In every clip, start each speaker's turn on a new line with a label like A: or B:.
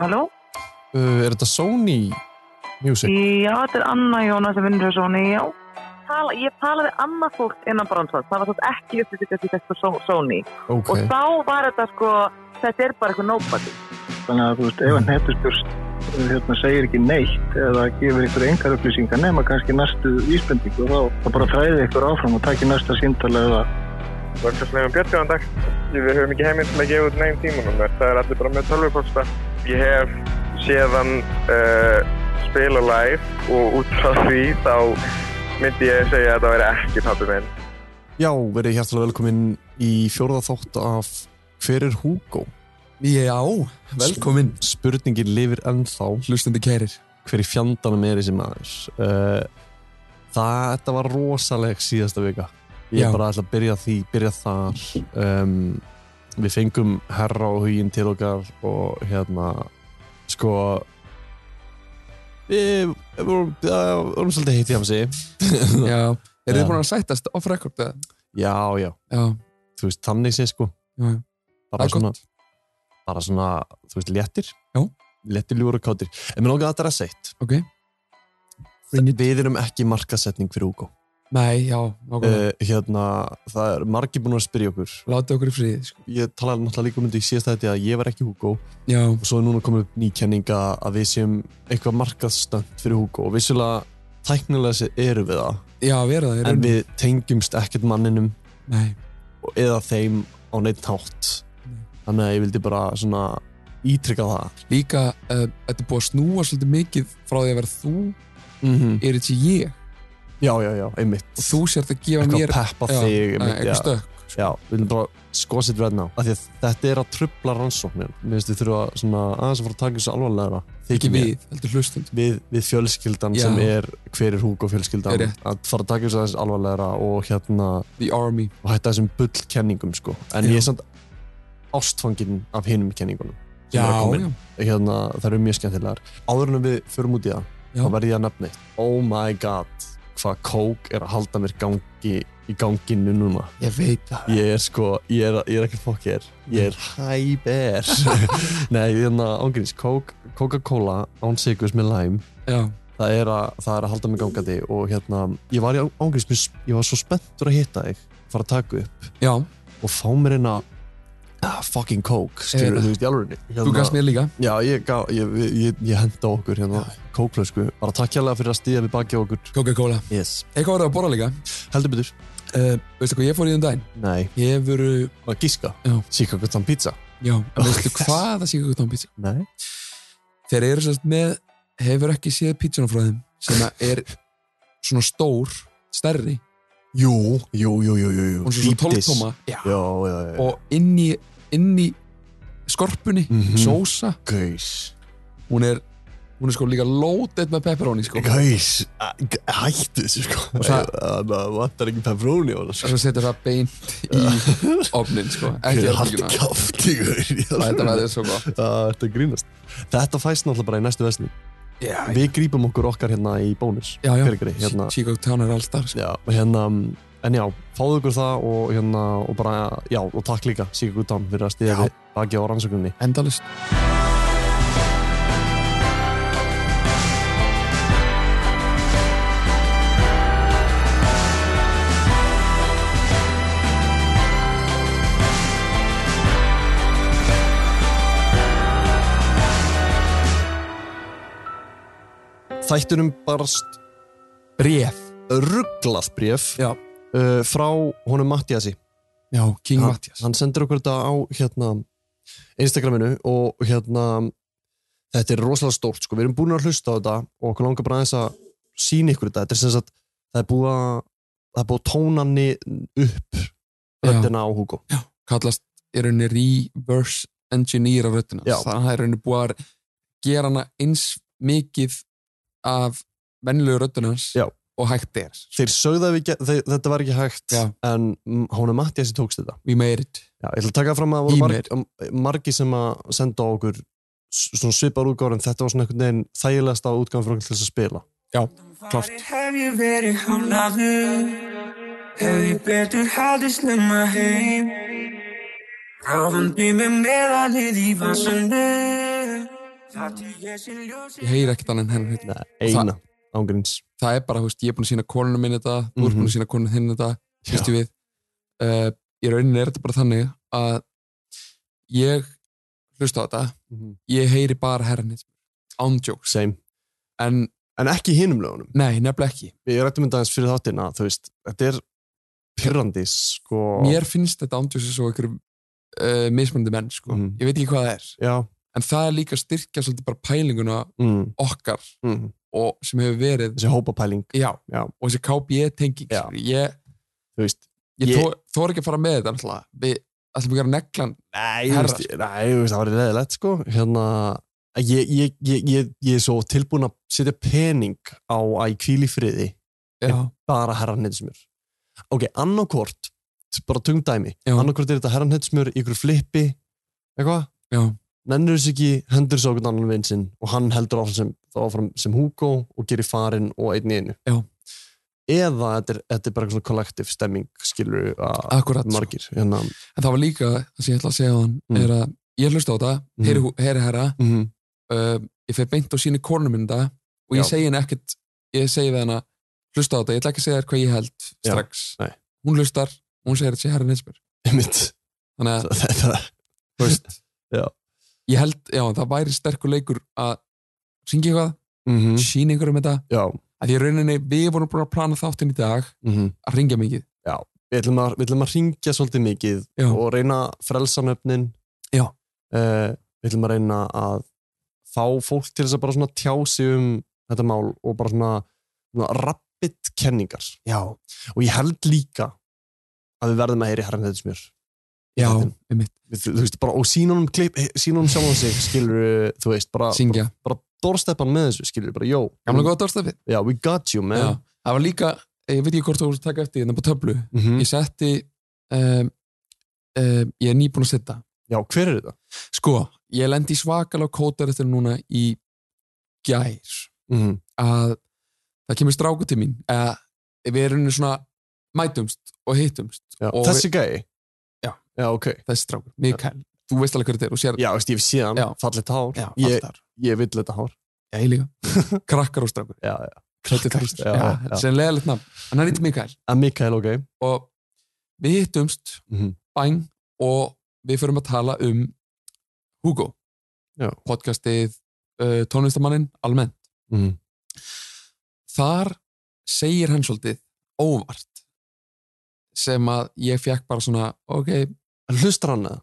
A: Halló?
B: Uh, er þetta Sony Music?
A: Já, þetta er Anna Jóna sem vinnur hjá Sony, já. Tala, ég talaði annað fólk innan Bronsons, það var svo ekki upplýsingast í þetta Só- Sony.
B: Ok.
A: Og þá var þetta sko, þetta er bara eitthvað nobody.
C: Þannig að þú veist, ef að netustjórst hérna, segir ekki neitt eða gefur ykkur engar upplýsingar nema kannski næstu vísbendingu þá, þá bara þræði ykkur áfram og takki næsta síndala eða
D: Vörgarslegum Björnjóðandag. Við höfum ekki heiminn til að gefa út neginn tímanúmer. Það er allir bara með tölvupósta. Ég hef séðan uh, spila live og út frá því þá myndi ég segja að það væri ekki pappi minn.
B: Já, verið hjartalega velkomin í fjórða þátt af Hver er Hugo?
E: Já, velkomin
B: Spurningin lifir ennþá
E: Hlustandi kærir
B: hver í fjandanum er þessi maður uh, það, þetta var rosaleg síðasta vika ég
E: Já.
B: bara ætla að byrja því, byrja þar um, við fengum herra og huginn til okkar og hérna sko við við vorum, það vorum svolítið heitt í hamsi
E: Já, eru
B: Já.
E: þið búin að sættast off record? eða?
B: já, já,
E: Já,
B: þú veist, þannig sé sko
E: já, það
B: bara
E: er
B: svona,
E: gott
B: bara svona, þú veist, léttir
E: Já.
B: léttir ljúra kátir en mér langaði að þetta er að seitt
E: Ok, Bring it.
B: við erum ekki markasetning fyrir Hugo
E: nei, já, nákvæmlega
B: uh, hérna, það er margir búin að spyrja okkur
E: Láta okkur í frið, sko
B: ég talaði náttúrulega líka um þetta í síðasta þetta að ég var ekki Hugo og
E: Já,
B: svo er núna komið upp nýkenninga að við séum eitthvað markaðstönd fyrir Hugo og vissulega tæknilega sér eru við það
E: já, vera það í
B: en
E: rauninni.
B: við tengjumst ekkert manninum
E: Nei,
B: og- eða þeim á neitt hátt
E: Nei.
B: þannig að ég vildi bara svona ítrykka það
E: líka, uh, þetta er búið að snúa svolítið mikið frá því að vera þú
B: -hmm.
E: er ekki ég
B: já, já, já, einmitt
E: og þú sért að gefa
B: eitthvað
E: mér
B: að peppa
E: já,
B: þig
E: nei,
B: einmitt,
E: eitthvað
B: já,
E: stökk sko.
B: já, við viljum bara skoða sér right now af því að þetta er að trubla rannsóknir mér finnst við þurfa svona aðeins að fara að taka þessu alvarlega
E: ekki
B: þykir mér.
E: við, heldur hlustund
B: við, við fjölskyldan
E: Já.
B: sem er hver er Hugo fjölskyldan
E: Rétt.
B: að fara að taka þessu aðeins alvarlegra og hérna
E: The Army,
B: og hætta þessum bullkenningum sko en
E: Já.
B: ég er samt ástfanginn af hinum kenningunum sem
E: já,
B: eru að koma
E: já,
B: inn. hérna, það eru mjög skemmtilegar áður en við förum út í það
E: Já.
B: þá verði ég að nefna eitt oh my god hvað kók er að halda mér gangi í ganginu núna
E: ég veit það
B: ég er sko, ég er, ég er ekki fokker ég er hæber nei, hérna ángríns kók, Coca-Cola án sigurs með lime
E: Já,
B: það er að, það er að halda mig gangandi og hérna, ég var í ángriðs ég var svo spenntur að hitta þig fara að taka upp
E: já,
B: og fá mér hérna ah, fucking coke, skilur
E: Eh,
B: þú veist í alvörinni hérna,
E: þú gafst mér líka
B: já, ég, gaf, ég, ég, ég, ég henda á okkur hérna, kóklausku, bara takk hérlega fyrir að stíða við baki á okkur
E: Coca-Cola,
B: yes.
E: eitthvað var það að borra líka
B: heldur betur,
E: uh, veistu hvað ég fór í um daginn?
B: nei,
E: Ég hefur,
B: að gíska
E: Já.
B: síka hvað þann pizza
E: já, en veistu
B: yes.
E: hvað það sé ekki tónpítsa?
B: nei,
E: þeir eru sérst með hefur ekki séð pítsuna frá þeim sem að er svona stór stærri,
B: jú, jú, jú, jú, jú, jú.
E: hún er svona 12 tóma
B: já, já, já, já.
E: og inn í, inn í skorpunni,
B: Mhm.
E: sósa
B: gauðs
E: hún er, hún er sko líka loaded með pepperoni sko
B: Gauðs, hættu þessu sko
E: Og það-
B: Það vantar ekki pepperoni sko. á það
E: og svo setja það beint í ofnin sko, ekki að
B: haldi
E: bíluna
B: kjátt í
E: þetta
B: gaur
E: verður svo gott
B: Þetta grínast Þetta fæst náttúrulega bara í næstu vesni
E: já,
B: Við grípum okkur okkar hérna í bónus
E: já, já.
B: Hvergri, hérna,
E: Chicago Town er alltaf sko.
B: já, hérna mm, En já, fáðu ykkur það og hérna og bara, já, og takk líka Sigur Guttan fyrir að
E: Já.
B: stiða við baki á rannsókunni
E: endalist
B: Þættunum barst
E: Réf,
B: rugglað bréf
E: Já.
B: uh, frá honum Mattiasi
E: já, King
B: Hann-
E: Matthias
B: hann sendir okkur þetta á hérna, Instagraminu og hérna þetta er rosalega stórt sko. við erum búin að hlusta á þetta og okkur langar bara aðeins að sína ykkur þetta þetta er sem sagt, það er búið að það er búið að tóna hann upp
E: já,
B: röddina Hérna á Hugo
E: kallast í rauninni reverse engineer af röddina
B: Já.
E: þannig að það er rauninni búið að gera hana eins mikið af vennilegu röddunans
B: Já.
E: og hægt er
B: þeir sögðu að við ge- þeir, þetta var ekki hægt
E: Já.
B: en hún er Mattiasi tókst þetta
E: we made it
B: Já, ég ætla að taka það fram að það
E: Ímir.
B: voru marg, margi sem að senda á okkur s- svona svipar útgáður en þetta var svona einhvern veginn þægilegast á útgáðum fyrir okkur til þess að spila
E: klárt
F: Hef ég verið hálaður Hef ég betur haldið snemma heim Ráðan býr með meðalið í vasanum
E: ég heyri ekkert annað en hennar hlutin
B: Nei, eina ángríns
E: það er bara, þú veist, ég er búin að sína konunum minn þetta þú ert
B: Mhm.
E: búin að sína konunum þinn þetta fyrst ég við uh, í rauninni er þetta bara þannig að ég hlusta á þetta,
B: Mhm.
E: ég heyri bara herrnir ándjóks,
B: Same
E: en
B: En ekki í hinum lögunum
E: nei, nefnilega ekki
B: Ég rættum þetta aðeins fyrir þáttinn að þú veist Þetta er pyrrandi sko
E: mér finnst þetta ándjóks eins og einhver uh, mismunandi menn, sko
B: Mhm.
E: ég veit ekki hvað það er,
B: Já
E: en það er líka að styrkja svolítið bara pælinguna
B: mm,
E: okkar
B: mm.
E: og sem hefur verið
B: Þessi hópapæling
E: já,
B: Já.
E: og þessi KBE-tenging
B: Já.
E: ég,
B: Þú veist
E: ég,
B: Ég-
E: ég... þóra ekki að fara með þetta náttúrulega. við ætlum ekki að gera neglan
B: Nei, þú
E: Herra,
B: veist, nei, þú veist, það var reyðilegt sko Hérna Ég, ég, ég, ég, ég er svo tilbúin að setja pening á að ég kvíli friði
E: já,
B: bara herranheitsmjör ok, annarkort, bara tungum dæmi
E: Já.
B: annarkort er þetta herranheitsmjör, ykkur flippi eitthvað,
E: já,
B: nennur þess ekki hendur þess á okkur annan vinn sinn og hann heldur áfram sem, þá áfram sem Hugo og gerir farinn og einn í einu
E: Já.
B: eða þetta er, þetta er bara eitthvað kollektiv stemming skilur að
E: akkurat sko.
B: margir hérna,
E: en það var líka, það sem ég ætla að segja á hann
B: Mm.
E: er að ég hlusta á þetta,
B: Mhm.
E: heyri, heyri herra
B: mm -hmm.
E: uh, ég fer beint og síni konum minn þetta og ég
B: Já.
E: segi henni ekkert ég segi við henni hlusta á þetta, ég ætla ekki að segja þér hvað ég held
B: Já,
E: strax,
B: nei.
E: hún hlustar og hún segir þetta sé herra neinsbyr þannig að,
B: þetta
E: þú veist
B: Já.
E: ég held, já, það væri sterkur leikur að syngja eitthvað,
B: mm
E: mm. sína einhverjum þetta
B: já,
E: að því í rauninni við vorum búin að plana þáttinn í dag
B: mm
E: að ringja mikið
B: við ætlum að, við ætlum að ringja svolítið mikið
E: Já.
B: og reyna að frelsa nöfnin
E: Já.
B: Eh, við ætlum að reyna að fá fólk til þess að bara svona tjá sig um þetta mál og bara svona, svona rapid kenningar Já. og ég held líka að við verðum að heyri herran þetta smjör
E: já,
B: Þetta er-
E: um mitt,
B: við, þú veist, bara, og sínunum klip, sínunum eh, sjálfan sig skilur, þú veist, bara,
E: syngja
B: bara dórsteppan með þessu, skilur, bara, jó
E: gamla góða dórstafið
B: Já, we got you, man
E: það var líka, ég veit ekki hvort þú voru að taka eftir hérna på töflu,
B: Mhm.
E: ég setti um, um, ég er nýbúin að setja
B: Já, hver er þetta?
E: sko, ég lendi svakalega kótar eftir núna í gær
B: Mm
E: að það kemur stráku til mín að við erum svona mætumst og hittumst
B: Já,
E: Og
B: Þessi gæi?
E: Já.
B: Já, ok
E: þessi strákur, Mikael, þú veist alveg hver þetta er og sér
B: Já, veist, ég sé hann,
E: Já.
B: fallit hár
E: já,
B: ég,
E: allt þar.
B: ég vill þetta hár
E: já, ég líka krakkar og strákur
B: já, já.
E: Þetta er Þröstur,
B: já,
E: já,
B: já.
E: sem leðalegt nafn hann er eitthvað Mikael
B: En Ah, Mikael, ok
E: og við hittumst
B: Mhm.
E: bæn og við förum að tala um Hugo
B: Já.
E: podcastið uh, tónlistamannin almennt
B: Mhm.
E: þar segir hann svolítið óvart sem að ég fekk bara svona ok,
B: En hlustar hann eða?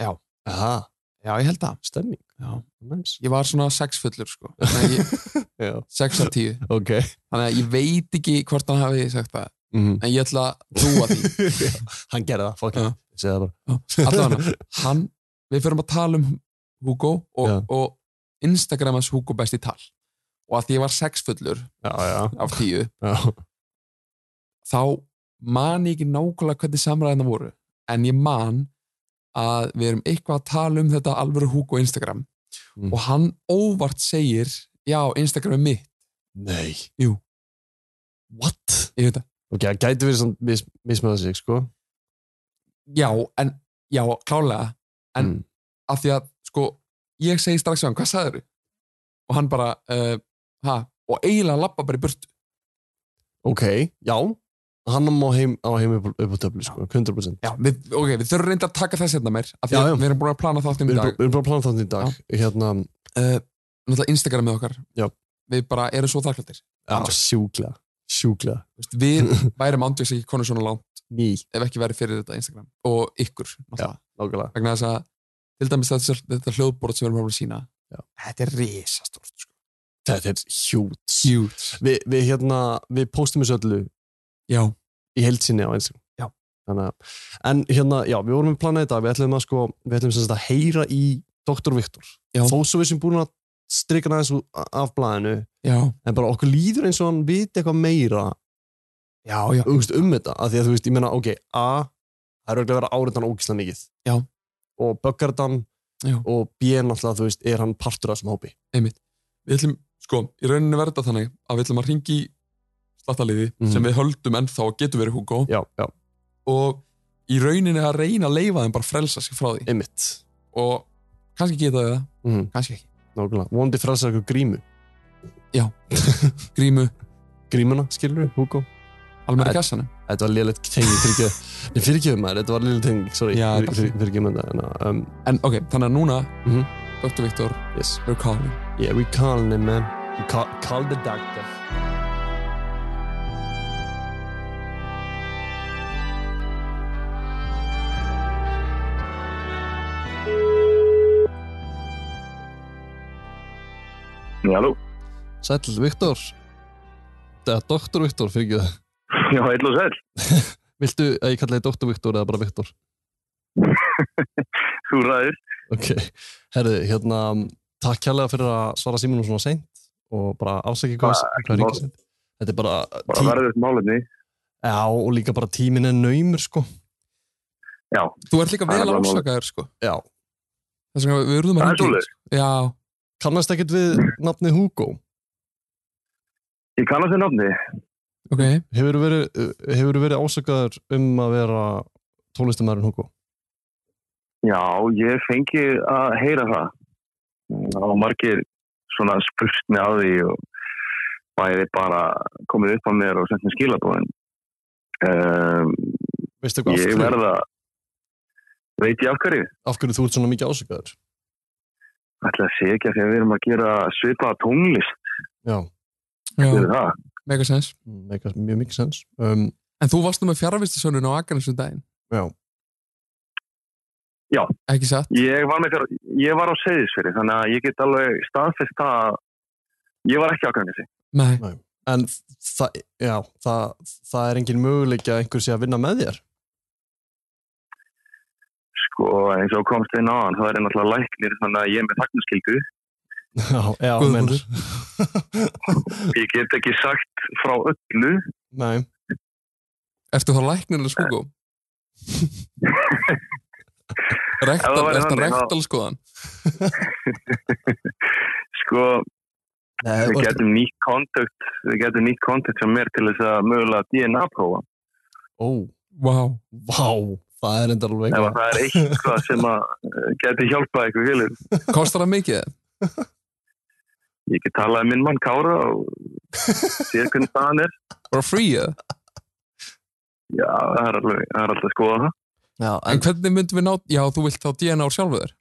E: Já.
B: Aha,
E: já ég held það
B: stemming
E: já.
B: nice.
E: ég var svona sexfullur sko Þannig að ég-
B: Já,
E: sex af tíu
B: ok
E: þannig að ég veit ekki hvort hann hafi sagt það
B: mm.
E: en ég ætla að trúa því
B: Já, Hann gerði það, fuck
E: Já.
B: it Ég segi það bara
E: allavega hann, við förum að tala um Hugo og,
B: Já.
E: og Instagramas Hugo best í tal og að því ég var sexfullur
B: Já, já,
E: af tíu
B: já.
E: þá man ég ekki nákvæmlega hvernig samræðina voru en ég man að við erum eitthvað að tala um þetta alvöru Hugo Instagram
B: Mm.
E: og hann óvart segir já, Instagram er mitt,
B: Nei
E: Jú.
B: What?
E: ég veit það
B: Ok, það gæti verið svona mis, mismöða sig, sko
E: já, en, já, klálega en
B: Mm.
E: að því að, sko, ég segi strax við hann, hvað sagður og hann bara, uh, ha, og eiginlega lappa bara í burtu
B: Ok, já Hann má heim, á heim upp, upp á töflu, sko 100%
E: Já, við, ok, við þurfum reynda að taka þess hérna meir af því
B: Já,
E: að
B: já.
E: við erum búin að plana þáttum í
B: Við erum
E: dag
B: bara- við erum bara að plana þannig í dag Hérna,
E: uh, Náttúrulega Instagram með okkar
B: Já.
E: Við bara erum svo þakkláttir
B: já, sjúklega Sjúklega
E: Þú veist, Við værum andjóks ekki konur svona langt
B: Ný,
E: ef ekki verið fyrir þetta Instagram og ykkur náttúrulega.
B: nákvæmlega
E: vegna þess að til dæmis þetta, þetta hljóðbórað sem við erum að fara að sína
B: Já.
E: Þetta er risastórt sko.
B: Þetta er hjút
E: Huge.
B: við, við hérna, við postum þessu öllu
E: Já,
B: í heild sinni á Instagram
E: Já.
B: Þannig, að- en hérna, já, við vorum með planað þetta við ætlum að sko, við ætlum sem sagt að heyra í Dr. Viktor,
E: Já.
B: þó svo við sem búin að strika hann aðeins ú- af blaðinu
E: já,
B: en bara okkur líður eins og hann viti eitthvað meira
E: já, já
B: úst, um þetta, af því að þú veist, ég meina, ok A, það er auðvitað að vera áriðan ógislega mikið
E: Já.
B: og böggar þetta hann
E: Já.
B: og B, náttúrulega, þú veist, er hann partur af þessum hópi
E: Við ætlum, sko, í rauninni verða þannig að við ætlum að ringi slattaliði
B: Mhm.
E: sem við höldum ennþá að getur verið Hugo
B: Já, já,
E: og í rauninni að reyna að leifa þeim bara að frelsa sig frá því
B: einmitt
E: og kannski geta þau það,
B: mm.
E: kannski ekki
B: Nákvæmlega. Vondi frelsar eitthvað grímu.
E: grímu,
B: Grímuna, skilur við, Hugo?
E: almenna
B: Æ,
E: kassanum
B: Þetta var liðlegt tenging, fyrirgeðu. Nei, fyrirgeðu maður, þetta var liðlegt tenging, sorry.
E: Já,
B: Fyrir-
E: þetta-
B: fyrir- fyrirgeðu maður þetta. en, Um,
E: en ok, þannig að núna
B: Mhm.
E: Dr. Viktor,
B: yes.
E: we're calling
B: Yeah, we calling him, man. We call, call the doctor.
G: Halló?
B: Sæll, Viktor. Eða, doktor Viktor, fyrirgeðu.
G: Já, heil og sæl.
B: Viltu að ég kalla þig doktor Viktor eða bara Viktor?
G: Þú ræðir.
B: Ok, herðu, hérna, takk kærlega fyrir að svara síminu svona seint og bara afsækja hvað hvað er
G: mál.
B: ykkur seint. Þetta er bara,
G: Bara verður þetta málefni.
B: já, og líka bara tíminn er naumur, sko.
E: þú ert líka
G: Það
E: vel
G: er bara málið.
E: ásakaður sko
B: Já,
E: þess vegna við urðum að
G: Það er
E: hringja í þig,
G: svoleiðis.
E: sko. já,
B: kannast ekkert við nafni Hugo.
G: Ég kannast þér nafni.
E: ok,
B: Hefur verið, hefur verið ásakaður um að vera tónlistamærin Hugo?
G: Já, ég fengi að heyra það. Það var margir svona spurt með að því og bæði bara komið upp á mér og sent mér skilabóðin. Um,
B: Veistu hvað,
G: ég
B: af, hverju,
G: verða, veit ég af hverju?
B: af hverju þú ert svona mikið ásakaður?
G: Ætla að segja ekki að því að við erum að gera svipaða tónlist
E: já,
B: Já,
G: fyrir það.
E: mega sens
B: meika, Mm, mjög mikið sens. Um,
E: en þú varst nú með fjárvistasönun á Akarnarsum daginn
B: já,
E: ekki satt,
G: Ég var, með, fjár- ég var á segðisfyrir þannig að ég get alveg staðfest það að ég var ekki ákvæmdið
E: nei,
B: en það, já, það, það er engin möguleik að einhver sé að vinna með þér.
G: Sko eins og komst inn á hann, það er náttúrulega læknir þannig að ég er með þagnarskyldu.
B: Já, já,
E: Guðmundur.
B: meinar.
G: Ég get ekki sagt frá öllu.
B: Nei,
E: ertu þá sko, læknir eða skúkó?
G: Ef það
E: rektal,
G: væri
E: ertu
G: þannig, þá-
E: rektal skoðan
G: Sko,
B: Nei
G: við
B: og-
G: getum nýtt kontakt, við getum nýtt kontakt sem mér til þess að mögulega DNA-prófa.
B: Ó,
E: wow,
B: vá, það er enda alveg
G: Ef að það er eitthvað sem að eh, geti hjálpað ykkur fyrir.
E: kostar það mikið
G: Ég get talað um minn mann Kára og sé hvernig það hann er.
E: bara free eða?
G: Já, það er alveg, það er alltaf að skoða það.
B: Já,
E: en hvernig myndum við ná, já þú vilt þá DNA úr sjálfu þér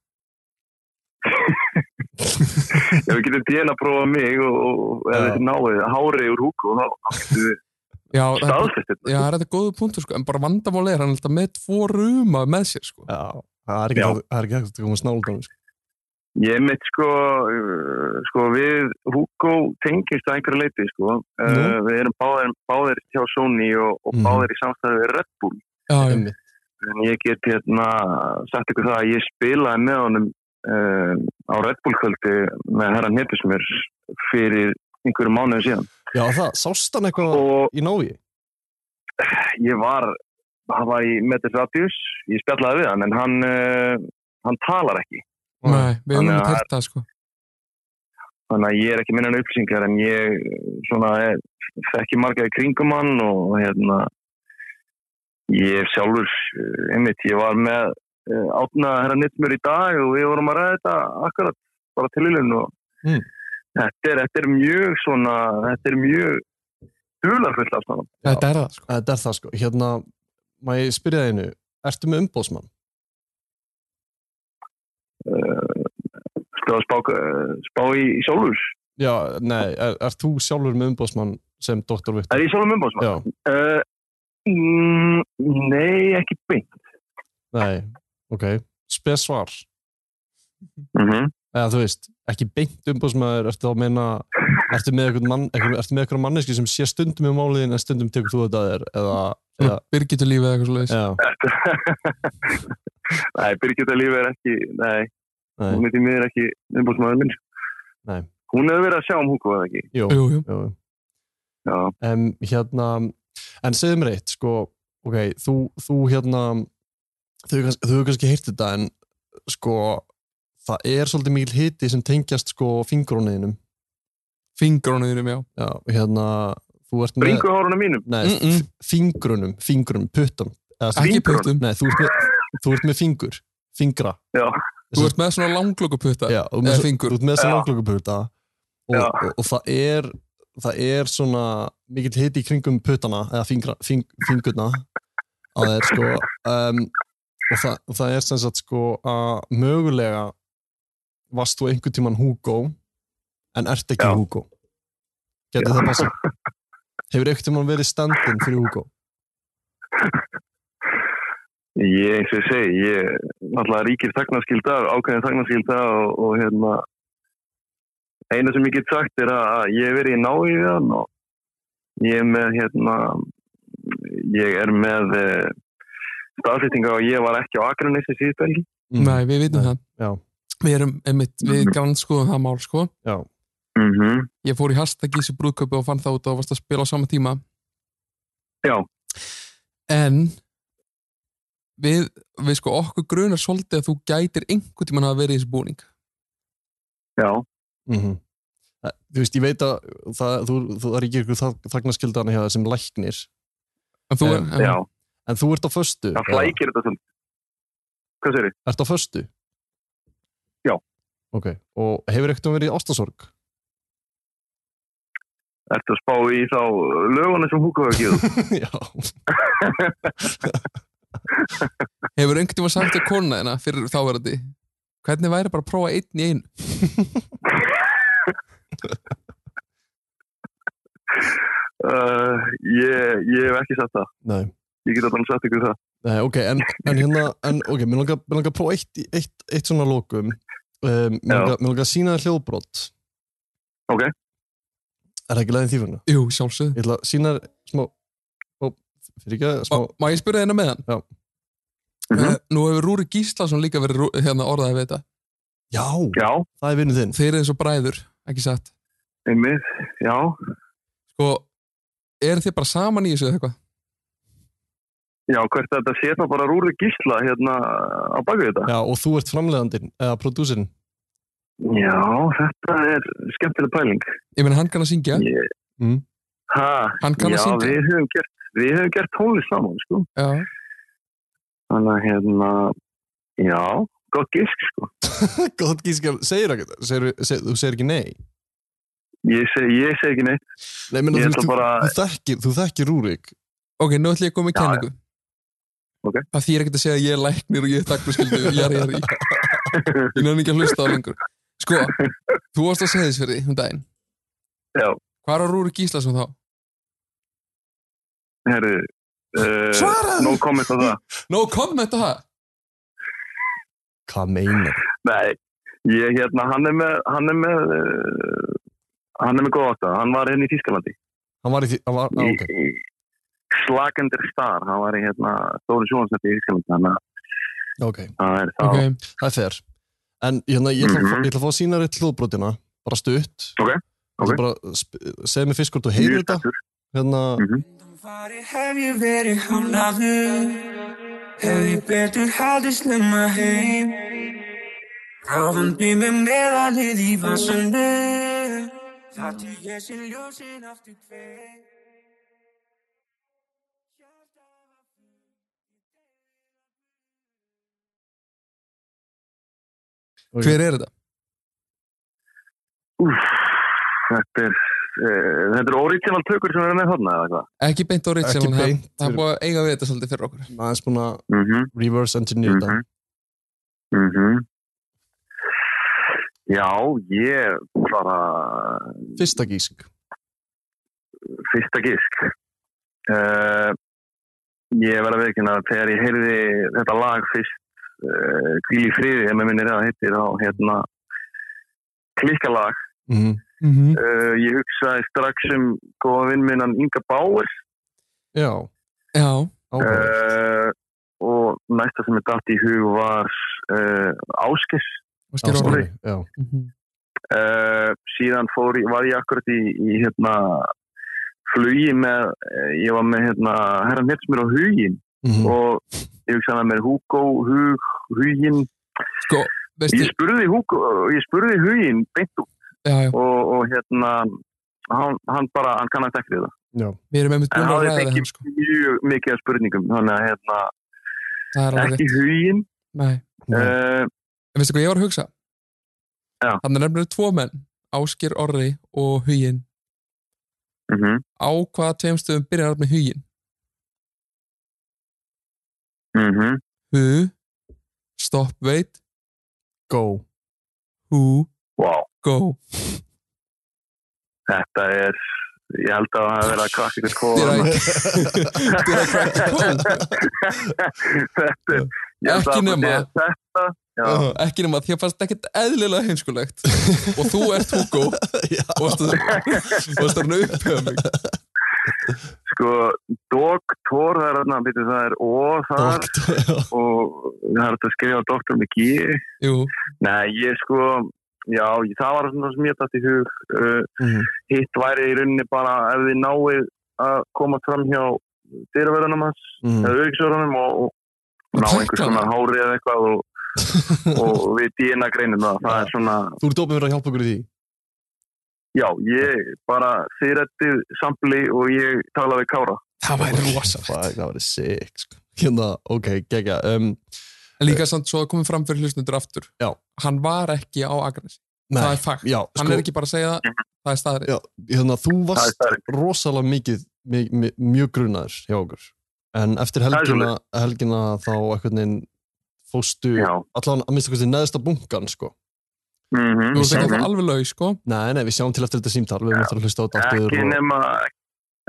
G: Ef við getum DNA-prófa mig og, og ef
B: Já.
G: þið náið hárið úr húku þá getum við
E: já, það er-
G: staðfest þetta.
E: já, það er þetta góðu punktur sko, en bara vandamál er hann er alltaf með tvo rúma með sér sko
B: já, það er ekki
G: Já.
B: hægt- það er ekki hægt að koma snáldan sko.
G: Ég mitt sko, uh, sko við Hugo tengist að einhverju leiti sko. Uh,
B: Nú.
G: við erum báðir, báðir hjá Sony og, og
B: Mhm.
G: báðir í samstæðu við Red Bull.
E: já, já,
B: Einmitt.
G: En ég get hérna sagt ykkur það að ég spilaði með honum uh, á Red Bull kvöldi með herra Nepismur fyrir einhverju mánuðu síðan.
B: Já, það, sástan eitthvað
G: Og
B: í návi
G: ég var, hann var í Metis Radius, ég spjallaði við hann en hann, uh, hann talar ekki.
E: nei, við höfum
G: Þannig að-
E: ekki hægt það sko
G: þannig að ég er ekki minna en upplýsingar en ég eh, svona er, þekki marga í kringum hann og hérna ég hef sjálfur eh, einmitt, ég var með eh, átna herra Nittmur í dag og við vorum að ræða þetta akkurat bara til ylun og
B: Mm.
G: þetta, er, þetta er mjög svona þetta er mjög dularfullt af svona
E: þetta er það sko
B: Þetta er það sko, hérna má ég spyrja það einu, ertu með umbóðsmann?
G: Ertu að Eh, spá, eh, spá í, í sjálfur
B: Já, nei, er, ert þú sjálfur með umbóðsmann sem doktor Viktor?
G: er ég sjálfur mömbásmann?
B: Já,
G: Uh, mm, nei, ekki beint
B: nei, ok spes svar,
G: mm -hmm.
B: eða þú veist ekki beint umbóðsmaður, ertu þá að meina ertu með eitthvað mann, eitthvað, ertu með eitthvað manneski sem sé stundum í máliðin en stundum tekur þú þetta að þér, eða, eða
E: Birgitur lífið eða eitthvað svo leiðis
B: já,
G: Nei, Birgitta Lífi er ekki nei,
B: nei,
G: hún veit í miður ekki umbúrsmaður minn sko.
B: Nei.
G: hún hefur verið að sjá um Hugo eða ekki
B: jú,
E: jú, jú.
B: jú.
G: já,
B: um, hérna, en segðu mér eitt sko, ok, þú, þú hérna þau hefur kannski, þau hefur kannski heyrt þetta en sko það er svolítið mikil hiti sem tengjast sko fingrónuðinum
E: fingrunum, já
B: já, hérna, þú ert með
G: bringuhárunum mínum
B: nei,
E: Mm, mm.
B: fingrunum, fingrunum, puttum eða,
E: ekki
G: Fingrunum?
E: puttum,
B: nei, þú ert með, þú ert með fingur fingra
G: Já.
E: Þú ert með svona langlökuputta
B: Já, og með
E: eða
B: svo-
E: fingur.
B: út með þessi
G: Já.
B: langlökuputta og,
G: Já.
B: og, og það er það er svona mikill hiti í kringum puttana eða fingra, fing, fingurna að það er sko um, og, það, og það er sem sagt sko að mögulega varst þú einhvern tíman Hugo en ert ekki
G: Já.
B: Hugo getur það passa hefur einhvern tíman verið stand-in fyrir Hugo
G: Ég, eins og ég segi, ég náttúrulega ríkir þagnarskylda, ákveðin þagnarskylda og, og hérna eina sem ég get sagt er að að ég hef verið í náið við hann og ég er með hérna ég er með eh, staðfestinga og ég var ekki á Akranessi síðbelgi.
E: Nei, við vitum
B: Mm. Nei.
E: það.
B: Já.
E: Við erum, einmitt, við grann skoðum það mál, sko.
G: Mm -hmm.
E: Ég fór í hashtagísi brúðköpi og fann það út og varst að spila á sama tíma.
G: Já.
E: En við, við sko okkur grunar svolítið að þú gætir einhvern tímann að vera í þessu búning.
G: Já,
B: mm -hmm. þú veist, ég veit að það, þú, þú, það ríkir ykkur þagnaskyldan hjá það sem læknir
E: En þú,
B: Já.
E: en,
G: já,
B: en þú ert á föstu
G: það
B: eða?
G: flækir þetta svolítið. Hvað sér þið?
B: Ertu á föstu?
G: Já.
B: Ok, og hefur ekkert um verið í ástasorg?
G: Ertu að spá í þá löguna sem Húka hafa gefið?
B: Já.
E: Hefur einhvern tíma sagt til kona þeirna fyrir þáverandi Hvernig væri bara að prófa einn í einu?
G: Uh, ég, ég hef ekki sagt það.
B: Nei.
G: Ég get allan sagt ykkur það.
B: Nei, ok, en, en hérna, en ok, mér langar, mér langar að prófa eitt, í- eitt, eitt svona lókum. Um, mér,
G: Já.
B: langar, mér langar að sína þér hljóðbrot.
G: Ok.
B: Er það ekki leiðin því fyrir
E: Jú, sjálfsögð
B: Ég ætla að sína þér smá, ó, fyrir ekki að smá,
E: Má- Má ég spyrja þeirna með hann?
B: Já.
G: Mhm.
E: Eh, Nú hefur Rúri Gíslason líka verið rú- hérna orðaði við þetta
B: já,
G: Já,
B: það er vinnu þinn.
E: Þeir eru eins og bræður, ekki satt
G: einmitt, já.
E: Sko, eru þið bara saman í þessu eða eitthvað?
G: Já, hvert þetta sé þá bara rúri gísla hérna á baku þetta.
B: Já, og þú ert framlegandinn, eða prodúsirinn.
G: Já, þetta er skemmtileg pæling.
E: Ég meina, hann kann að syngja
G: Ég-
B: Mm.
G: Ha,
E: Hann kann
G: já,
E: að syngja
G: við höfum gert, við höfum gert tónlist saman, sko.
E: Já,
G: Þannig að hérna, já, gott gísk, sko.
B: Gótt gískjál, segir ekki, segir, segir, þú segir ekki nei.
G: Ég segi ég seg ekki neitt.
B: Nei, menna,
G: Ég
B: þú,
G: ætla
B: þú,
G: bara-
B: þú, þekkir, þú þekkir Rúrik
E: ok, nú ætlum ég að koma með
G: Já,
E: kenningu
G: Ok.
E: Það þýr ekkert að segja að ég er læknir og ég er þakkarskyldu Jari, jari Ég nefn ekki að hlusta á lengur Sko, þú varst að segja þess fyrir um daginn
G: Já.
E: Hvar var Rúri Gíslason þá?
G: Herru, uh,
E: Svaraðu!
G: no comment á það.
E: No comment á það
B: Hvað meinar?
G: Nei, ég hérna, hann er með, hann er með, uh, hann er með góð átta. Hann var hérna í Þýskalandi.
B: Hann var í því, hann var, á,
G: í,
B: ok.
G: í slagendur star hann var í hérna Dóri Sjónsnætti í Ísland þannig að
B: ok,
G: það er þá
E: Ok,
B: það er fair. En hérna, ég ætla, mm
G: Mhm.
B: ég ætla að fá að sína rétt hljóðbrotina, hérna. bara stutt.
G: Ok, ok.
B: Bara, sp- segðu mér fyrst hvort þú heyrir þetta,
G: spenntur.
B: hérna,
G: Mhm,
F: Farið hef ég verið hálaður Hef ég betur haldið snemma heim Ráðandi með meðalið í vasandu Það til ég sem ljósin aftur kveð
B: Ok.
E: hver er þetta?
G: Úff, þetta er uh, þetta er original tökur sem við erum með þarna eða eitthvað
E: Ekki beint á
B: ekki
E: Ritsjálfan, það
B: beint.
E: það er búið að eiga við þetta svolítið fyrir okkur
B: Það er svona
G: mm -hmm.
B: reverse engineer
G: Mhm.
B: þetta.
G: já, ég bara
B: Fyrsta gísk.
G: fyrsta gísk uh, ég verða veikinn að þegar ég heyrði þetta lag fyrst uh, Kvíl í friði, ef mér minnir að það heitir á hérna klikkalag
B: Mm
G: Uh, ég hugsaði strax um góða vinn minnan Inga Bauer
B: Já,
E: Já,
B: áhuga.
G: uh, og næsta sem ég datt í hug var uh, Áskis
E: og
B: Já,
E: sker orðið
B: sorry, já.
G: uh, síðan fór, ég- var ég akkurat í, í hérna flugi með, eh, ég var með hérna, herran Hetsmur og Hugin
B: Mhm.
G: og ég hugsaði með mér Hugo, Hug, Hugin
E: Sko, veistu,
G: ég spurði, Hugo, ég spurði Hugin beint út
E: já, já,
G: og, og hérna hann, hann bara, hann kannast ekki við það
E: við erum einmitt
G: En
E: búin að
G: hafði
E: ræða
G: fengið
E: þetta sko.
G: mjög mikið af spurningum þannig að hérna,
E: Það er alveg
G: ekki
E: rétt,
G: hugin
E: nei
B: Nei.
G: uh,
E: En veistu hvað ég var að hugsa?
G: Já.
E: Þannig er nefnilega tvo menn, Áskir Orri og Hugin.
G: Mm -hmm.
E: Á hvaða tveim stöðum byrjar hann með Hugin?
G: Mm
E: Hu, stopp, veit,
B: Go.
E: hú,
G: Wow,
E: go.
G: þetta er, ég held að það hafi verið að krakka ykkur
E: Þið er
G: kóðan.
E: að- þið er að krakka kóðan.
G: Þetta er, ég held að
E: Ekki
G: það
E: nema.
G: sé Þetta, já,
E: Ekki nema að því að fannst ekkert eðlilega heimskulegt. og þú ert Hugo
B: Já.
E: og varst að- og varst að upphöða mig.
G: sko, doktor, það er þarna, býttu, það er ó þar
B: Doktor, já.
G: og það er hægt að skrifa doktor með gí.
E: Jú,
G: Nei, ég sko, já, ég, það var svona sem ég dætt í hug. Uh,
B: Mhm.
G: Hitt væri í rauninni bara ef þið náið að koma fram hjá dyrverðunum hans,
B: Mm.
G: eða auksverðunum og, og ná
E: tækla
G: einhvers
E: það.
G: svona hári eða eitthvað og, og við DNA greinum það. Það er svona,
B: Þú ert opið fyrir að hjálpa okkur í því.
G: já, ég bara þýrættið sampli og ég tala við Kára.
E: það væri rosalegt.
B: Fuck, Það var sick, sko. Hérna, ok, gegja. Um,
E: En líka samt svo að komið fram fyrir hlustundur aftur.
B: Já.
E: Hann var ekki á Agnes.
B: nei,
E: Það er fakt.
B: já, sko.
E: Hann er ekki bara að segja það.
G: Mhm.
E: Það er staðrið.
B: Já, hérna, þú
G: Það er
B: varst
G: stærri.
B: rosalega mikið, mjög, mjög grunaður hjá okkur. En eftir
G: er
B: helgina, helgina þá eitthvað neginn fóstu,
G: Já.
B: allan að minnst okkur til neðsta bunkan, sko.
G: Mm
E: Þú veist ekki
G: -hmm.
E: alltaf alveg laug, sko.
B: Nei, nei, við sjáum til eftir þetta símtal, við erum eftir að hlusta á þetta aftur
G: Ekki
B: og-
G: nema,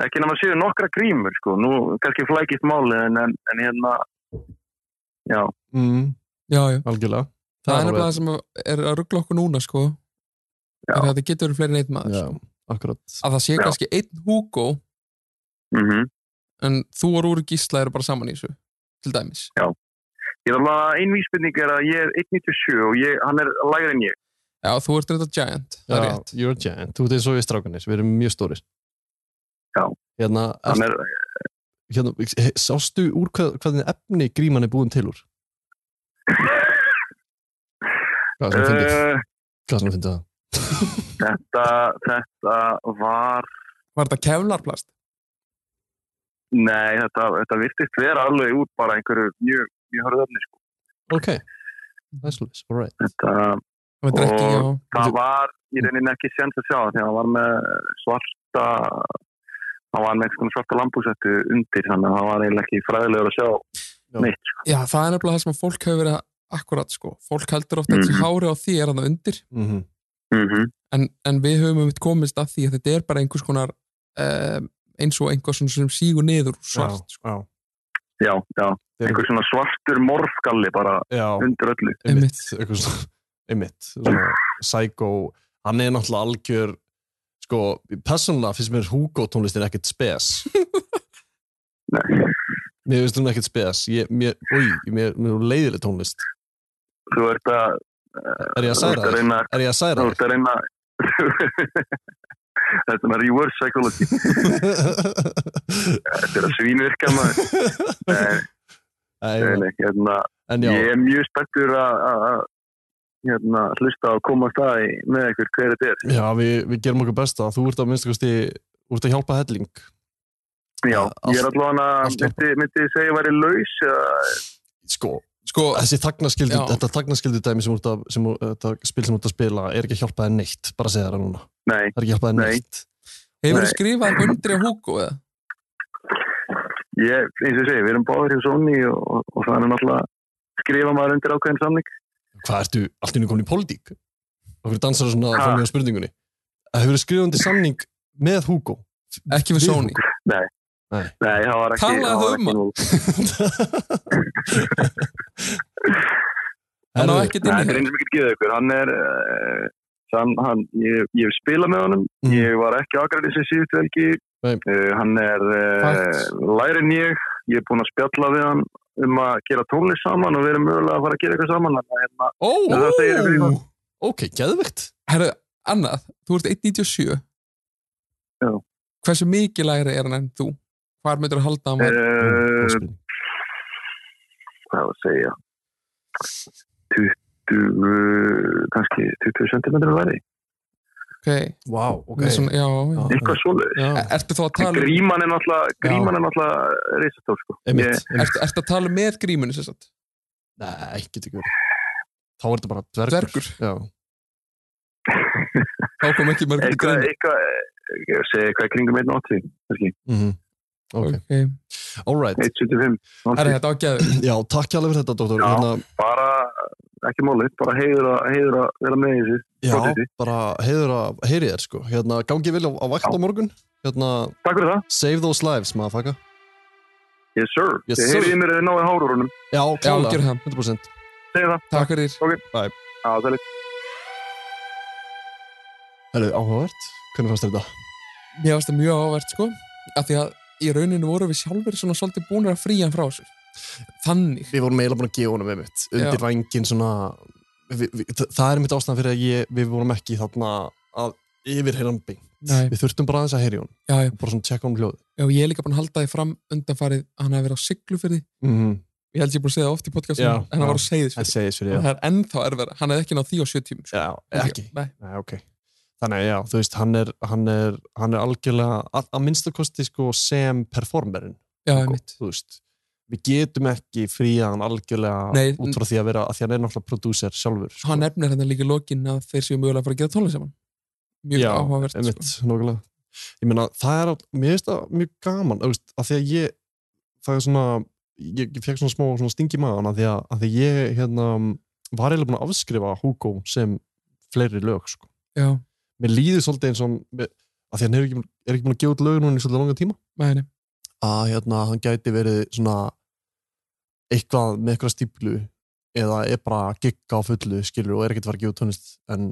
G: ekki nema séu nokkra grímur, sko. Nú, kannski flækist málið, en, en, en hérna, já.
B: Mm,
E: Já, já.
B: algjörlega.
E: Það er nefnilega
B: alveg-
E: það sem er að ruggla okkur núna, sko.
G: Já.
E: Er að það getur verið fleiri en einn maður. sko.
B: Já, akkurat.
E: Að það sé
G: Já.
E: kannski einn Hugo,
G: Mm
E: en þú og Rúri Gísla eru bara saman í þessu, til dæmis.
G: Ég er alveg einn vísbyrning er að ég er 1.97 og ég, hann er lægri en ég.
E: Já, þú ert reynda giant, það er
B: Já,
E: rétt.
B: you're a giant. Þú ert eins og við strákanir, við erum mjög stórir.
G: Já.
B: Hérna,
G: Hann
B: er,
G: er,
B: hérna he- sástu úr hvað, hvernig efni gríman er búin til úr? Hvað sem þú finnir?
G: uh,
B: Hvað sem þú finnir það?
G: þetta, þetta var,
E: Var þetta kevlarplast?
G: nei, þetta, þetta virtist vera alveg út bara einhverju mjög, mjög hörðöfni, sko.
B: Ok, það er svolítið, all right.
G: Þetta,
E: Það var ekki, já.
G: Og- það var í rauninni ekki sent að sjá því að hann var með svarta, hann var með einhvers konar svarta lambúsettu undir, þannig að það var eiginlega ekki fræðilegur að sjá
B: Já.
G: neitt, sko.
E: Já, það er nefnilega það sem að fólk hefur verið að akkurat, sko. Fólk heldur ofta að þessi
G: Mhm.
E: hári á því er hann undir,
B: Mm -hmm.
G: Mm
E: en, en við höfum um komist að því að þetta er bara einhvers konar um, eins og einhvers svona sem sígur niður úr svart. sko.
B: já, já.
G: Já, já,
B: Þeir-
G: einhver svona svartur morfgalli bara
B: já
G: undir öllu.
B: einmitt, einhver svona, einmitt, svona psycho, hann er náttúrulega algjör, sko, persónulega finnst mér Hugo tónlistin ekkert spes.
G: Nei.
B: Mér finnst hún ekkert spes, ég, mér, oi, mér, mér er leiðileg tónlist.
G: Þú ert að eh,
B: Er ég að
G: Þú ert
B: særa
G: að
B: þig?
G: reyna
B: Er ég að særa
G: Þú
B: þig?
G: ert að reyna Þetta er svona reverse psychology Þetta er að svínvirka maður Nei,
B: Nei,
G: nei,
B: nei,
G: nei, hérna,
B: En já,
G: Ég er mjög spenntur að að- að, hérna, hlusta og koma að staði með ykkur hver þetta er
B: já við, við gerum okkur besta. Þú ert að minnst kosti, úr að hjálpa helling.
G: Já, ég er
B: Allt-
G: allavega að
B: allt
G: myndi, myndi ég segja að ég væri laus eða-
B: Sko,
E: Sko,
B: þessi þagnaskildu,
E: Já.
B: þetta þagnaskildu dæmi sem, þú ert að, sem þú- þetta spil sem þú ert að spila er ekki að hjálpa þér neitt, bara að segja það núna.
G: Nei,
B: Það er ekki að hjálpa þér
G: Nei.
B: neitt.
E: hefur
G: Nei.
E: skrifað undir á Hugo, eða?
G: ég, eins og ég segi, við erum báður hjá Sony og, og, og það er náttúrulega skrifa maður undir ákveðin samning
B: Hvað ertu, allt í henni komin í pólitík? Okkur dansar svona
G: Ha.
B: frá mjög spurningunni. Eh, Hefur þú skrifandi samning með Hugo?
E: Ekki við
B: Við
E: Sony.
G: Nei, það var ekki
E: Talaðu
G: það var
E: um
G: ekki
E: hann.
G: nú-
E: Hann á
B: Herðu,
E: ekkert
G: Nei,
E: inn
G: það
E: í
G: er
E: hér.
G: eins og ekki geða ykkur. Hann er, uh, sam, hann, ég, ég hef spilað með honum,
B: Mm.
G: ég var ekki ágræðið sem síðust velgi.
B: Nei.
G: Uh, hann er uh,
E: Facts.
G: læri en ég, ég er búinn að spjalla við hann um að gera tónlist saman og við erum mögulega að fara að gera eitthvað saman. Þannig að hérna,
E: Ó,
G: það segir við hann.
B: Ok, geðvegt.
E: Herru, annað, þú ert 1.97
G: Já.
E: Hversu mikið lægri er hann en þú? Hvar myndir að halda hann? væri?
G: uh, hvað á að segja, 20, kannski 20 cm læri.
E: ok,
B: Vá, ok.
E: það er svona, já, já.
B: Já.
G: Eitthvað svoleiðis.
B: Já,
E: Er- Ertu þá að
G: En
E: tala um,
G: Gríman er náttúrulega, gríman er náttúrulega reisastór sko.
B: einmitt.
G: Ég-
B: einmitt.
E: ertu, ertu að tala um með gríminu sem sagt?
B: Nei, getur ekki verið. þá er þetta bara dvergur.
E: Dvergur?
B: Já.
E: þá kom ekki margur í
G: eitthvað,
E: greinu
G: eitthvað, eh, ég segi eitthvað í kringum 1.80, kannski,
B: Mm Ok,
E: okay.
B: all right.
G: 1.75,
E: Herri,
G: 80.
E: þetta ágæður
B: Já, takk hjá alveg fyrir þetta, doktor.
G: Já.
B: Hérna,
G: bara, ekki málið, bara heiður að, heiður að vera með í þessu,
B: já
G: Pródúsi.
B: bara heiður að heyri þér, sko. Hérna, gangi vel á, á vakt á morgun. Hérna,
G: takk fyrir það,
B: save those lives, maður faka.
G: yes sir,
B: Yes,
G: yes,
B: sir.
G: sir. heyrið í mér að þið náðu hárúrunum,
B: Já,
E: Já,
B: klálega.
E: gerðu það.
B: 100%.
G: segið það,
E: Takk fyrir
G: já, það er
B: Herru, áhugavert. Hvernig fannst þér þetta?
E: Mér varst það mjög ávert sko af því að í rauninu vorum við sjálfur svona svolítið búinir að fríja hann frá sér Þannig
B: við vorum eiginlega búin að gefa honum einmitt undir
E: Já.
B: vængin svona vi, vi, þa- það er einmitt ástæðan fyrir að ég, við vorum ekki þarna að yfirheyra hann beint
E: Nei.
B: við þurftum bara aðeins að heyri hún
E: já, já,
B: bara svona tjekka hún hljóð
E: já, ég er líka búin að halda því fram undanfarið að hann hafi verið á siglufyrði
B: mm -hmm.
E: Ég held ég búin að segja það oft í podcastinu
B: Já,
E: en hann
B: já.
E: var á
B: það
E: segðisfyrði
B: segis fyrir
E: Það er ennþá erfara, hann hefði ekki náð því á 70 sko.
B: já, ekki
E: Nei,
B: Nei, okay. þannig að já, þú veist hann er, hann er, hann er algjörlega að, að minnstakosti sko sem performerin
E: já,
B: sko,
E: einmitt
B: þú veist við getum ekki fríað hann algjörlega
E: Nei,
B: út frá því að vera, að því hann er náttúrulega prodúser sjálfur sko.
E: Hann nefnir hérna líka í lokin að þeir séu mögulega að fara að gera tónlega saman Mjög
B: Já,
E: áhugavert
B: einmitt,
E: sko.
B: nákvæmlega ég meina, það er, á- mér finnst það mjög gaman þú veist, að því að ég það er svona, ég, ég fekk svona smá svona stingi maðan að því að, að því ég hérna, var eiginlega búin að afskrifa Hugo sem fleiri lög, sko
E: Já,
B: mér líður svolítið eins og hann- mér- að því hann er ekki, er ekki búin að gefa út lög núna í svolítið langan tíma
E: meðinni
B: að hérna, hann gæti verið svona eitthvað með eitthvað stíplu eða er bara að gigga á fullu skilur og er ekkert að fara að gefa út tónlist en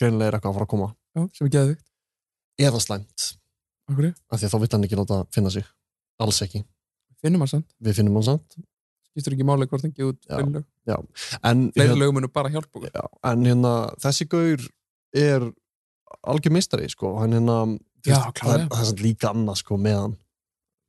B: greinilega er eitthvað að fara að koma
E: Já, sem er geðvikt
B: eða slæmt
E: Akkur,
B: af því að þá vill hann ekki láta finna sig alls ekki,
E: finnum hann samt
B: við finnum hann samt
E: Skýstur ekki máli hvort hann gefur út
B: Já.
E: fleiri lög
B: en, hérna-
E: Fleiri
B: hér-
E: lög munu bara hjálpa okkur
B: já, en hérna, þessi gaur er algjör meistari sko. hann hérna þú
E: Já,
B: veist, það, er,
E: klárlega.
B: það er samt líka annað sko, með hann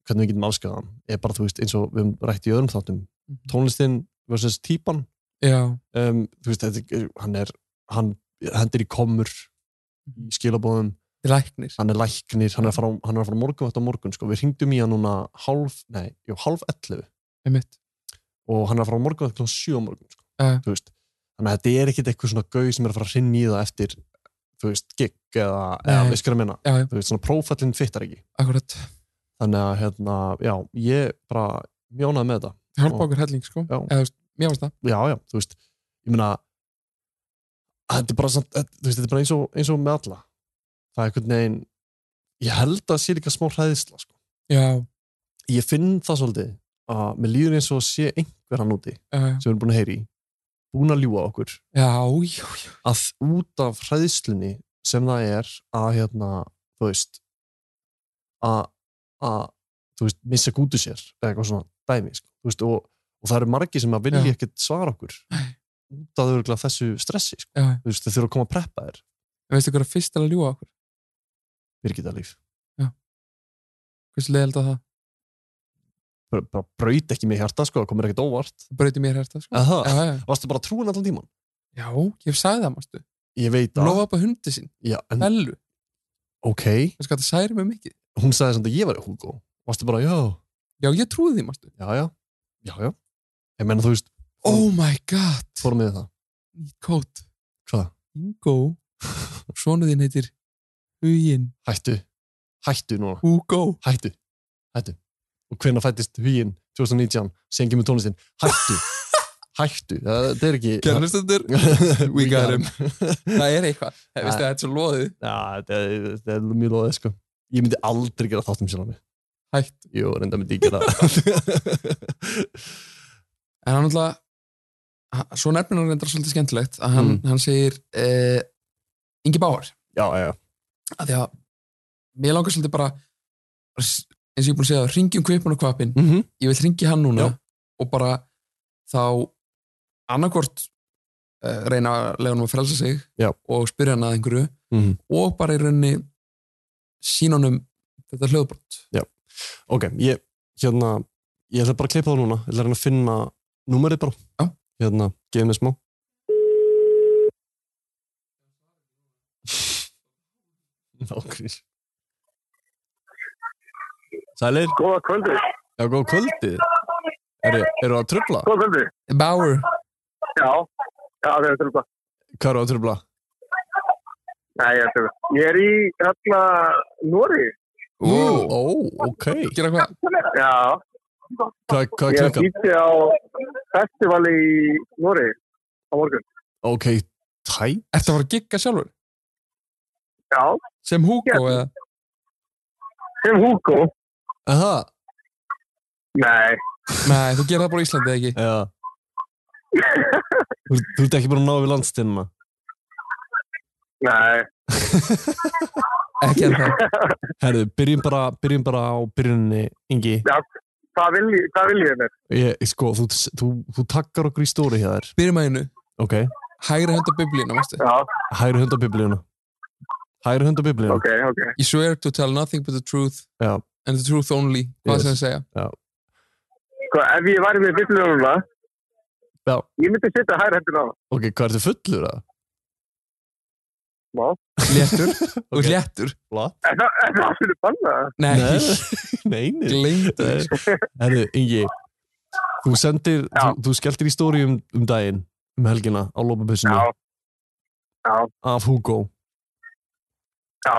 B: hvernig við getum afskað hann er bara, þú veist, eins og við höfum rætt í öðrum þáttum
E: Mhm.
B: tónlistin versus típan
E: Já,
B: um, þú veist, þetta, er- hann er hann hendir í komur í skilabóðum,
E: Mhm. læknir
B: hann er læknir hann er að fara, á- hann er að fara morgun á morgun sko. við hringdum í hann núna hálf, nei, jú, hálf 11
E: Einmitt
B: og hann er að fara á morgun klokkan 7 á morgun sko.
E: Já.
B: Þú veist, þannig að þetta er ekkit eitthvað svona gauð sem er að fara að rinni í það eftir þú veist, gig eða, eða
E: Nei.
B: við skilum minna
E: Já, já,
B: þú veist, svona prófallin fittar ekki
E: akkurat
B: þannig að hérna, já, ég bara mjónaði með þetta,
E: Það hjálpa
B: Og-
E: okkur helling sko
B: Já.
E: Eða, þú veist, Mér finnst það
B: já, já, þú veist ég meina þetta er bara, samt, þetta- þú veist, þetta er bara eins, og, eins og með alla það er einhvern veginn ég held að það sé líka smá hræðisla sko.
E: Já,
B: ég finn það svolítið að mér líður eins og sé einhver hann úti
E: já, já,
B: sem við erum búin að heyri búin að ljúa okkur
E: já, já, já.
B: að út af hræðslunni sem það er að hérna, þú veist að, að þú veist, missa gútu sér eða eitthvað svona dæmi, sko, þú veist og, og það eru margi sem að vilja
E: Já.
B: ekkert svara okkur
E: Nei.
B: út af örugglega þessu stressi sko.
E: já.
B: þú veist, þau þurfa að koma að preppa þér
E: En veistu hvað er fyrst til að ljúa okkur?
B: Birgitta líf,
E: Hversu leiðild að það?
B: bara, bara braut ekki mér hjarta sko, það komur ekkert óvart
E: Það brauti mér hérta sko
B: Aha.
E: Já, já,
B: varstu bara trúin allan tíman?
E: já, ég sagði það, mástu
B: Ég veit
E: Hún
B: að,
E: lofa upp á hundi sinn,
B: já, en
E: Bellu
B: ok
E: Veistu hvað það særi mig mikið?
B: hún sagði samt að ég var Hugo, varstu bara já,
E: Já, ég trúði því, mástu
B: já, já, já, já ég menna þú veist,
E: Oh my god,
B: fórum við það,
E: nýtt kót
B: hvað?
E: Ingo Svonu þín heitir Hugin
B: hættu, hættu núna,
E: Hugo
B: hættu, hættu. Og hvenær fættist huginn 2019 sem kemur tónlistin, hættu, hættu, það, það er ekki...
E: Kjærlustendur we got him. Það er eitthvað, Það- veistu
B: Æ.
E: það er svo loðið
B: Já, þetta er- þetta er mjög loðið, sko. Ég myndi aldrei gera þáttum sjálf á mig.
E: Hætt
B: Jú, reynda myndi ég gera það.
E: en hann alltaf svo nefnir hann reyndar svolítið skemmtilegt að hann, hann segir uh, Ingi Báar
B: Mm. já, já,
E: að því að mér langar svolítið bara eins og ég er búin að segja ringjum kvipun og kvapin
B: mm -hmm.
E: ég vil ringi hann núna
B: Já.
E: og bara þá annarkvort uh, reyna að lega hann að frelsa sig
B: Já.
E: og spyrja hann að einhverju
B: Mhm.
E: og bara í rauninni sína honum þetta hljóðbrot
B: ok, ég, hérna, ég ætla bara að klippa það núna, ég ætla að reyna að finna númerið bara.
E: Já.
B: Hérna, gefið mér smá. Nákvæmst. Sælir,
G: Góða kvöldi,
B: já, góð kvöldið. Eru, eru að tröfla?
G: góða kvöldi.
E: Bauer,
G: Já,
H: Já, það er trubla.
B: Hvað eru að tröfla?
H: Nei, ég er trubla. Ég er í alla Nóri.
B: Ó, ok.
E: Gera hvað?
H: Já,
B: Hvað, hvað er
H: ég er
B: klukkan?
H: býtti á festivali í Nóri á morgun.
B: Ok, tæ?
E: Ertu að fara að gigga sjálfur?
H: Já,
E: Sem Hugo
H: Já.
E: eða?
H: sem Hugo.
B: Aha,
H: Nei,
E: Nei, þú gerir það bara í Íslandi eða ekki?
B: já. Þú ert- þú ert ekki búin að ná við landstínuna.
H: nei,
E: Ekki en það.
B: Herðu, byrjum bara, byrjum bara á byrjuninni, Ingi.
H: hvað vil, ég- hvað vil ég mér?
B: Ég, sko, þú, þú, þú takkar okkur í stóri hjá þér.
E: Byrjum að einu.
B: Ok,
E: Hægri hönda biblíuna, veistu?
H: Já,
B: hægri hund á biblíuna. Hægri hund á biblíuna.
H: ok, ok.
E: You swear to tell nothing but the truth
B: Já.
E: and the truth only. Hvað
B: Yes.
E: sem það segja?
H: Sko, ef ég væri með biblíununa,
B: Já.
H: ég myndi setja hæra hendur á það.
B: Ok, hvað ertu fullur að?
E: Léttur. Og
B: Ok.
E: léttur.
H: En það en það fyrir banna það.
E: Nei,
B: Nei, nei, nei.
E: gleymdu því. sko.
B: Herðu, Ingi, þú sendir,
H: Já.
B: þú, þú skelltir í stóri um, um daginn, um helgina, á lópapissinu,
H: Já. Já.
B: af Hugo.
H: Já.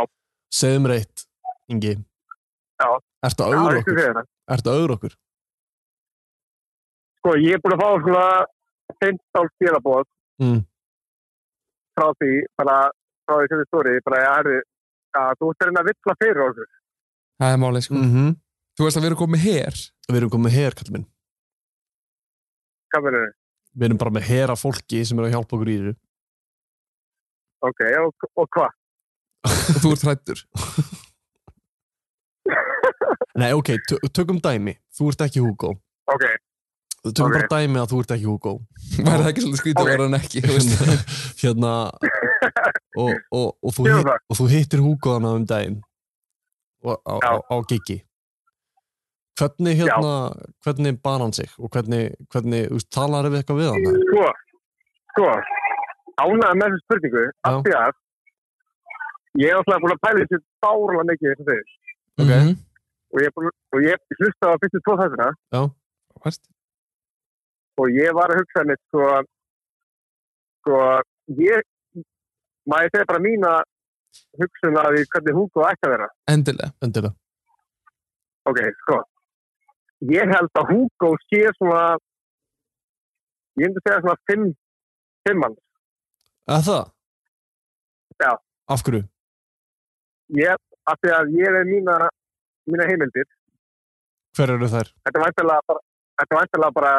B: Segðu mér eitt, Ingi.
H: Já.
B: Ertu að
H: Já,
B: augur
H: veistu
B: okkur?
H: þegar það.
B: Ertu að augur okkur?
H: Sko, ég er búin að fá svona 15 skilabóð
B: Mm.
H: frá því, bara frá því sem þið stórið, bara ég er að þú ert að reyna að villa fyrir okkur.
E: Það er málið, sko.
B: Mm -hmm.
E: Þú veist að við erum komið hér.
B: Við erum komið með her, kallum minn.
H: Hvað verður þið?
B: Við erum bara með her af fólki sem er að hjálpa okkur í þessu.
H: Ok, og, og hvað?
E: og þú ert hrættur.
B: Nei, ok, tö- tökum dæmi. Þú ert ekki Hugo.
H: Ok,
B: Tökum
H: Ok.
B: bara dæmi að þú ert ekki Hugo.
E: Var það ekki svolítið skrítið að vera hann ekki? þú veist?
B: hérna, hérna og, og, og, þú
H: Gerum
B: hitt,
H: það.
B: og þú hittir Hugo hana um daginn og, á, á,
H: Já.
B: á giggi hvernig hérna hvernig bar hann sig og hvernig, hvernig þú veist, talar við eitthvað við hann eða?
H: sko, sko, ánægða með þessu spurningu, af
B: Já.
H: því að ég er alltaf búin að pæla þessu bárlega mikið þessu þegar.
B: Ok.
E: Mhm.
H: Og ég, er búinn- og ég hlusta á fyrstu tvo þessina
E: Vart?
H: og ég var að hugsa mitt sko, sko ég maður ég segi bara mína hugsun að því hvernig Hugo ætti að vera
E: Endilega.
B: endilega,
H: ok, sko ég held að Hugo sé svona ég myndi segja svona fimm, fimmann
B: eða það?
H: Já.
B: af hverju?
H: ég, af því að ég er mína mína heimildir,
B: hver eru þær?
H: þetta er væntalega bara þetta er væntalega bara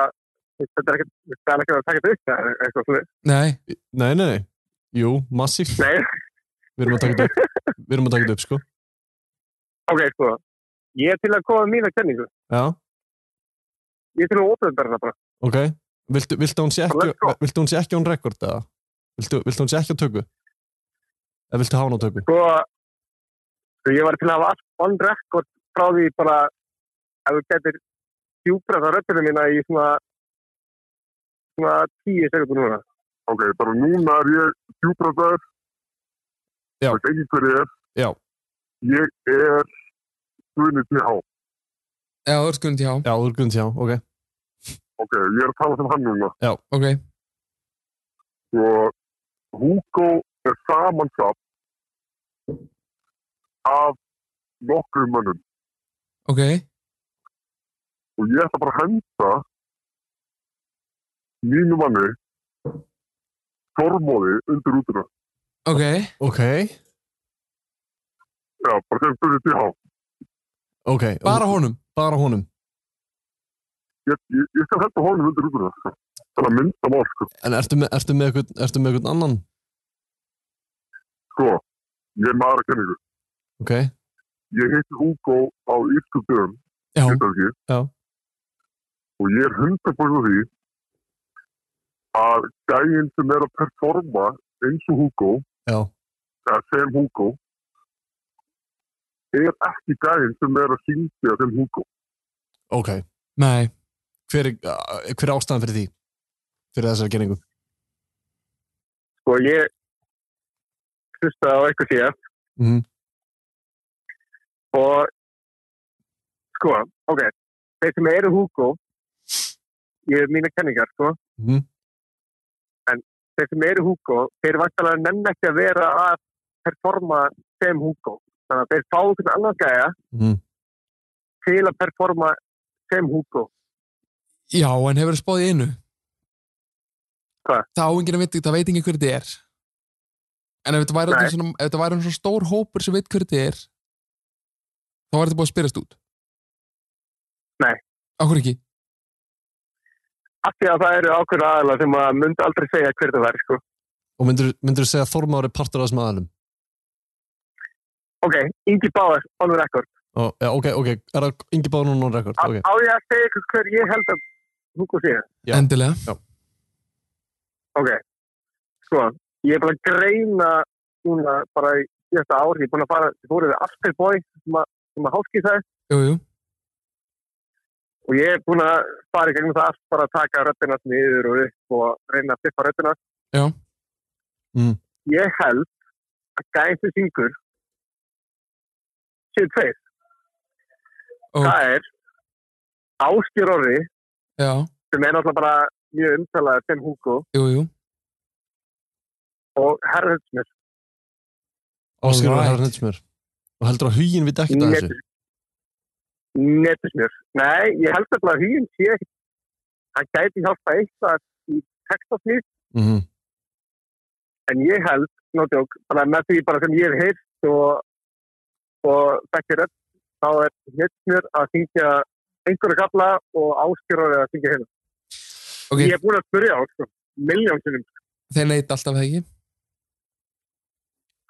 H: þetta er ekkert, þetta er ekkert að taka þetta upp eða eitthvað svona,
E: Nei,
B: nei, nei, nei, jú, massíft
H: nei
B: við erum að taka þetta upp við erum að taka þetta upp, sko
H: ok, sko, ég er til að koma með mína kenningu,
B: já,
H: ég er til að ópenbæra það bara
B: ok viltu, viltu hún sé
H: Let's
B: ekki
H: go.
B: viltu hún sé ekki án rekord eða? viltu, viltu hún sé ekki á tökku? eða viltu hafa hún á tökku?
H: sko sko, ég var til að hafa allt on record frá því bara ef þú getur djúbrað á röddunum mína í svona svona tíu sekundur núna
I: Ok, Eh, bara um núna er ég djúbræðar.
B: Já.
I: Það er ekki hver ég er.
B: Já.
I: Ég er Guðni T.H.
E: já, þú ert guðin til hjá.
B: Já, þú er grunnt, já, ok.
I: Ok, ég er að tala sem hann núna.
E: Ok,
I: Og Hugo er samansatt af nokkrum mönnum.
E: ok.
I: Og ég ætla bara að henda mínu manni formóði undir útuna.
E: Ok,
B: Ok,
I: Já, bara sem Guðni T.H.
B: ok. um-
E: bara honum.
B: Bara honum.
I: Ég, ég, ég skal henda honum undir útuna. sko. Það er mynda mál, sko.
B: En ertu með, ertu með, eitthvað, ertu með eitthvað annan?
I: Sko, ég er maður að kenningu.
B: Ok,
I: Ég heiti Hugo á Írskuldum,
E: Já,
I: þetta ekki.
B: Já.
I: Og ég er hundarbúin á því að gæinn sem er að performa eins og Hugo,
B: já.
I: eða sem Hugo, er ekki gæinn sem er að syngja sem Hugo.
B: Ok.
E: nei.
B: Hver, er- uh, hver er ástæðan fyrir því? Fyrir þessari geringu?
H: sko ég hlusta á eitthvað síðan
B: Mhm.
H: og sko, ok þeir sem eru Hugo ég er mína kenningar sko
B: Mhm.
H: en þeir sem eru Hugo, þeir vantalega nenn ekki að vera að performa sem Hugo. Þannig að þeir fá einhvern annan gæja
B: Mm.
H: til að performa sem Hugo.
E: Já, en hefur það spáð í einu
H: Hvað?
E: Það á enginn að veit, það veit enginn hver þetta er En ef þetta væri,
H: Nei.
E: allir svona, ef þetta væri svona stór hópur sem veit hver þetta er þá var þetta búið að spyrjast út
H: Nei.
E: Akkur ekki?
H: Af því að það eru ákveðna aðalega sem að myndi aldrei segja hver það væri, sko.
B: Og myndur þú segja að Þormár er partur af þessum aðalum?
H: Ok, Ingi Báðar, on record.
B: Ó, já, ok, ok, er það Ingi Báður núna on record?
H: Á,
B: Ok,
H: á ég að segja ykkur hver ég held að Hugo sé?
B: Já.
E: Endilega
H: Ok, sko, ég er bara að greina núna bara í þetta ár, ég er búin að fara, ég fór yfir Afterboy sem að, sem að háski það
E: Jú, jú
H: og ég er búin að fara í gegnum það allt bara að taka röddina niður og upp og reyna að stippa röddina.
E: Já. Mhm.
B: Mm.
H: Ég held að gæðin syngur séu tveir.
E: Ó.
H: Það er Áskjör Orri
E: Já,
H: sem er náttúrulega bara mjög umtalaðið sem Hugo
E: jú, jú
H: og Herrhund Smith.
B: Áskilur og
E: Alright.
B: herra hnetsmjör. Og heldur að huginn viti ekkert að þessu?
H: Netusmjör. Nei, ég held nefnilega að huginn sé ekkert. Hann gæti hjálpa eitthvað í textasmýr,
B: Mm
H: en ég held, nótjók, bara með því bara sem ég hef heyrt og, og bekkir öll, þá er netusmjör að syngja einhverju kalla og áskjörður að syngja hérna.
E: Ok,
H: Ég er búin að spyrja á, sko, miljónsinnum,
E: þeir neita alltaf eða ekki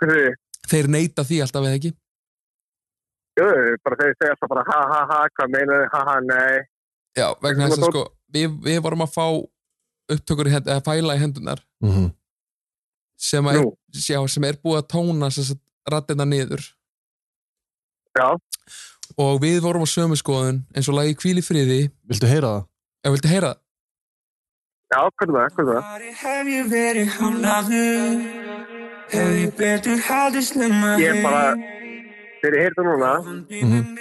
H: hversu þið,
E: Þeir neita því alltaf eða ekki
H: bara þegar þeir segja alltaf bara ha ha ha, hvað meinaðu, ha ha, nei.
E: Já, vegna þess að
H: Tók-
E: sko við, við vorum að fá upptökur í hend, eða fæla í hendunar
B: -hmm.
E: sem, að,
H: Nú,
E: já, sem er búið að tóna rattina niður
H: já,
E: og við vorum á sömu skoðun eins og lagi Hvíl í friði
B: Viltu heyra það?
E: ef viltu heyra það
H: já, hvernig það, hvernig það.
F: Hvar hef ég verið hálaður? Hef ég betur haldið slemma
H: Ég er bara- Þegar ég heyrði núna,
B: Mhm.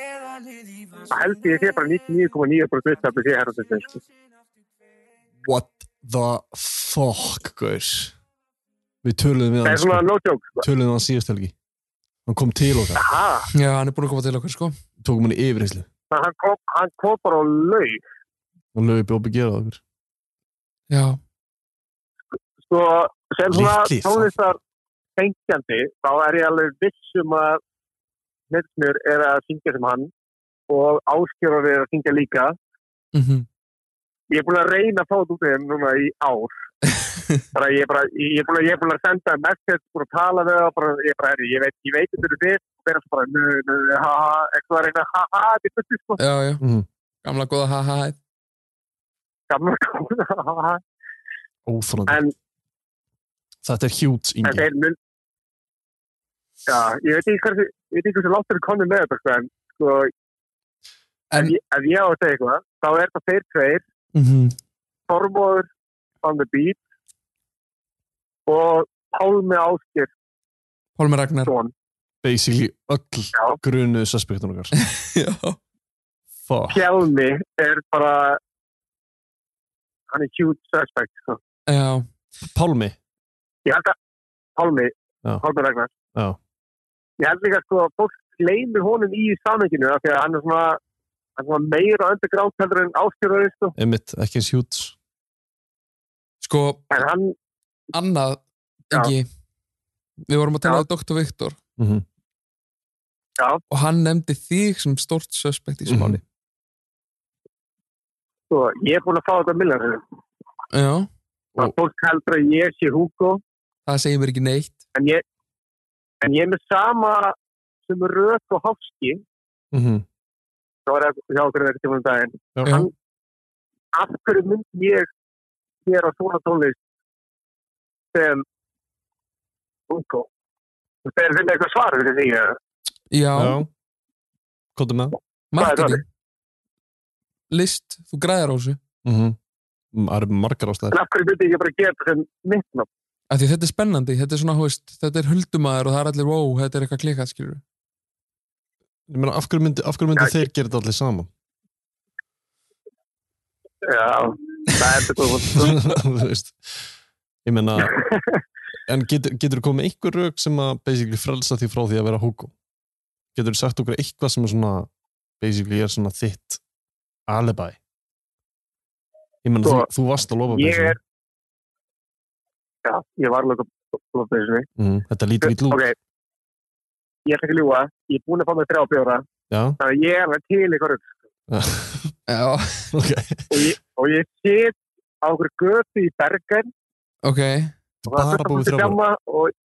F: Það
H: held ég sé bara 99,9% að sé herra þessi, sko.
B: What the fuck, guys? Við töluðum við
H: Það
B: hann,
H: er svona
B: sko,
H: no joke, sko.
B: töluðum við hann síðast helgi. Hann kom til okkar,
H: Ha,
E: Já, hann er búin að koma til okkar sko
B: tókum hann í yfirheyslu.
H: þannig að hann kom, hann kom bara á laug.
B: Hann lögði upp að gera það okkur.
E: Já,
H: Sko, sem svona
B: Litli, það.
H: tónlistar tengjandi, þá er ég alveg viss um að Netsmjör er að syngja sem hann og Áskjörður er að syngja líka.
E: mm
H: Ég er búin að reyna að fá þetta út af þeim núna í ár. bara ég er bara, ég er búin að, ég er búin að senda message, búin að tala við það, bara, ég er bara, herri, ég veit, ég veit þetta eru þið, og vera svo bara, nö, nö, ha, ha, eitthvað að reyna, ha, ha, þetta er fullt, sko.
E: já, já
B: Mhm.
E: Gamla góða ha ha ha.
H: Gamla góða, ha, ha,
B: Óþrandi.
H: En-
B: Þetta er hjút,
H: en
B: Ingi.
H: þeir mun já, ég veit ekki hversu ég veit ekki hversu langt þeir komið með þetta sko, en sko,
E: En-
H: ef, ég, ef ég á að segja eitthvað þá er það þeir tveir,
E: Mhm.
H: Þormóður on the beat og Pálmi Áskjörsson
E: Pálmi Ragnar
B: Basically öll
H: já,
B: grunuðu suspektun okkar.
E: Já,
B: Fuck.
H: Pjálmi er bara hann er huge suspect sko.
E: já,
B: Pálmi.
H: ég held að Pálmi,
B: Já.
H: Pálmi Ragnar
B: Já.
H: ég held líka sko að fólk gleymir honum í samveginu af því að hann er svona, hann er svona meira underground heldur en áskjörður sko.
B: Emmitt, ekki eins hjút.
E: sko
H: en hann
E: annað
H: Já.
E: ekki Við vorum að tala
H: Já.
E: um Dr. Viktor
B: Mm -hmm.
H: Já.
E: og hann nefndi þig sem stórt suspekt í þessu
B: Mhm.
E: máli
H: Sko, ég er búin að fá þetta millar.
E: Já,
H: Það fólk heldur að ég sé Hugo,
E: það segir mér ekki neitt
H: en ég, en ég er með sama sem Rök og Hofski,
B: Mhm.
H: þá er það hjá okkur þegar tíma um daginn.
B: Já.
E: Já.
H: Af hverju mynd ég gera svona tónlist sem Hugo? Það er finna eitthvað svar fyrir því. eða?
E: Já,
B: Já. Kóta með það.
E: marketing List, þú græðar á þessu
B: Mm Það eru margar ástæðir.
H: En af hverju myndi ég bara gera þetta sem mitt nafn?
E: af Því þetta er spennandi, þetta er svona, hú veist þetta er huldumæður og það er allir, wow, þetta er eitthvað klikað skilur
B: Ég meina, af hverju myndi, af hverju myndi
H: Já,
B: þeir gera þetta allir saman?
H: Já, það er þetta góð.
B: Þú veist, Ég meina, en getur, getur komið með einhver rauk sem að basically frelsa því frá því að vera Hugo? Getur þú sagt okkur eitthvað sem er svona, basically er svona þitt alibi? Ég meina,
H: Sko,
B: þú, þú varst að lofa
H: ég
B: basically.
H: er- Já, ég var alveg að blóta þessu.
B: Mm, þetta lítur ítl út.
H: Ok, ég ætla ekki að ljúa. Ég er búin að fá mig þrjá bjóra.
B: Já,
H: Þannig að ég er alveg til ykkur upp.
E: Já,
B: ok.
H: Og ég, og ég sit á okkur götu í Bergen.
E: ok,
H: og það er
B: Bara
H: fullt af
B: búið
H: fólki
B: þrjá búið.
H: framma Og,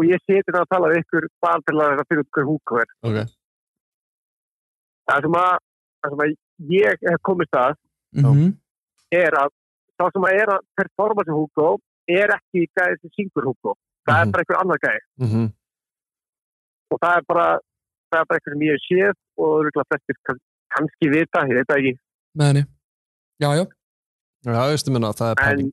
H: og ég seti það að tala við ykkur bara til að það fyrir ykkur húk hver.
B: Ok.
H: Það sem að, það sem að ég hef komist að
E: mhm,
H: er að þá sem að er að performa sem Hugo er ekki gæði sem syngur Hugo. Það
B: Mhm.
H: er bara einhver annar gæði
B: Mm
H: og það er bara, það er bara einhver sem ég hef séð og örugglega flestir kann- kannski vita, ég veit það ekki.
E: með henni Já, já,
B: Já, veistu minna, það er
H: En-
B: pæling.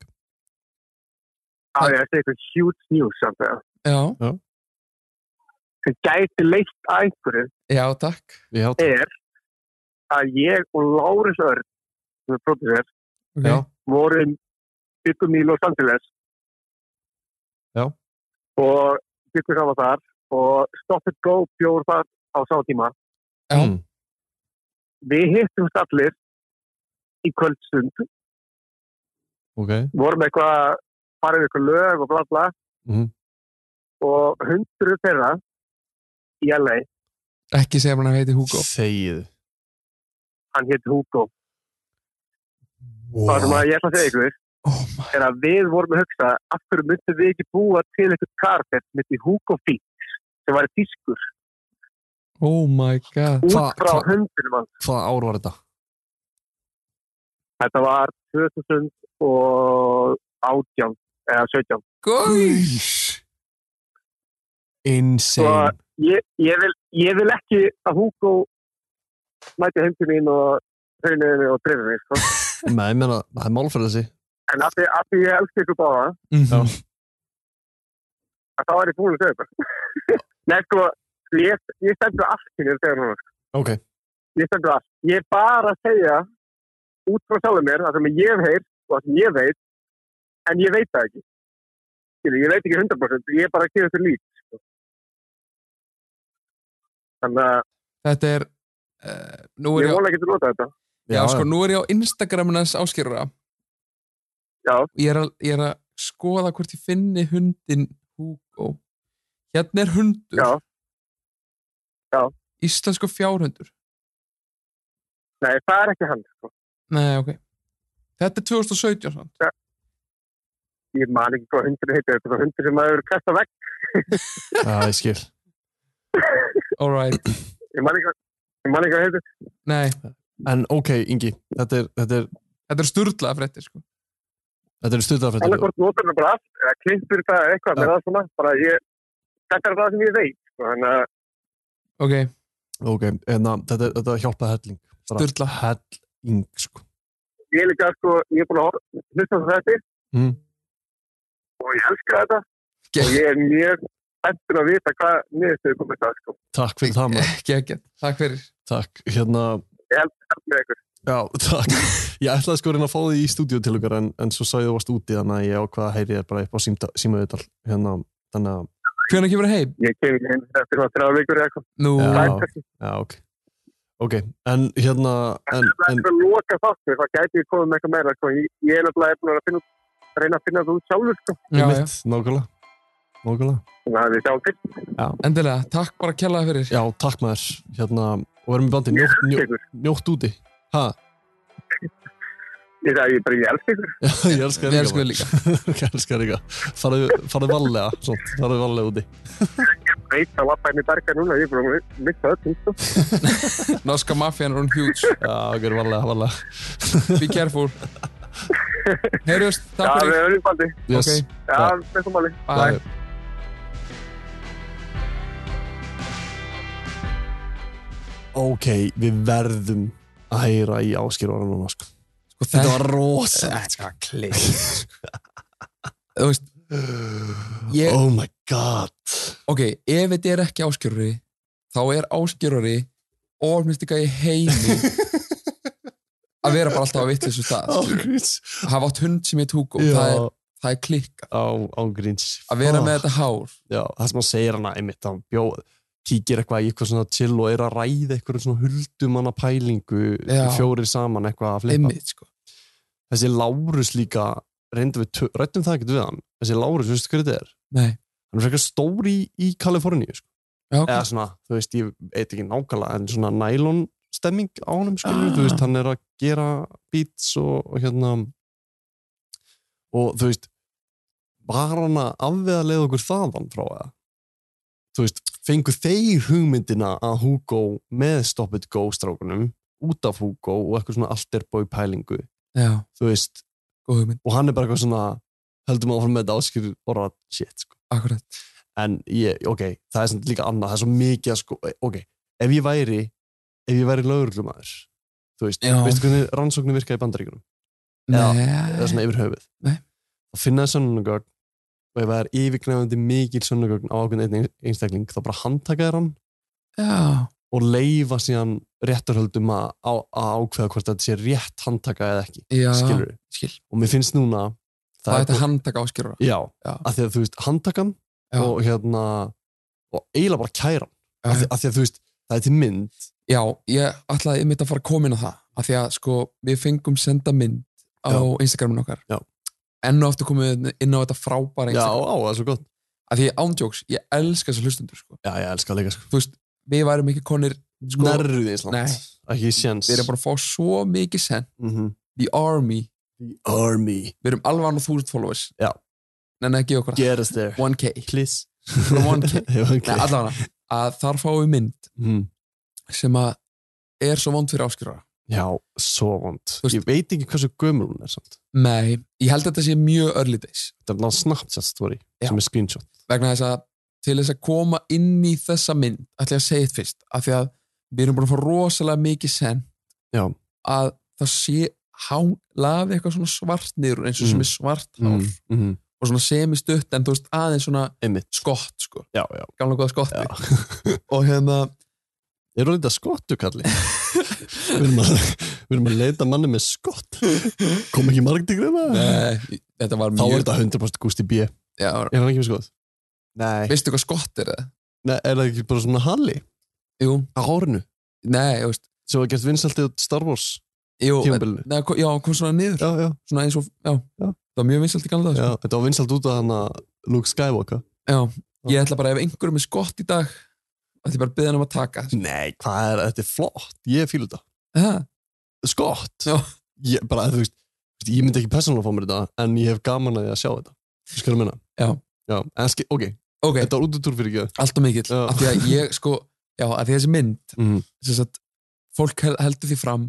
H: Það er eitthvað huge news samt þegar.
E: já,
H: sem gæti leitt að einhverju
E: já, takk
B: Já,
H: er að ég og Lárus Örn sem er pródusser,
E: Ok.
B: Já.
H: vorum byggum í Los Angeles
B: Já.
H: og byggum saman þar og Stop and Go bjóður þar á sá tíma
E: Já.
B: Mm.
H: við hittum allir í kvöldsund
B: ok.
H: vorum eitthvað farið eitthvað lög og bla bla
B: Mhm.
H: og hundruð þeirra í LA,
E: Ekki segja mér að hann heiti Hugo
B: Þegið.
H: hann hétt Hugo það sem
B: Wow.
H: að ég ætla að segja ykkur
E: Oh my,
H: er að við vorum að hugsa af hverju myndum við ekki búa til eitthvað karakter sem heitir Hugo Fix sem var tískur
E: oh my god
H: út
B: Hva-
H: frá
B: hva-
H: hundinum hans.
B: Hvaða ár var þetta?
H: Þetta var 2018 eða 17.
E: Góis
B: Insane.
H: Ég, ég, vil, ég vil ekki að Hugo mæti heim til mín og hrauniðinni og drefið mig. Sko.
B: Nei, ég meina, það er málfræðsi.
H: En af því, af því ég elska ykkur báða
E: Mhm.
H: að þá er ég búin að segja þetta. Nei, sko, ég, ég stendur allt kynni þegar núna. sko.
B: Ok.
H: Ég stendur allt. Ég er bara að segja út frá sjálfum mér það sem ég hef heyrt og það sem ég veit en ég veit það ekki. Skilu, ég veit ekki 100% ég er bara að gefa þetta lít. Sko. Þannig að
E: Þetta er uh, Nú er ég
H: ég
E: á,
H: vona ekki að nota þetta.
E: já, sko, nú er ég á Instagraminas áskýrara
H: Já,
E: ég er, að, ég er að skoða hvort ég finni hundin Hugo Hérna er hundur
H: Já. Já.
E: Íslensku fjárhundur
H: nei, það er ekki hann. Sko.
E: Nei, ok Þetta er 2017 samt.
H: Ég man ekki hvað hundur heitir. Þetta er hundur sem maður kasta vekk.
B: Já, ég skil.
E: All right
H: Ég man ekki hvað- ég man ekki hvað heitir.
E: Nei,
B: En ok, Ingi, þetta er, þetta er,
E: þetta er sturla fréttir sko.
B: þetta er
H: Þannig
B: stöðafrættir.
H: hvort notar það bara allt, eða klippur það eða eitthvað,
B: Já.
H: með það svona, bara ég, þetta er það sem ég veit, sko, þannig að,
E: Ok,
B: Ok, en það- þetta, er- þetta hjálpaði helling. Bara
E: Sturla.
B: Helling, sko.
H: ég er líka, sko, ég er búin að hor- hlusta á þetta
B: Mm.
H: og ég elska þetta
E: Ge-
H: og ég er mjög eftir að vita hvað niðurstöðu komið það, sko,
B: Takk fyrir það, maður.
E: ekki ekki Takk fyrir
B: Takk. Hérna,
H: allt með ykkur.
B: já, takk. Ég ætlaði sko að reyna að fá þig í stúdíu til okkar, en, en svo sagði þú varst úti, þannig að ég ákvaða að heyri þér bara upp á símta- símaviðtal. Hérna, þannig að,
E: Hvernig kemur það heim?
H: Ég kem ekki inn eftir hvað þrjá vikur eða eitthvað,
E: Nú,
B: Já.
H: það er kannski,
B: já, ok. Ok, en hérna, en,
H: það er
B: en,
H: eitthvað loka þáttur, það gæti ég komið með eitthvað meira, sko, ég, ég er náttúrulega búin að finna út- reyna að finna það út sjálfur, sko,
E: já, já.
B: mitt, nákvæmlega. Nákvæmlega.
H: þannig að við sjáum til,
E: endilega Takk bara að kjallaði fyrir
B: Já, takk maður. Hérna, og verðum í bandi, njótt, njótt,
H: ykkur,
B: njótt úti. Hæ?
H: ég sagði, ég bara, ég elska ykkur,
B: Já, ég elska
E: Við
B: þér
E: elskum þig líka.
B: líka. ég elska þér líka. Farðu farðu varlega, svona, farðu varlega úti.
H: veit að lappa henni berga núna, ég er búin að missa öllum, sko.
E: Norska mafian er hún huge
B: Já, ok, varlega, varlega.
E: Be careful Heyrjust,
H: Já,
E: takk
H: við
E: fyrir
H: höfum bandi.
B: Yes.
E: Ok,
H: Já,
B: Bye.
H: með þú máli.
E: bye
B: Ok, við verðum að heyra í áskýrvara núna, sko.
E: sko,
B: Þetta var rosalegt,
E: Þetta var klikk Þú veist, Ég-
B: Oh my god.
E: ok, ef þetta er ekki áskjörari þá er áskjörari orðmyndstika í heimi að vera bara alltaf á vittlisum stað
B: Ágrís.
E: hafa átt hund sem heit Hugo það er,
B: Já,
E: það er klikka
B: á, á gríns
E: að vera
B: Fuck.
E: með þetta hár
B: Já, það sem hann segir hana einmitt, hann bjóð kíkir eitthvað í eitthvað svona chill og er að ræða eitthvað svona huldumanna pælingu
E: Já.
B: fjórir saman eitthvað að flippa
E: einmitt sko
B: þessi Lárus líka reyndum við, tö- ræddum það ekkert við hann þessi Lárus, veistu hver þetta er?
E: Nei.
B: hann er frekar stóri í, í Kaliforníu sko.
E: já, ok.
B: eða svona, þú veist, ég veit ekki nákvæmlega en svona nælon stemming á honum skilur,
E: Ah.
B: þú veist, hann er að gera beats og, og hérna og þú veist var hann að afveða leið okkur þaðan frá það þú veist, fengu þeir hugmyndina að Hugo með Stop It Go strákunum út af Hugo og eitthvað svona alterbói pælingu
E: já,
B: þú veist,
E: góð hugmynd,
B: og hann er bara eitthvað svona heldum áfram með þetta áskil orða shit sko.
E: akkurat
B: en ég, ok, það er samt líka annað það er svo mikið að sko, ok ef ég væri, ef ég væri lögurlumæður þú veist,
E: Já.
B: veistu hvernig rannsóknir virka í bandaríkunum, Já, eða
E: Nei,
B: svona yfir höfuð
E: Nei.
B: þá finna það sönnugögn og ef það er yfirgnefandi mikil sönnugögn á ákveðin einn einstakling, þá bara handtaka þér hann
E: já,
B: og leifa síðan réttarhöldum að, að, að ákveða hvort þetta sé rétt handtaka eða ekki,
E: já
B: skilur
E: skil,
B: og mér finnst núna
E: það er
B: bú-
E: þetta handtak áskjörur
B: Já,
E: Já.
B: að því að þú veist, handtakan
E: Já.
B: og hérna og eiginlega bara kæran
E: Já,
B: að því,
E: já.
B: að því að þú veist, það er til mynd
E: já, ég ætlaði einmitt að fara að koma inn á það af því að sko, við fengum senda mynd á
B: Já.
E: Instagramin okkar
B: Já.
E: enn og aftur komið inn á þetta frábæra
B: Já,
E: Instagram,
B: á, það er svo gott
E: af því ég ándjóks ég elska þessu hlustundur, sko
B: Já, ég elska líka sko,
E: þú veist, við værum ekki konir sko,
B: Nærrið í Ísland
E: Nei.
B: Ekki séns
E: við erum bara að fá svo mikið send
B: Mhm.
E: The Army,
B: The Army
E: við erum alveg án og þúsund followers
B: Já.
E: Nenna að gefa okkur það.
B: Get us there
E: 1k,
B: Please
E: From 1K. Nei,
B: okay.
E: allavega, að þar fáum við mynd
B: mm.
E: sem að er svo vond fyrir áskjörara
B: Já, svo vond
E: Þú veist-
B: Ég veit ekki hversu gömur hún er samt
E: Nei, ég held að þetta sé mjög early days
B: Þetta er náttúrulega Snapchat story
E: Já.
B: sem er screenshot
E: vegna þess að til þess að koma inn í þessa mynd ætla ég að segja eitt fyrst af því að við erum búin að fá rosalega mikið send
B: Já.
E: að það sé hán, lafi eitthvað svona svart niður eins og sem
B: Mm.
E: er svart hár
B: -hmm.
E: og svona semistutt en þú veist aðeins svona
B: Einmitt
E: skott sko,
B: Já, já,
E: gamla góða skotti
B: já
E: og hérna,
B: Eru þetta skottu, Kalli? við, erum að, við erum að leita manni með skott Kom ekki margt í greina?
E: nei, þetta var
B: Þá er
E: mjög
B: þetta 100% Gusti B Er
E: já, var-
B: hann ekki með skott? Nei.
E: veistu hvað skott er það?
B: Nei Er það ekki bara svona halli
E: Jú,
B: á hárinu
E: nei, þú veist
B: sem var gert vinsaltið á Star Wars
E: jú,
B: tímabilinu?
E: nei, kom- já, kom svona niður
B: Já, já,
E: svona eins og, já,
B: Já.
E: það var mjög vinsalt í gamla dag
B: já
E: sko.
B: Þetta var vinsalt út af hann að Luke Skywalker
E: Já, ég ætla bara ef einhverjum er skott í dag ætla ég bara að byggja hann um að taka
B: Nei, hvað er, þetta er flott Ég fíl þetta
E: það
B: Skott
E: Já.
B: Ég bara, þú veist þú veist, Ég myndi ekki persónulega fá mér þetta en ég hef gaman að ég að sjá þetta Þú skilur minna
E: Já.
B: Já, en skil, ok,
E: Ok,
B: þetta var út úr fyrir ekki
E: allt og mikill
B: Já.
E: af því að ég sko, já, af því að þessi mynd
B: mm.
E: sem sagt, fólk hel- heldur því fram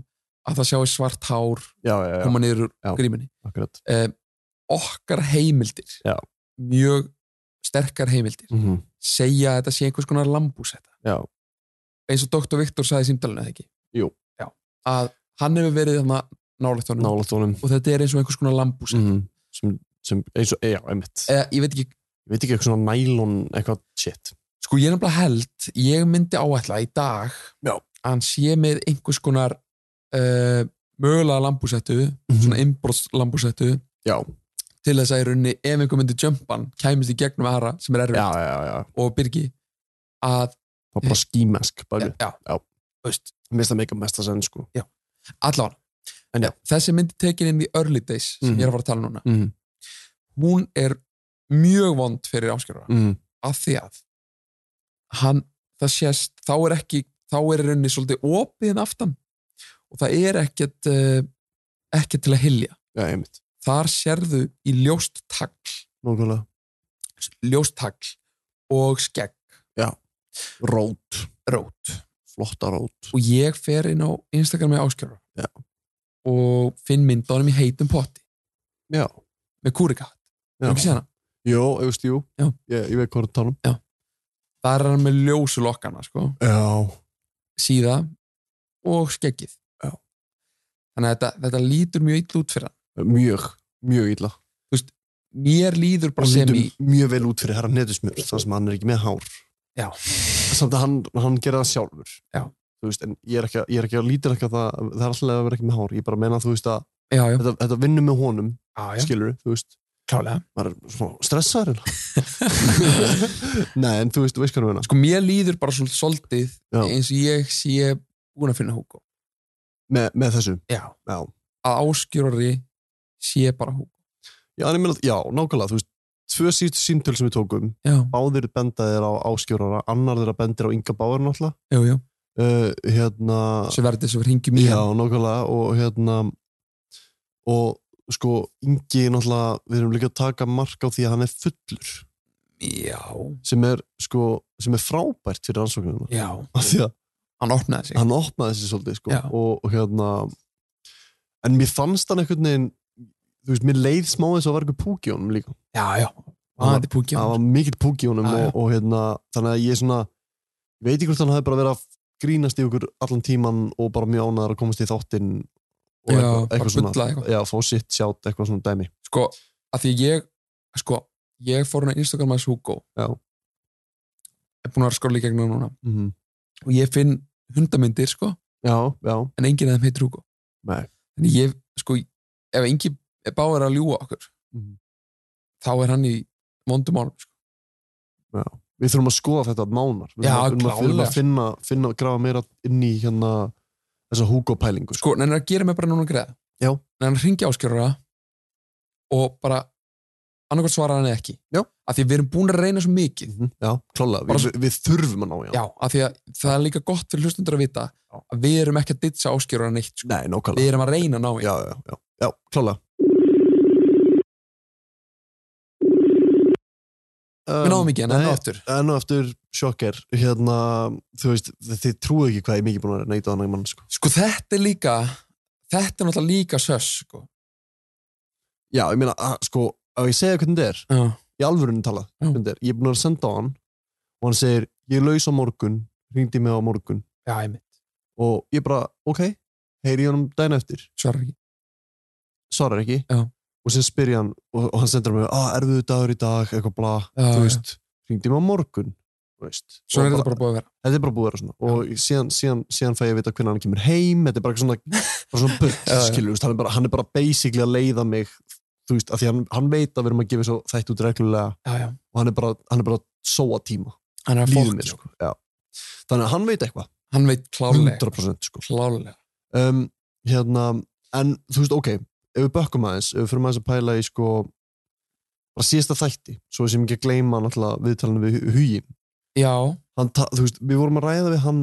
E: að það sjáu svart hár
B: Já, já, já,
E: koma niður úr
B: Já.
E: gríminni
B: akkurat
E: eh, okkar heimildir
B: Já.
E: mjög sterkar heimildir
B: mm -hmm.
E: segja að þetta sé einhvers konar lambúsetta
B: Já.
E: eins og Dr. Viktor saði í símdalinu eða ekki
B: Jú.
E: Já. að hann hefur verið þarna nálægt honum
B: Nála tónum
E: og þetta er eins og einhvers konar lambúsetta
B: mm. sem, sem, eins og, já, einmitt
E: eða ég veit ekki
B: Ég veit ekki eitthvað svona nælon eitthvað shit
E: Sko ég er nefnilega held, ég myndi áætla í dag
B: Já.
E: að hann sé með einhvers konar uh, mögulega lambúsettu, svona innbrots lambúsettu
B: Mhm. Já,
E: til þess að í rauninni ef einhver myndi jumpan kæmist í gegnum aðra sem er erfið
B: já, já, já
E: og byrgi að, Eh,
B: Það var bara skímesk
E: já,
B: baki
E: já,
B: Já.
E: þú veist,
B: Mér finnst það meika mest að segja sko
E: allan
B: En já.
E: þessi myndi tekin inn í early days sem
B: Mhm.
E: ég er að fara að tala um núna
B: Mhm.
E: hún er mjög vond fyrir áskjörða
B: mm.
E: af því að hann, það sést, þá er ekki þá er í rauninni svolítið opið en aftan og það er ekkert uh, ekkert til að hylja
B: Já, einmitt
E: þar sérðu í ljóst tagl
B: Nókulega
E: ljóst tagl og skegg
B: Rót
E: rót
B: Flotta rót
E: og ég fer inn á Instagram með áskjöra
B: Já.
E: og finn mynd á honum í heitum potti
B: Já,
E: með kúrikatt,
B: já
E: ekki séð hana
B: Jó, ég veist, jú
E: Já.
B: Ég, ég veit hvað það tala um
E: það er hann með ljósu lokkana sko,
B: Já
E: síða og skeggið
B: Já.
E: þannig að þetta, þetta lítur mjög ill út fyrir hann
B: Mjög, mjög illa
E: mér líður bara
B: Og
E: sem
B: lítur
E: í
B: mjög vel út fyrir herra netusmjör þar sem hann er ekki með hár
E: Já.
B: Samt að hann, hann gera það sjálfur
E: Já.
B: Þú veist, en ég er ekki, að- ég er ekki að lítur ekki að það það er alltaf að vera ekki með hár Ég bara meina, þú veist, að
E: já, já,
B: þetta, þetta vinnur með honum
E: já, já.
B: skilur, þú veist
E: klálega
B: maður er smá stressaður eiginlega. Nei, en þú veist, þú veist hvað er meina
E: sko mér líður bara svolítið soldið
B: Já.
E: eins og ég sé búin að finna Hugo
B: með, með þessu,
E: já.
B: já
E: að áskjörari sé bara Hugo
B: Já, en ég meina, já, nákvæmlega, þú veist tvö síðustu síntöl sem við tókum
E: já,
B: báðir bendaðir á áskjórara, annar þeirra bendir á Inga Báður náttúrulega
E: jú, jú,
B: uh, hérna,
E: sem verður þess að hringjum í
B: já,
E: hann
B: nákvæmlega og hérna og sko, Ingi náttúrulega við erum líka að taka mark á því að hann er fullur
E: já,
B: sem er, sko, sem er frábært fyrir rannsóknina
E: já,
B: af því að
E: hann opnaði sig
B: hann opnaði sér svolítið sko,
E: Já.
B: og, og hérna en mér fannst hann einhvern veginn þú veist, mér leið smá þess að var eitthvað púk í honum líka
E: já, já, hann er púkja
B: það var mikill púk í honum
E: Já, já.
B: og, og hérna, þannig að ég svona ég veit ekki hvort hann hafi bara verið að grínast í okkur allan tíman og bara mjög ánæður að komast í þáttinn og
E: Já,
B: eitthvað,
E: bara
B: eitthvað svona
E: bulla eitthvað.
B: já, fá sitt sjátt eitthvað svona dæmi
E: sko, að því ég sko, ég fór hann að Instagram aðeins Hugo
B: Já.
E: er búin að vera skóla í gegnum núna
B: mm
E: og ég finn hundamyndir sko
B: já, já,
E: en enginn af þeim heitir Hugo
B: Nei.
E: þannig ég, sko, ef enginn báður að ljúa okkur
B: Mhm.
E: þá er hann í vondumálum sko.
B: við þurfum að skoða þetta nánar við
E: Já,
B: þurfum að, við þurfum
E: klárlega.
B: að finna, finna grafa meira inn í hérna þessa húkópælingu
E: sko, en hann er að gera mig bara núna greið
B: Já.
E: en hann ringi áskjörura og bara annarkvæmt svarar hann eða ekki
B: Já.
E: að því við erum búin að reyna svo mikið
B: Mhm, Já, klálega,
E: Bara
B: við, við, við þurfum að ná í hann
E: já, að því að það er líka gott fyrir hlustundur að vita
B: Já.
E: að við erum ekki að ditsa áskjörura neitt sko.
B: Nei, nákvæmlega
E: við erum að reyna að ná í
B: já, já, já, já, klálega
E: við náðum ekki en enn og aftur
B: Enn og aftur sjokker Hérna, þú veist, þið, þið trúið ekki hvað ég er mikið búin að neyta þannig mann sko.
E: sko þetta er líka þetta er náttúrulega líka söss sko.
B: Já, ég meina, að, sko, ef ég segja hvernig þetta er
E: já,
B: Í alvörunni talað,
E: Já.
B: hvernig þetta er Ég er búin að senda á hann Og hann segir, ég er laus á morgun Hringdi mig á morgun
E: já, ég mitt,
B: Og ég bara, ok, heyri ég honum dæna eftir
E: svarar ekki
B: Svarar ekki
E: Já.
B: Og sem spyr ég hann, og, og hann sendur mig ah, Erfiðu dagur í dag, eitthvað bla
E: Já,
B: Þú
E: já.
B: veist, hringdi mig á morgun Þú veist,
E: svona
B: Og
E: er þetta bara búið að vera
B: þetta er bara búið að vera svona og síðan, síðan, síðan fæ ég að vita hvernig hann kemur heim þetta er bara eitthvað svona, bara svona bull
E: Já, já.
B: skilur, þú veist, hann, er bara, hann er bara basically að leiða mig þú veist, af því hann, hann veit að við erum að gefa svo þætt út reglulega
E: já, já.
B: og hann er bara, hann er bara að sóa tíma
E: hann er að
B: lífið
E: fólk
B: mér, sko, já þannig að hann veit eitthvað,
E: hann veit klálega
B: 100% sko
E: klálega
B: um, hérna, en þú veist, ok ef við bökkum aðeins, ef við fyrir maður að pæla í sko bara síðasta þætti svo sem ekki að gleyma náttúrulega viðtalinu við hugin
E: já,
B: hann, ta- þú veist, við vorum að ræða við hann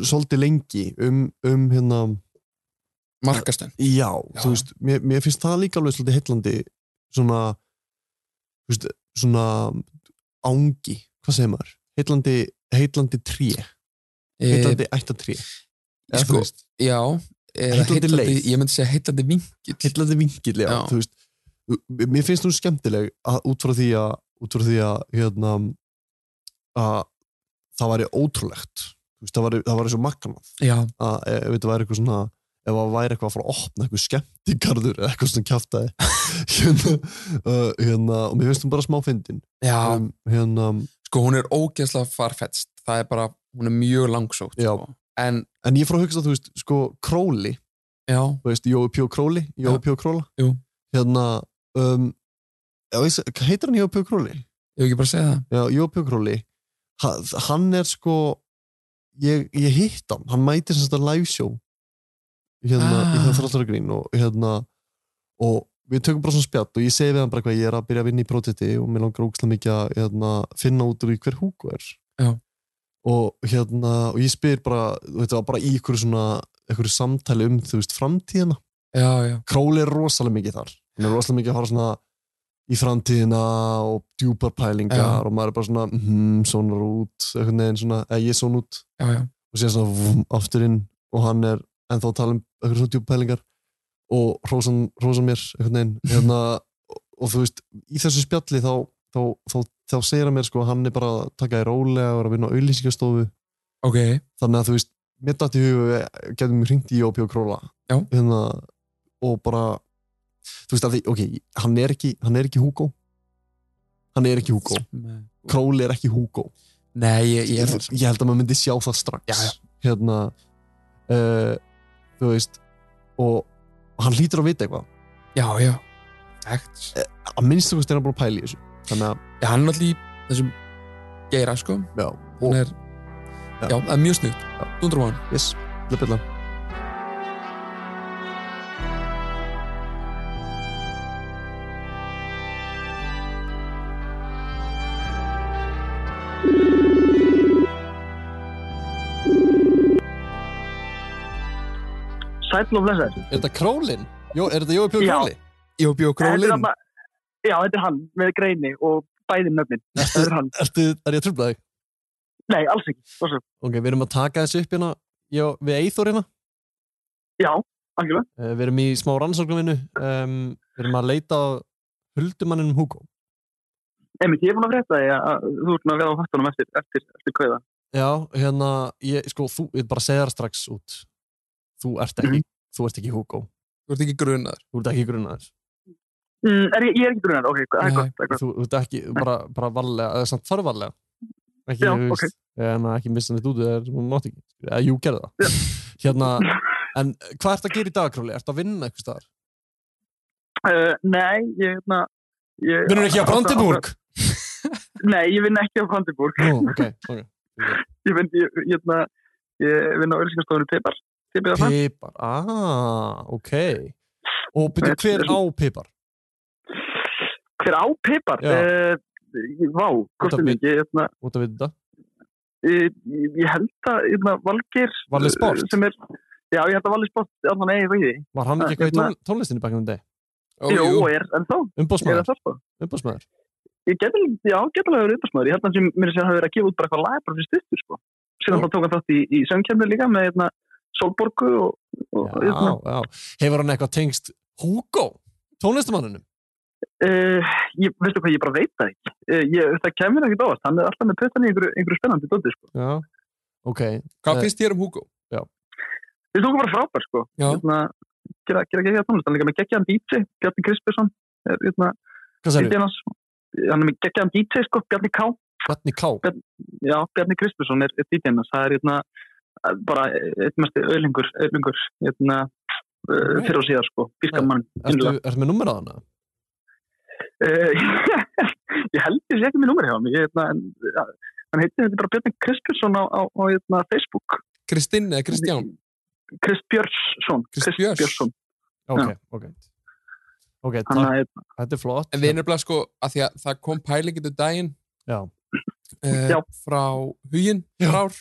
B: svolítið lengi um, um hérna,
E: markastönd
B: já,
E: Já.
B: þú veist mér, mér finnst það líka alveg svolítið heillandi svona, þú veist, svona ángi, hvað segir maður heillandi, heillandi tré
E: Eh,
B: heillandi ættatré Eða,
E: sko,
B: þú veist,
E: já eða
B: Heillandi
E: heillandi,
B: leið.
E: ég myndi segja heillandi vingill
B: heillandi vingill, já,
E: Já.
B: þú veist m- mér finnst þú skemmtileg að, út frá því að út frá því að hérna, að það væri ótrúlegt þú veist, það væri, það væri svo magkanað
E: já,
B: að e, ef þetta væri eitthvað svona ef það væri eitthvað að fara að opna eitthvað skemmtigarður eða eitthvað svona kjaftaði hérna, uh, hérna og mér finnst hún bara smá fyndin
E: já,
B: um, hérna,
E: sko hún er ógeðslega farfetst það er bara, hún er mjög langsótt
B: Já.
E: sko. en,
B: en ég fór að hugsa þú veist sko Króli,
E: já,
B: þú veist Jói Pjó Króli Jói
E: Já.
B: Pjó Króla
E: Jú.
B: hérna um, já, ég, seg- heitir hann Jói Pjó Króli?
E: ég hef ekki bara að segja það
B: Já, Jói Pjó Króli ha, hann er sko ég, ég hitt hann, hann mætir sem þetta live show hérna í
E: Ah.
B: það þráttaragrín og hérna og við tökum bara svona spjall og ég segi við hann bara hvað ég er að byrja að vinna í prótiti og mér langar ógstlega mikið að hérna, finna út úr því hver húku er
E: Já.
B: og hérna og ég spyr bara, þetta var bara í ykkur svona ykkur samtali um þú veist framtíðina
E: já, já,
B: Króli er rosalega mikið þar hann er rosalega mikið að fara svona í framtíðina og djúpar pælingar
E: Já.
B: og maður er bara svona mm, svona út, einhvern veginn svona eða ég er svona út
E: já, já,
B: og síðan svona vum, aftur inn og hann er ennþá að tala um eitthvað svona djúpa pælingar og hrósan, hrósan mér einhvern veginn hérna, og, og þú veist, í þessu spjalli þá, þá, þá, þá segir hann mér sko að hann er bara að taka í rólega og er að vinna á auðlýsingastofu
E: ok
B: þannig að þú veist, mér datt í hug að við getum hringt í Jópi og Króla
E: Já.
B: hérna, og bara þú veist að því, ok, hann er ekki hann er ekki Hugo hann er ekki Hugo, Króli er ekki Hugo
E: nei, ég, ég er
B: ég, ég held að maður myndi sjá það strax
E: Já, já.
B: hérna eh, uh, þú veist og og hann hlýtur að vita eitthvað Eh,
E: já, já, Hægt.
B: að minnstu kosti er hann búin að pæla í þessu þannig að,
E: Já, hann er alltaf í þessum geira, sko.
B: já,
E: Hann
B: og,
E: er,
B: Já.
E: já, það er mjög snugt.
B: Já.
E: Dundrum á hann.
B: yes, billa billa
C: Sæll og blessaður.
B: er þetta królinn? Jó, er þetta Jói Pjók
C: Já.
B: Króli?
E: Jó, bjó,
C: Þetta er
E: królinn.
C: þarna- Já, þetta er hann með greini og bæði nöfnin. Þetta er hann.
B: Ertu, er ég að trubla þig?
C: Nei, alls ekki. Þessu.
B: Ok, við erum að taka þessu upp hérna já, við Eithor hérna
C: Já, algjörlega.
B: Eh, Við erum í smá rannsóknarvinnu um, Við erum að leita að huldumanninum Hugo
C: Einmitt, ég er búin að frétta því að að þú ert nú að vera á hattunum eftir, eftir, eftir kauða.
B: Já, hérna, ég, sko, þú, ég bara segja það strax út Þú ert ekki, þú ert ekki Hugo
E: Mhm. Þú ert ekki grunaður.
B: Þú ert ekki grunnaður
C: Mm, er, ég, ég er ekki grunar, ok, það er
E: Nei.
C: gott, það er gott.
B: Þú, þú ert ekki, bara, bara varlega, eða samt þarf varlega ekki,
C: Já,
B: þú
C: ok.
B: En að ekki missa neitt út eða þú mátt ekki sko. Eða jú, gerðu það Hérna, en hvað ertu að gera í dag, Króli? Ertu að vinna eitthvað staðar?
C: Uh, nei, ég er hérna... ég-
B: Vinnur ekki á Brandenburg?
C: Nei, ég vinn ekki á Brandenburg.
B: Nú, ok, ok
C: Ég vinn, ég, ég, hérna, ég vinn á ölsingarstofunni Tipar. Tipið af það.
B: Pipar, ah, ok Og byrju,
C: Þetta
B: hver
C: er-
B: á Pipar?
C: Eh, Hver á Tipar?
B: Já.
C: Uh, vá, kostum
B: Þetta-
C: ekki, ég, hérna,
B: Út að vita þetta?
C: ég, ég held að hérna, Valgeir
B: Valli Sport?
C: eh, sem er, já ég held að Valli Sport allan eigi það ekki,
B: Var hann ekki
C: Hérna-
B: eitthvað í tón, tónlistinni bakkjum um deg?
E: Ó,
C: jú,
E: jú.
C: er en þó, er
B: Umbósmaður,
C: það sko
B: umbósmaður
C: ég get alveg, já, get alveg að vera uppasmaður ég held að hann sem mér sé að hafa verið að gefa út bara eitthvað lag bara fyrir stuttur sko, síðan þá tók hann þátt í, í söngkjarni líka með hérna Solborgu og, og hérna.
E: hérna.
B: Já, já Hefur hann eitthvað tengst Hugo, tónlistamanninum?
C: uh, ég, veistu hvað, ég bara veit það ekki uh, ég, það kemur ekkert ávast, hann er alltaf með pötan í einhverju, einhverju spennandi dóti sko,
B: Já Ok, Eh,
E: Hvað
B: Nei.
E: finnst þér um Hugo?
C: við tókum bara frábær sko
E: Já.
C: hérna, gera, gera geggja tónlist, hann er líka með geggjaðan DJ Bjarni Krispesson, er, hérna,
B: hvað
C: DJ
B: segir
C: hans, hann er með geggjaðan DJ sko, Bjarni K.
B: Bjarni K?
C: Já, Bjarni Krispusson er, er DJ hans, það er hérna bara eitt mest öðlingur, öðlingur hérna, uh,
B: Nei.
C: fyrir og síðar sko,
B: Nei.
C: bískamann
B: Ertu,
C: innlega.
B: ertu með nummerað hana?
C: uh, ég held ég sé ekki mér númer hjá mig, ég, hérna, en, ja, hann heitir þetta bara Bjarni Krispusson á, á, á hérna, Facebook,
E: Kristinn eða Kristján?
C: Kristbjörnsson
E: Chris Björns.
C: Kristbjörnsson,
B: Ok,
C: Já.
B: ok Ok,
C: hann
B: takk,
C: er
B: þetta er flott
E: En við erum nefnilega sko að því að það kom pælingin til daginn
B: Já.
E: Eh,
C: Já.
E: frá huginn frár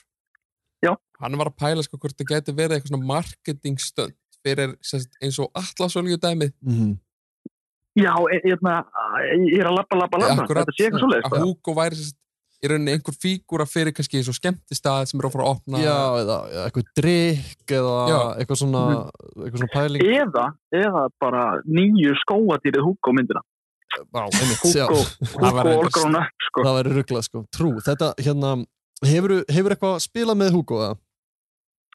C: Já.
E: hann var að pæla sko hvort það gæti verið eitthvað svona marketingstund fyrir sem sagt, eins og allasölju dæmið
B: Mhm.
C: Já, ég, hérna, ég er að labba, labba, labba,
E: Akkurat.
C: þetta sé eitthvað svoleiðis.
E: að Hugo væri sem sagt, í rauninni einhver fígúra fyrir kannski eins og skemmtistað sem er að fara að opna
B: Já, eða eða eitthvað drikk eða
E: Já.
B: eitthvað svona
C: Mm.
B: eitthvað svona pæling
C: eða, eða bara nýju skóadýrið Hugo myndina
B: Já, einmitt, já.
C: Hugo,
B: Það væri
C: Hugo
B: eitthvað-
C: Olgrón upp sko.
B: Það væri rugglað sko, trú Þetta, hérna, hefur, hefur eitthvað spilað með Hugo eða?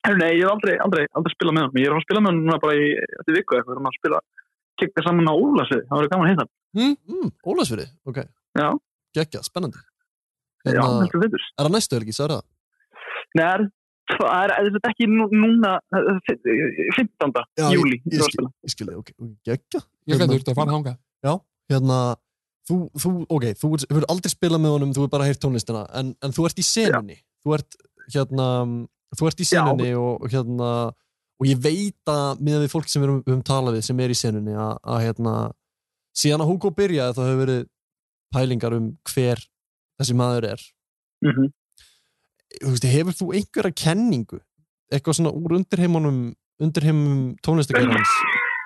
C: Herru, Nei, ég hef aldrei, aldrei, aldrei spilað með hann ég er að spila með hann núna bara í eftir viku eitthvað, við erum að spila, kikka saman á Ólasvið það verður gaman að hitta hann.
B: Mm, Ólafsfyrir, ok
C: Já.
B: Gekja, spennandi
C: Já,
B: Hérna,
C: heldur betur.
B: Er það næstu helgi, sagði það?
C: Nei, það er- það er þetta er ekki nú- núna eh, það er fi- 15.
B: Já, ég-
C: júli
B: ég skil. Ég skilði, ok, ok, geggja
E: ég gæti úr að fara að hanga
B: Hérna, þú, þú, ok, þú ert- hefur aldrei spilað með honum, þú hefur bara heyrt tónlistina en, en þú ert í senunni Þú ert, hérna, þú ert í
C: Já.
B: senunni og, og hérna og ég veit að með við fólk sem við erum, við höfum talað við sem er í senunni að, að hérna, síðan að Hugo byrjaði þá hefur verið pælingar um hver þessi maður er
C: mm -hmm.
B: þú veist, hefur þú einhverja kenningu eitthvað svona úr undirheimunum undirheimum tónlistakarans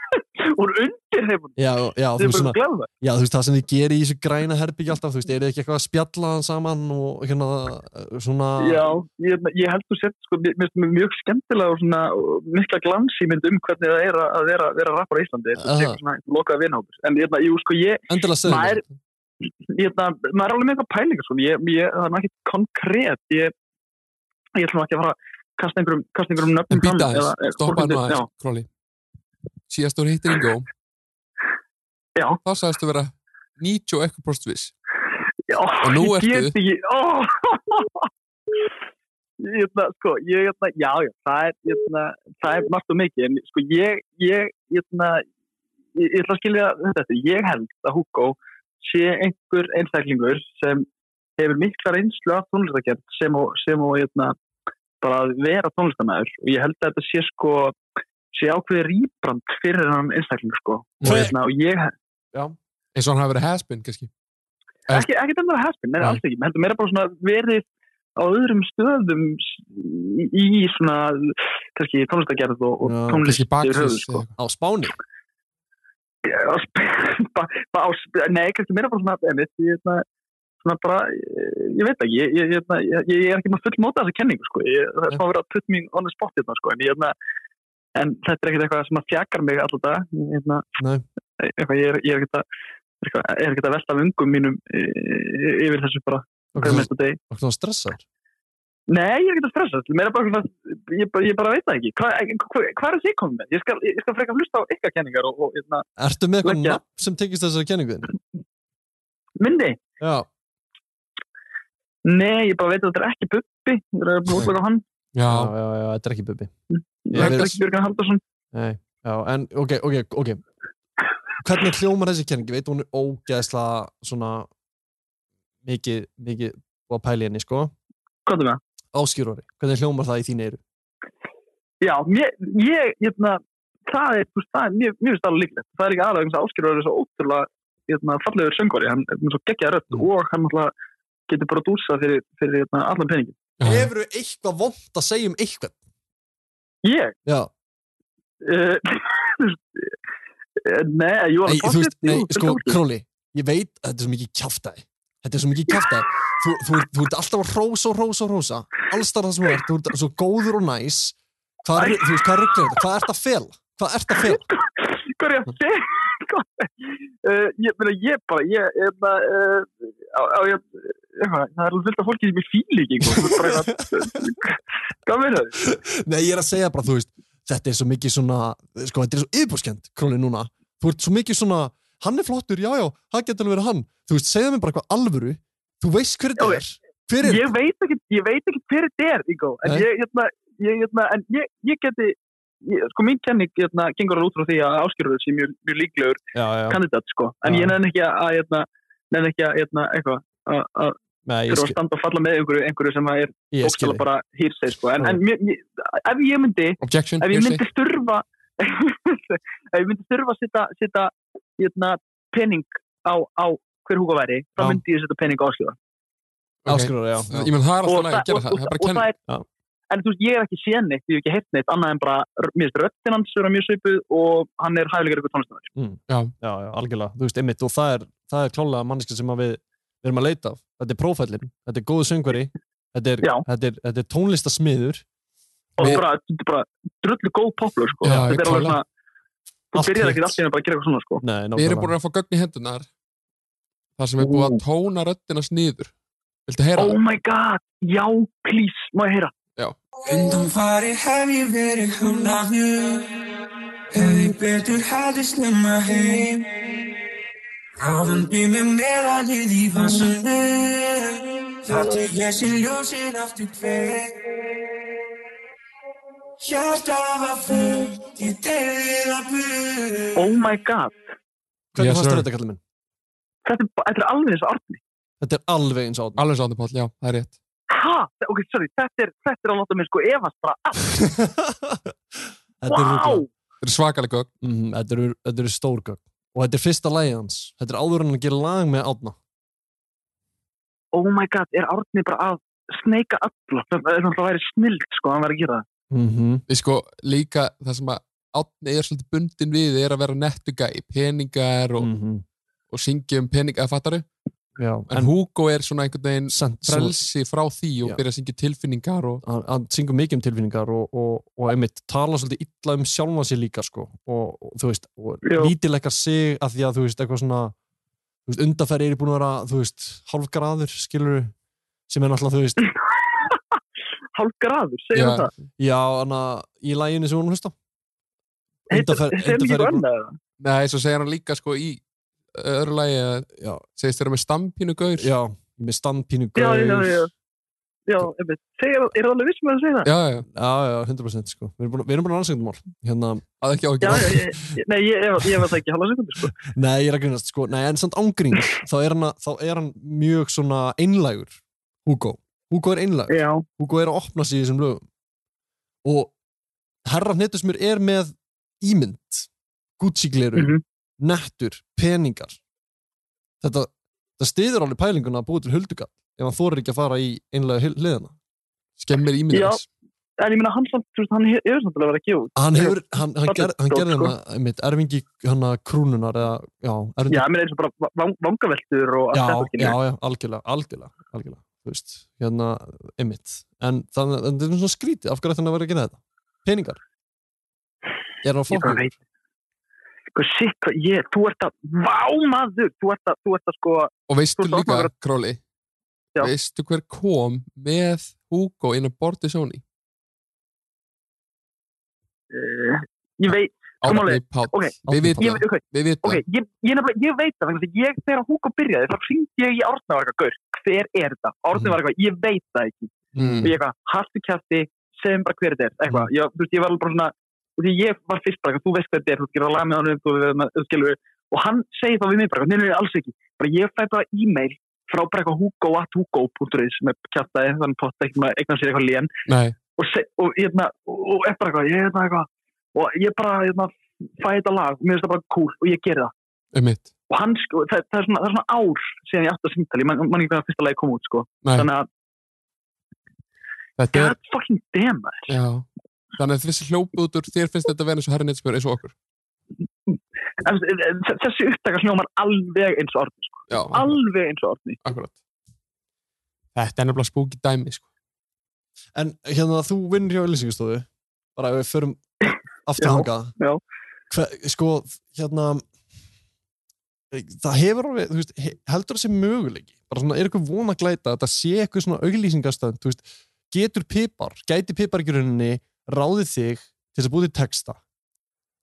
C: úr undir hefur
B: já, já,
C: það
B: þú
C: er
B: veist,
C: bara
B: svona,
C: glæða
B: já, þú veist það sem þið gerir í þessu græna herbyggja alltaf, þú veist, er þið ekki eitthvað að spjalla saman og hérna eh, svona,
C: Já, ég, ég held þú sett sko, mér mér finnst það mjög skemmtilega og svona og mikla glansýmynd um hvernig það er að- að vera, vera rappar á Íslandi, þetta
B: Aha.
C: er svona lokað vinhópur, en ég, jú, sko, ég
B: endilega segðu mér.
C: Maður- ég, na, maður er alveg með eitthvað pælingar svona. ég, ég, það er nú ekki konkrétt ég, ég ætlum ekki að fara að kasta einhverjum, kasta einhverjum
E: en
C: nöfnum fram
E: býta
C: eða- eða
E: aðeins, stoppa
C: fólk
E: nú
C: myndi- já,
E: aðeins Króli, síðast þú hittir Ingo
C: Já.
E: þá sagðist þú vera 90 og eitthvað prostvis
C: já,
E: Og nú
C: ég
E: ertu-
C: get ekki ó, ég, na, sko, ég, na, hérna, já, já, það er ég, na, það er margt og mikið en sko, ég, ég, ég, na, ég, ég ætla að skilja þetta eftir. ég held að Hugo sé einhver einstaklingur sem hefur mikla reynslu af tónlistakert sem og, sem og hérna, bara að vera tónlistamæður og ég held að þetta sé sko sé ákveði rýbrand fyrir hann einstakling sko og,
B: Hver-
C: hérna, og ég,
E: eins og hann hafi verið has-been kannski
C: ekki, ekki þetta með haspin, neina
E: Nei.
C: alls ekki, Mér heldur meira bara svona verið á öðrum stöðum s- í, í svona kannski tónlistagerð og, og
B: Já,
C: tónlist
E: kannski
C: yfir höfuð,
E: bakvið
C: sko.
B: á Spáni
C: á sp- ba- ba- á sp- Nei, kannski meira bara svona emitt, ég, hérna, svona bara, eh, ég, ég veit ekki ég, ég, hérna, ég, ég er ekki maður full móta þessa kenningu sko. ég, það er smá verið að put me on the spot hérna, sko. en, ég, hérna, en þetta er ekkert eitthvað sem að þjakar mig alltaf dag ég, hérna,
B: Nei.
C: eitthvað, ég er, ég er ekkert að eitthvað, er ekkert að velta vöngum mínum e, e, yfir þessu bara
B: okkur
C: hverjum
B: svona-
C: mesta degi
B: okkur svona stressaður
C: Nei, ég er ekkert að stressa, meira bara svona, ég, bara- ég bara veit það ekki, hvað hva, hva er þið komið með? Ég skal, ég skal frekar hlusta á ykkar kenningar og, og hérna,
B: ertu með eitthvað
C: Leggja.
B: nafn sem tengist þessari kenninguðin
C: myndi,
B: já,
C: Nei, ég bara veit að þetta er ekki Bubbi, það er búið útlæg á hann,
E: já,
B: já, já, já, þetta er ekki Bubi
C: það er ekki Björgan Haldarsson.
B: Já, en ok, ok, ok Hvernig hljómar þessi kenning? Ég veit hún er ógeðslega svona mikið, mikið búið að pæla í henni, sko
C: Hvað er það?
B: Áskjúrori, hvernig hljómar það í þín eyru?
C: Já, mér, ég, hérna, það er, þú veist, það er, mér, mér finnst það alveg líklegt. Það er ekki aðlega eins og Áskjörður er svo ótrúlega, hérna, fallegur söngvari, hann er með svo geggjaða rödd
B: Mm.
C: og hann alltaf getur bara dúsað fyrir, fyrir, hérna, allan peningin.
E: já.
B: Hefur þú eitthvað vond að segja um eitthvað?
C: Ég,
B: Já,
C: uh, þú veist, eh, nei, jú,
B: nei,
C: alveg
B: þú veist, nei, sko,
C: þú-
B: Króli Ég veit að þetta er svo mikið kjaftaði Þetta er svo mikið kjaftaði Þú, þú, ert- þú ert alltaf að rósa og rósa og rósa Allstar það sem þú ert, þú ert svo góður og næs Hvað er, þú veist, hvað er rugglega þetta? Hvað ert að fela? Hvað ert að fela?
C: Hvað er ég að segja? Hvað- Eh, Ég meina, ég bara, ég, ég bara, uh, á, á, ég, eitthvað, það er alveg fullt af fólki sem ég fíl ekki, eitthvað, þú veist, bara eitthvað, hvað meina þau?
B: Nei, ég er að segja bara, þú veist, þetta er svo mikið svona, sko, þetta er svo yfirbúskend, Króli, núna. Þú ert svo mikið svona, hann er flottur, já, já, það getur alveg verið hann. Þú veist, segja mér bara eitthvað alvöru, þú veist hver þetta
C: Já,
B: er. Hver er
C: Ég veit ekki, ég veit ekki hver þetta er, Ígó, en
B: Nei.
C: ég, hérna, ég, hérna, en ég, ég geti, ég, sko, mín kenning, hérna, gengur út frá því að áskjörður sé mjög, mjög líklegur
B: Já, já,
C: kandidat, sko, en
B: Já.
C: ég nefn ekki að, hérna, nefn ekki að, hérna, eitthvað, að, að,
B: Nei, ég
C: þurfa að
B: skil,
C: standa og falla með einhverju, einhverju sem að er
B: ég skil.
C: óskala bara hýrseg, sko,
B: Já.
C: en, en, mér- ég- ef ég myndi,
E: objection,
C: ef ég
E: hearsay.
C: myndi þurfa ef ég myndi þurfa að setja, setja hérna, pening á, á hver húka væri, þá
E: Já.
C: myndi ég setja pening á áskjöða
E: Ok.
B: Áskilur, já.
E: Já, ég menn það er alltaf læg að gera það,
C: og,
E: það er bara
C: og
E: kenning
C: það er
B: Já.
C: en þú veist, ég er ekki séð neitt, ég hef ekki heyrt neitt annað en bara, r- mér finnst röttin hans vera mjög svipuð og hann er hæfilegur ykkur tónlistamæður
B: Mm, Já, já, algjörlega. Þú veist, einmitt, og það er, það er klálega manneska sem að við, við erum að leita af. Þetta er prófællin, þetta er góðu söngveri, þetta er,
C: Já.
B: þetta er, þetta er tónlistasmiður.
C: og
E: Mér-
C: bara, þetta er bara drullu góð poplur sko.
E: Já,
C: þetta er alveg
E: klálega.
C: svona þú
B: Allt
C: byrjar
B: hitt.
C: ekki allir að bara gera eitthvað svona sko.
E: Við
B: Nei,
E: erum
B: nákvæmlega.
E: búin að fá gögn í hendunar þar sem er búið að tóna röddina sniður Viltu heyra
C: oh
E: það?
C: my god, já, please, má ég heyra
F: Undum farið hef ég verið hún að þau Hef ég betur hafði snemma heim Ráðum býmum meðalið í vansandi Þáttu ég sér ljósin aftur hver Hjarta var fullt Ég deyði það burt
C: oh my god,
B: Hvernig
E: Yes, sir.
B: fannst þér þetta, kallið minn?
C: þetta er, ba- þetta er alveg eins og Arni
B: Þetta er alveg eins átn.
E: Alveg sáttu Páll, já, það er rétt
C: Ha, ok, sorry, þetta er, þetta er að láta mér sko efast bara, allt,
B: Þetta er
C: wow,
B: ruggla.
E: Þetta er svakalega gögn
B: Mm, þetta eru, þetta eru stórgögn og þetta er fyrsta lagi hans þetta er áður en að gera lag með Átna
C: oh my god, er Árni bara að sneika alla, það er náttúrulega væri snild, sko, hann var að gera það.
B: mm -hmm.
E: Við sko líka það sem að átni er svolítið bundin við er að vera nettuga í peningar og, og syngja um peninga að fattaru
B: Mhm. Já,
E: en,
B: en
E: Hugo er svona einhvern veginn
B: samt, samt,
E: frelsi frá því og
B: Já.
E: byrja að syngja tilfinningar og
B: hann, hann syngur mikið um tilfinningar og, og, og einmitt tala svolítið illa um sjálfa sér líka sko. og, og þú veist, og
C: Já.
B: lítilekkar sig af því að þú veist, eitthvað svona þú veist, undarfæri er búin að vera, þú veist hálfgraður, skilur sem er náttúrulega, þú veist,
C: Hálf graður, segir
E: Já,
C: hann það,
B: já, hana í læginu sem hún er að hlusta
C: heitir,
B: Undanfar-
C: segir hann
B: undanfari-
C: ekki annað eða?
E: Nei, svo segir hann líka sko í öðru lagi að
B: Já.
E: segist þeirra með stampínu gaur
B: Já, með standpínu
C: Já, já, já, já, einmitt. Segja, er það alveg viss með að segja það?
E: já, já,
B: Já, já, 100% sko. Við erum búin, við erum búin að rannsækja þetta mál. Hérna,
E: að ekki
C: Já, já,
E: ágjör
C: ég, ég- nei, ég, ég, ég var það ekki halva sekundi, sko.
B: nei, ég er að grunast, sko. Nei, en samt ángrín, þá er hann, að- þá er hann mjög svona einlægur, Hugo. Hugo er einlægur.
C: Já,
B: Hugo er að opna sig í þessum lögum. Og herra hnettusmur er með ímynd, Gucci-gleru,
C: Mhm.
B: nettur, peningar. Þetta, þetta stiður alveg pælinguna að búa til huldugall ef hann þorir ekki að fara í einlægu hil- hliðina.
E: skemmir ímyndar
C: Já.
E: hans.
C: en ég meina hann samt, þú veist, hann he- hefur samt alveg verið að gefa út.
B: Hann, hefur, hann, hann,
C: Fallegt
B: ger, hann
C: dót,
B: gerði
C: sko.
B: hann einmitt erfingi hann að krúnunar eða, já, erfingi
C: Já, ég meina eins og bara va- vang, vangaveltur og allt
B: já,
C: þetta, skilur.
B: já, já, algjörlega, algjörlega, algjörlega þú veist, hérna, einmitt en þannig, en þetta er svona skrítið, af hverju ætti hann að vera að gera þetta? Peningar Er hann að
C: Ég bara
B: fokka?
C: veit. Sko, shit, hvað ég, þú ert að, vá maður, þú ert að, þú ert að sko,
E: og veistu
C: Þú ert opnað
E: líka,
C: að vera-
E: Króli
C: Já.
E: veistu hver kom með Hugo inn á bortið Sony
C: uh,
J: eh,
C: ég veit, Kom
E: Árni
C: alveg.
E: Páll,
C: Ok,
E: við
B: Árni
E: vitum
C: ég,
E: það,
C: ok,
E: við vitum
C: ok,
E: það
C: ég, ég nefnilega, ég veit það, vegna þess að ég, þegar Hugo byrjaði, þá hringdi ég í Árna og var eitthvað, gaur, hver er þetta? Árna var eitthvað, ég veit það ekki.
E: Mm.
C: og ég eitthvað, haltu kæfti, segjum bara hver þetta er eitthvað, ég, þú veist, ég var alveg bara svona og því ég var fyrst bara, eitthvað, þú veist hvað þetta er þú skilur að laga með honum, þú veist, þú skilur og hann segir það við mig bara, eitthvað, nei, nei, nei, alls ekki bara ég fæ bara e-mail frá bara eitthvað hugo at hugo.is sem er kæftaði, þannig potta eitthvað, maður eignar sér eitthvað lén
E: Nei,
C: og, se, og, hérna, og, og er bara eitthvað, ég er bara eitthvað og ég bara, hérna, fæ þetta lag mér finnst það bara cool og ég ger það
E: um mitt
C: og hann, sko, það, það, er svona, það er svona ár síðan ég átti að símtali, man, man ekki hvað fyrsta lagi kom út sko.
E: Nei.
C: þannig að,
E: Þetta er,
C: god fucking damn maður.
E: já Þannig að þessi hljópu út úr þér finnst þetta að vera eins og herri neitt eins og okkur
C: En þ- þessi upptaka hljómar alveg eins og orðni, sko.
E: Já,
C: alveg eins og orðni.
E: akkurat Þetta er nefnilega spúki dæmi sko.
B: En hérna, þú vinnur hjá Elýsingastofu bara ef við förum aftur
C: Já,
B: hanga
C: já.
B: Hve, sko, hérna það hefur alveg, þú veist, he- heldur það sem möguleiki bara svona, er eitthvað von að glæta að það sé eitthvað svona auglýsingastönd, þú veist getur pipar, gæti pipar ekki rauninni ráðið þig til þess að búið texta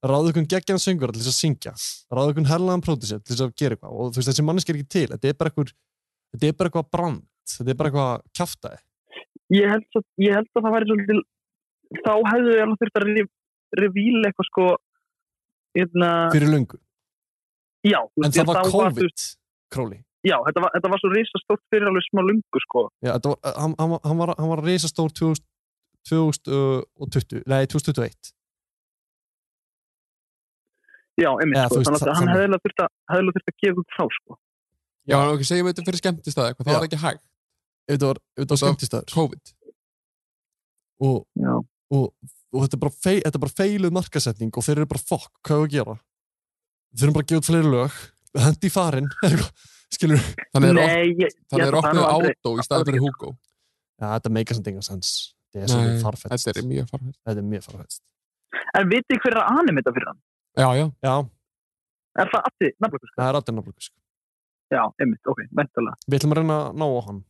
B: ráðið ykkur geggjan söngur til þess að syngja, ráðið ykkur um herlaðan pródusent til þess að gera eitthvað og þú veist, þessi manneski er ekki til þetta er bara eitthvað, þetta er bara eitthvað brand þetta er bara eitthvað kjaftaði
C: Ég held, að, ég held að það væri svolítið, þá hefðu ég alveg þurft að re- revíla eitthvað sko, hérna,
B: fyrir löngu
C: já. þú
B: En
C: veist,
B: það
C: þá
B: var
C: þú veist,
B: COVID, Króli.
C: Já, þetta var, þetta var svo risastórt fyrir alveg smá lungu sko.
B: Já, þetta var, hann, hann, var- hann, var, hann var reisastór 2000 2020, nei 2021.
C: Já, einmitt,
B: Já, þú
C: sko.
B: veist,
C: þannig
B: það-
C: að hann
B: þannig.
C: hefði alveg þurft að, hefði alveg þurft að gefa út þá sko.
E: Já, en ok, segjum við þetta fyrir skemmtistæði eitthvað, það
B: Já.
E: var ekki hægt
B: Ef Þetta var, ef þetta var
E: Það-
B: skemmtistöður.
E: COVID,
B: Og,
C: Já.
B: og, og þetta er bara, fei, þetta er bara feiluð markasetning og þeir eru bara fokk, hvað er að gera? Þeir eru bara að gefa út fleiri lög, hendi í farin, skilur.
E: þannig er,
C: Nei, ég,
E: op- þannig
C: ég
E: er
C: held að það
E: opnað
C: hafi aldrei-
E: átó í staði fyrir Hugo
B: Já, þetta meika samt engan sens. Þetta er
E: Nei,
B: svolítið
E: Þetta
B: farfætt.
E: er mjög farfæst
B: Þetta er mjög farfætt.
C: En vitið þið hver er að anim þetta fyrir hann?
E: Já, já,
B: Já,
C: Er það afti, nafnlega sko?
B: það er allir náttúrulega.
C: Já, einmitt, ok, mentalega.
B: Við ætlum að reyna að ná á hann.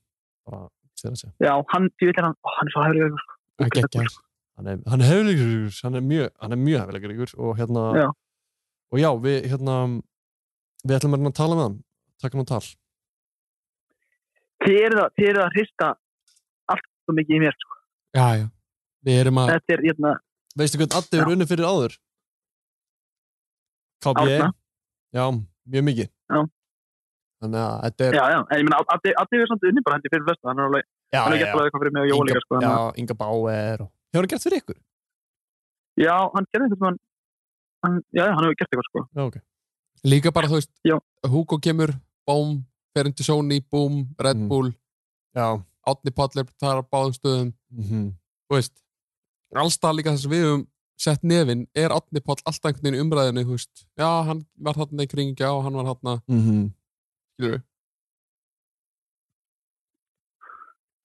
B: Bara, sér að segja.
C: Já, hann, ég veit hann, ó, hann er svo sko. hæfilega
E: ekki ekki
B: hann er, hann er hefðilegur ykkur, hann er mjög, hann er mjög hefðilegur ykkur og hérna
C: Já.
B: og já, við hérna við ætlum að reyna að tala með hann taka hann á tal
C: þið eru það, þið eru það að hrista allt svo mikið í mér sko.
E: Já, já, við erum að
C: þetta er hérna,
B: veistu hvernig Addi er unni fyrir áður? KB
C: Árna.
B: já, mjög mikið
C: Já.
B: þannig að þetta er
C: já já en ég meina, Addi Addi er samt unni bara hendi fyrir flestu hann er alveg,
B: já,
C: hann er
B: já,
C: gert alveg eitthvað fyrir mig og Jóa líka sko,
B: já,
C: já.
B: Inga Bauer og hefur hann gert fyrir ykkur?
C: já, hann gerði eitthvað hann, hann, já, já, hann hefur gert eitthvað sko
B: já, ok
E: líka bara, þú veist,
C: Já.
E: Hugo kemur bóm, fer inn til Sony, búm Red
B: Mm.
E: Bull,
B: já,
E: Átni Pall er þar á báðum stöðum,
B: mhm,
E: þú veist allstað líka það sem við höfum sett nefin, er Átni Pall alltaf einhvern veginn í umræðinu, þú veist, já, hann var þarna í kringja og hann var þarna,
B: mhm
E: skilur við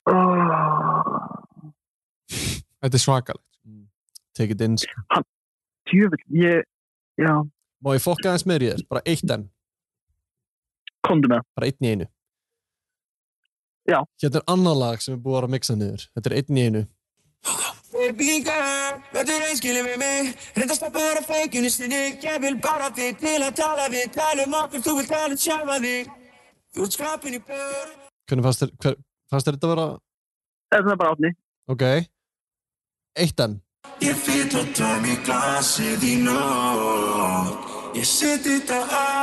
C: oh,
E: Ah. Þetta er svakalegt.
B: Mm. take it in sko.
C: tjöfull, ég, já,
B: má ég fokka aðeins meir í þér, bara eitt enn
C: komdu með það.
B: bara einn í einu
C: Já.
B: Hérna er annað lag sem er búið að vera að mixa niður Þetta er einn í einu
F: Binga, verður einskilið við mig Reynda að stoppa vera feikinu sinni Ég vil bara þig til að tala við Tala um okkur, þú vil tala um sjálfa þig Þú ert skrapin í börn
B: Hvernig fannst þér hver- fannst þér þetta að vera
C: eða það er bara átni
B: ok eitt enn
F: Ég fýtt og tóm í glasið í nótt Ég seti þetta á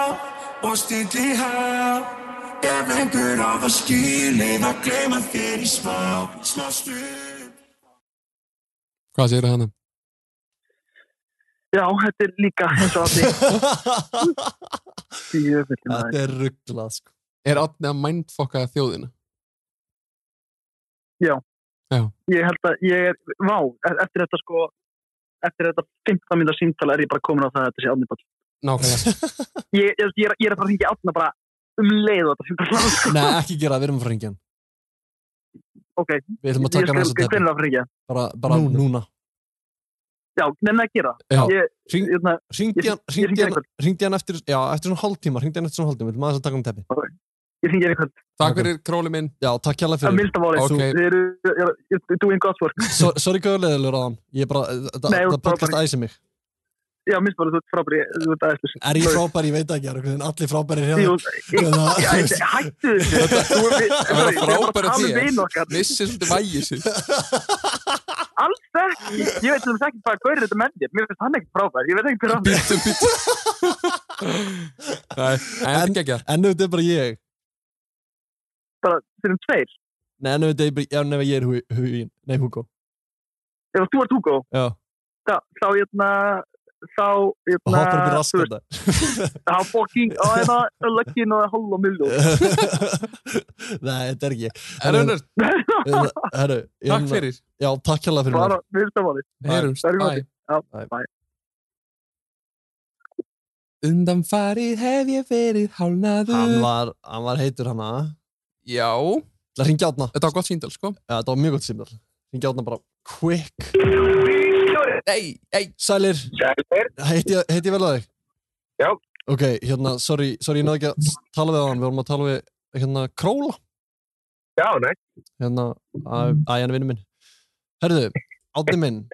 F: og stilli há Ef einhver á það skilið að gleyma þér í smá Smá stund
E: Hvað segir það hana?
C: Já, þetta er líka eins og átni Djöfull, maður.
B: þetta er rugglað sko.
E: Er Átni að mindfokka þjóðina?
C: Ég held að ég er, vá, e- eftir þetta sko eftir þetta 15 minna símtala er ég bara komin á það að þetta sé átni ball
E: Nákvæmlega.
C: ég, ég, ég, er, ég er bara að hringja átna bara um leið og þetta símtala hlað sko.
B: nei ekki gera það, við erum að fara hringja hann.
C: Ok, ég
B: við ætlum að
C: skal,
B: taka hann þess að
C: hvernig er
B: teppi
C: það að hringja?
B: bara, bara
E: Núna.
B: núna,
C: Já, nefnir að gera
E: Já.
C: Ég,
B: Hring-
C: ég, na,
B: hringdi hann,
C: Ég- ég hringi
B: hringdi hann,
C: einhvern.
B: hringdi hann eftir, já, eftir svona hálftíma hringdi hann eftir svona hálftíma, við ætlum aðeins að taka hann teppi
C: ég hringi einhvern
E: Takk fyrir króli minn.
B: já, takk hjálpa
C: að
B: fyrir
C: minnsta máli
E: Ok.
C: Þið eru, ég er- ég er doing God's work
B: So, sorry hvað leðilegur á hann ég er bara, það
C: Nei, þú
B: það
C: ert
B: podcast
C: frábær.
B: æsir mig
C: Já, minnsta máli, þú ert frábæri Þú ert aðeins
B: er ég frábær, ég veit ekki, er einhvern veginn allir frábæri hérna
C: Jú, ég- Já,
B: Hérna,
C: ég- Hættu þessu Þú er við-
E: Það var
C: sorry, Við erum
E: frábæra
C: bara að tala um
E: þér.
C: vin okkar
E: Vissi svolítið vægi sig.
C: Alls ekki Ég veit sem ekki hvað Gaur er þetta menn ég Mér finnst hann ekki frábær Ég veit ekki hver hann er
E: Býttu, býttu. Nei, en ekki ekki.
B: en ef þetta er bara ég
C: Bara fyrir um tveir
B: nei, en ef þetta er bara, já, nefnir ég er Hu- hugin nei, Hugo,
C: Ef þú ert Hugo
B: já,
C: Þá, þá, hérna Þá,
B: og
C: hérna
B: hoppar upp í
C: þú veist,
B: raskönda
C: Þá fucking Og hérna Lucky og hálf og milljón
B: nei, þetta er ekki ég.
E: En önnur,
B: Hérna, herru,
E: takk
B: hérna,
E: fyrir.
B: já, takk hjálpa fyrir
C: Bara
B: mér.
C: minnsta máli
E: Heyrumst.
C: Verður
E: Bye.
C: Já, bæ
E: Undan farið hef ég verið
B: hann
E: hálnaður.
B: var, Eh, hann var heitur hana
E: Já,
B: það ringi átna,
E: þetta var gott síndal, sko.
B: þetta var mjög gott símdal ringi átna bara, quick
E: Nei, ei.
B: sælir,
J: Sælir.
B: heiti ég, heiti ég vel að þig?
J: Já.
B: Ok, hérna, sorry, sorry, ég náðu ekki að tala við á hann, við vorum að tala við hérna Króla,
J: Já, nei.
B: hérna, æjan vinnu minn. Herðu, Átni minn.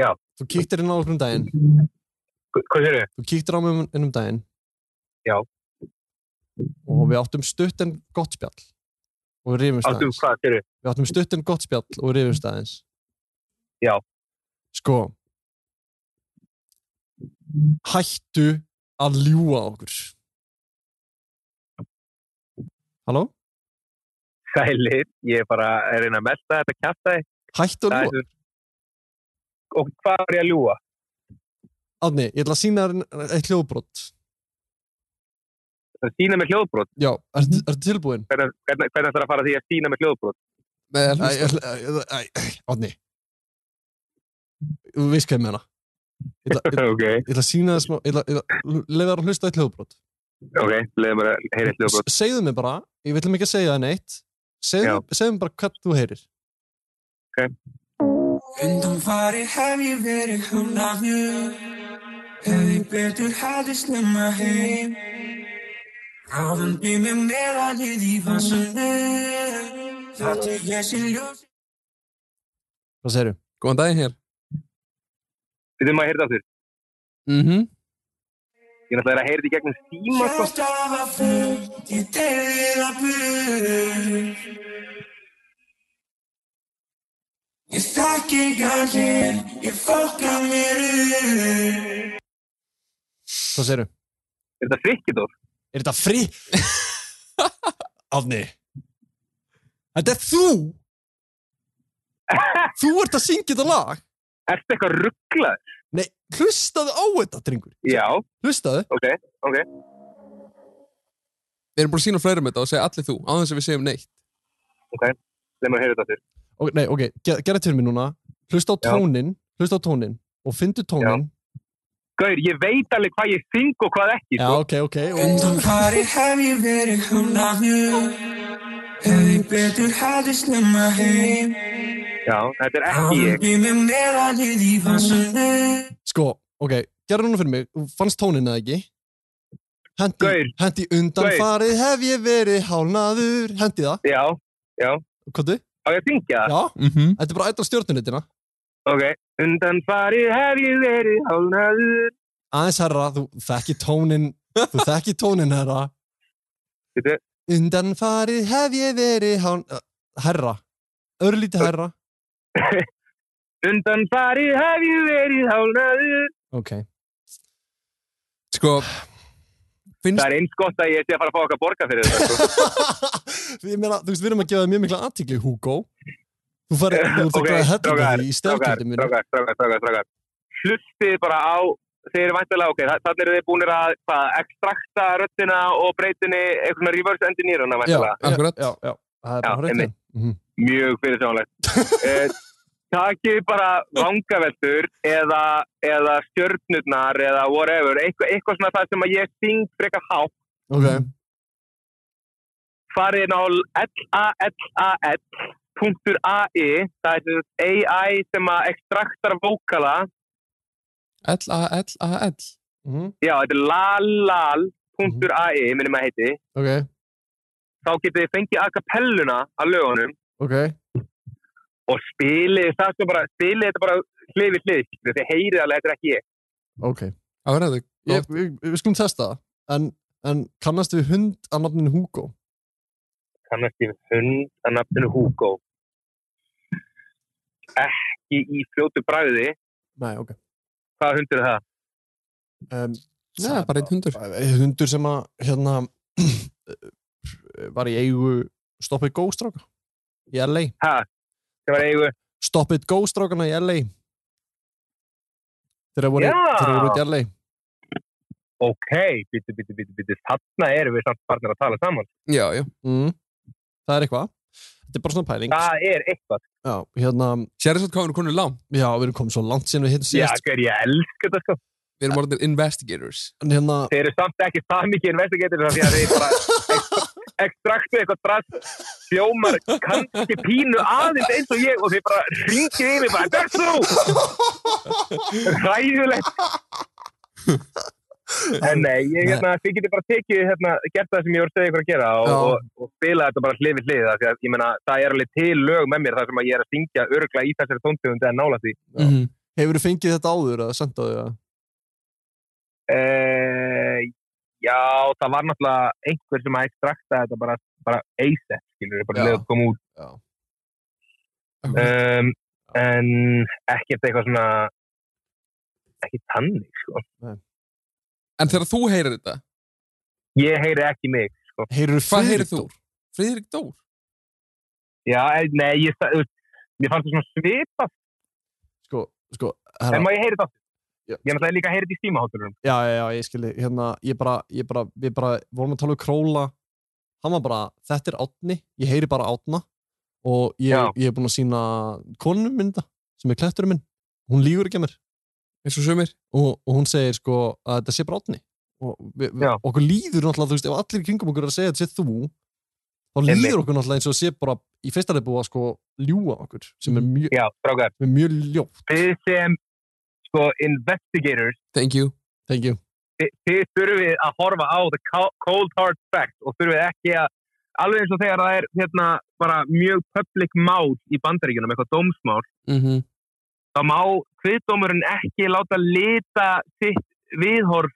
J: Já.
B: Þú kíktir inn á okkur um daginn,
J: Hvað sér þið?
B: þú kíktir á mig um- inn um daginn.
J: Já.
B: Og við áttum stutt en gott spjall og við rifumst
J: Áttum
B: aðeins.
J: hvað sér þið?
B: Við áttum stutt en gott spjall og við rifumst aðeins.
J: Já.
B: Sko, hættu að ljúa okkur. Halló?
J: Sælir. Ég er bara að reyna að melda þetta kjæftæði.
B: Hættu að ljúa.
J: Og hvað er ég að ljúa?
B: Átni, ég ætla að sína þér eitt hljóðbrot.
J: Það sína með hljóðbrot.
B: Já, ertu er tilbúin?
J: Hvernig, hvernig, hvernig ætlar að fara að því að sína með hljóðbrot?
E: Nei,
B: Æ,
E: hlusta.
B: æ, æ, æ, æ, Átni. Þú veist hvað ég meina. Ég ætla- Ég
J: ok,
B: ég ætla að sína þér smá, ég ætla- ég ætla leið þér að hlusta eitt hljóðbrot.
J: ok. Leðum bara að heyra eitt hljóðbrot.
B: S- Segðu mér bara, ég vil ekki að segja það neitt, segðu, segðu mér bara hvað þú heyrir.
F: Undum farið hef ég verið hálnaður Hef ég betur haldið snemma heim Ráðum býr mér meðalið í vansandi Það til ég sé ljós
B: Hvað segir þú?
E: Góðan daginn hér.
J: Við þurfum að heyra þetta aftur.
E: Mhm.
J: Ég er náttúrulega að heyra þetta í gegnum síma, sko.
F: Hjarta var fullt Ég deyrði það burt Ég þakki gangir Ég fokka mér upp
B: Hvað segir þú?
J: Er þetta frikkidór?
B: Er þetta frí? Átni. Þetta er þú! Þú ert að syngja þetta lag.
J: Er þetta eitthvað rugglað?
B: Nei, hlustaðu á þetta, drengur.
J: Já,
B: Hlustaðu.
J: ok, ok.
E: Við erum búin að sína fleirum þetta og segja allir þú, á þess að við segjum neitt.
J: Leðum að heyra þetta aftur.
B: Ok, nei, ok, ger, gerðu til mér núna hlusta á
J: Já.
B: tónin, hlusta á tónin og fyndu tónin
J: Gaur, ég veit alveg hvað ég syng og hvað ekki,
B: Já,
J: sko.
B: ok, ok, og,
F: Undan farið hef ég verið hálnaður Hef ég betur haldið snemma heim
J: Já, þetta er ekki
F: Áður
J: ég.
F: býr mér meðalið í vansandi
B: sko, ok gerðu núna fyrir mig, Þú fannst tónin eða ekki hendi,
J: Gaur.
B: hendi undan
J: Gaur.
B: farið hef ég verið hálnaður hendi það,
J: Já,
B: hvað þú?
J: á ég að syngja það?
B: Já, Mm.
E: Mhm.
B: þetta er bara ætla stjórnunutina
J: Ok, undan farið hef ég verið hálnaður.
B: aðeins herra, þú þekki tónin þú þekki tónin herra
J: Þetta er
B: undan farið hef ég verið hálnaður herra, örlítið hærra
J: Undan farið hef ég verið hálnaður
B: ok,
E: Sko,
J: Það er eins gott að ég sé að fara að fá okkar borga fyrir þetta sko.
B: ég meina, þú veist, við erum að gefa það mjög mikla aðtíkli, Hugo þú fari, þú ert að
J: Ok,
B: græða hellinga
J: strákar,
B: því í
J: Strákar,
B: stefnkjöndum minni
J: strákar, strákar, strákar, strákar Hlustið bara á Þeir eru væntalega, ok, þa- þarna eru þeir búinir að hvað, ekstrakta röddina og breytinni einhvern veginn reverse engineer hana
B: já,
J: væntalega
B: já,
E: Akkurat.
B: já, já, það er
J: Já,
B: bara hreint
J: einmitt.
B: mm -hmm.
J: mjög fyrirsjónlegt eh, takið bara vangaveltur eða, eða stjörnurnar eða whatever, Eitthva, eitthvað svona það sem að ég syng frekar hátt
B: ok,
J: farið inn á lalall.ai það er sem sagt AI sem að extraktar vókala
E: L-A-L-A-L
B: mm
J: já, þetta er lalall.ai minnum að heiti,
B: ok,
J: þá getið þið fengið a cappelluna að lögunum
B: ok
J: og spilið það sem bara, spilið þetta bara hlið við hlið, skilurðu, þið heyrið alveg, þetta er ekki ég
B: ok,
E: Áhverðu,
B: ég, við, við skulum testa það en, en kannast við hund að nafninu Hugo
J: kannast ég við hund að nafninu Hugo ekki í fljótu bræði
B: nei, ok
J: hvaða hundur er það?
B: um,
E: það er bara einn hundur
B: hundur hundur sem að, hérna var í eigu Stop It Go stráka í LA,
J: sem var eigu
B: Stop It Go strákana í LA þeirra voru,
J: Já.
B: þeirra voru út í LA
J: ok, bitu, bitu, bitu, bitu þarna erum við samt barnir að tala saman
E: Já, já
B: mm. það er eitthvað þetta er bara svona pæling
J: það er eitthvað
B: já, hérna,
E: Sérðu svo hvað við erum konur langt
B: já, við erum komið svo langt síðan við hittum
J: já,
B: síðast
J: hver ég elska þetta sko
E: Við erum orðinir investigators
B: en hérna,
J: þeir eru samt ekki það mikið investigator því að þeir bara ex- extraktu eitthvað drast sjómar kannski pínu aðeins eins og ég og þeir bara ringið í mig bara Bersu! Ræðilegt En nei, ég, hérna, þið getur bara tekið hérna, gert það sem ég voru að segja ykkur að gera og,
B: Já.
J: og, og spila þetta bara hlið við hlið af því að, ég meina, það er alveg til lög með mér þar sem að ég er að syngja örgla í þessari tóntegund en nála því
B: Já.
E: -hmm.
B: hefur þú fengið þetta áður að senda þau að
J: Eh, já, það var náttúrulega einhver sem að extrakta þetta bara, bara ASAP, skilur við, bara
B: Já.
J: leðið að koma út.
B: Já.
J: Um, en ekkert eitthvað svona, ekki tannig, sko.
E: En þegar þú heyrir þetta,
J: Ég heyri ekki mig. sko.
B: Heyrðu
E: hvað heyrir þú? Friðrik Dór?
J: Já, eh, nei, ég, sa- þú veist, mér fannst það svona svipað,
B: Sko, sko,
J: en
B: herra,
J: má ég heyri þetta?
B: Já.
J: Ég náttúrulega líka heyri þetta í stímaháturum.
B: já, já, já, ég skilji, hérna, ég bara, ég bara, við bara vorum að tala um króla, hann var bara, þetta er átni, ég heyri bara átna og ég,
J: Já.
B: ég er búin að sína konunum minn þetta, sem er klætturinn minn, hún lígur ekki að mér
E: Eins og sömur?
B: og, og hún segir sko að þetta sé bara átni og vi, vi,
J: Já.
B: okkur líður náttúrulega, þú veist, ef allir í kringum okkur er að segja þetta sé þú, þá líður okkur náttúrulega eins og sé bara í fyrsta leið búið að sko ljúa okkur, sem er mjög,
J: Já, strákar,
B: sem er mjög ljótt,
J: þið sem, sko, investigators,
E: Thank you.
B: thank you.
J: þið þið þurfið að horfa á the co- cold hard fact og þurfið ekki að alveg eins og þegar það er hérna, bara mjög public mál í bandaríkjunum, eitthvað dómsmál
E: Mm
B: Mhm.
E: -hmm.
J: þá má kviðdómurinn ekki láta lita sitt viðhorf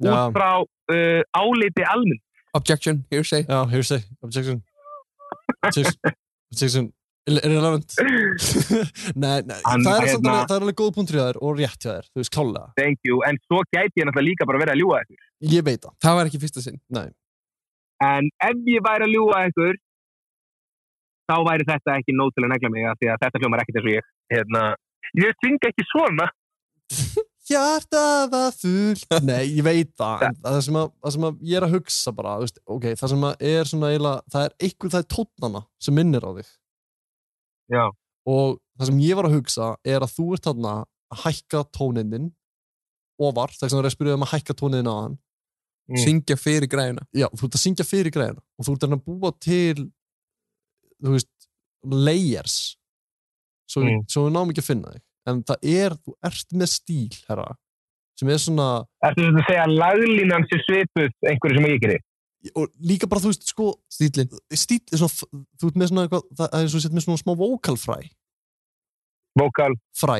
B: Já.
J: út frá uh, áliti almennt.
E: Objection, hearsay.
B: Já, hearsay, objection Objection, objection. Ir- Irrelevant Nei, nei
J: Hann-
B: það, er samt
J: hérna-
B: alveg, það er alveg góð punktur í þær og rétt hjá þær, þú veist, klálega
J: Thank you, en svo gæti ég náttúrulega líka bara verið að ljúa ykkur.
B: Ég veit það
E: Það var ekki fyrsta sinn.
J: En ef ég væri að ljúa ykkur þá væri þetta ekki nóg til að negla mig af því að þetta hljómar ekkert eins og ég hérna, ég syng ekki svona
B: Hjartað að full Nei, ég veit það en það sem, að, það sem að ég er að hugsa bara þú veist, ok, það sem að er svona eiginlega það er einhver það er tónnana sem minnir á þig
J: Já.
B: Og það sem ég var að hugsa er að þú ert þarna að hækka tónininn ofar, þegar sem það er að spyrja um að hækka tónininn á hann
J: Mm.
E: Syngja fyrir græna.
B: já, þú ert að syngja fyrir græðina og þú ert að reyna að búa til þú veist, layers svo,
J: Mm.
B: svo við náum ekki að finna þig en það er, þú ert með stíl herra, sem er svona
J: Ertu sem þú segja að laglínan sé svipuð einhverju sem ég gerir?
B: og líka bara, þú veist, sko
E: Stílinn.
B: stíl, er svona, f- þú ert með svona eitthvað, það er eins og þú sett með svona smá vokalfræ
J: Vokal,
B: fræ,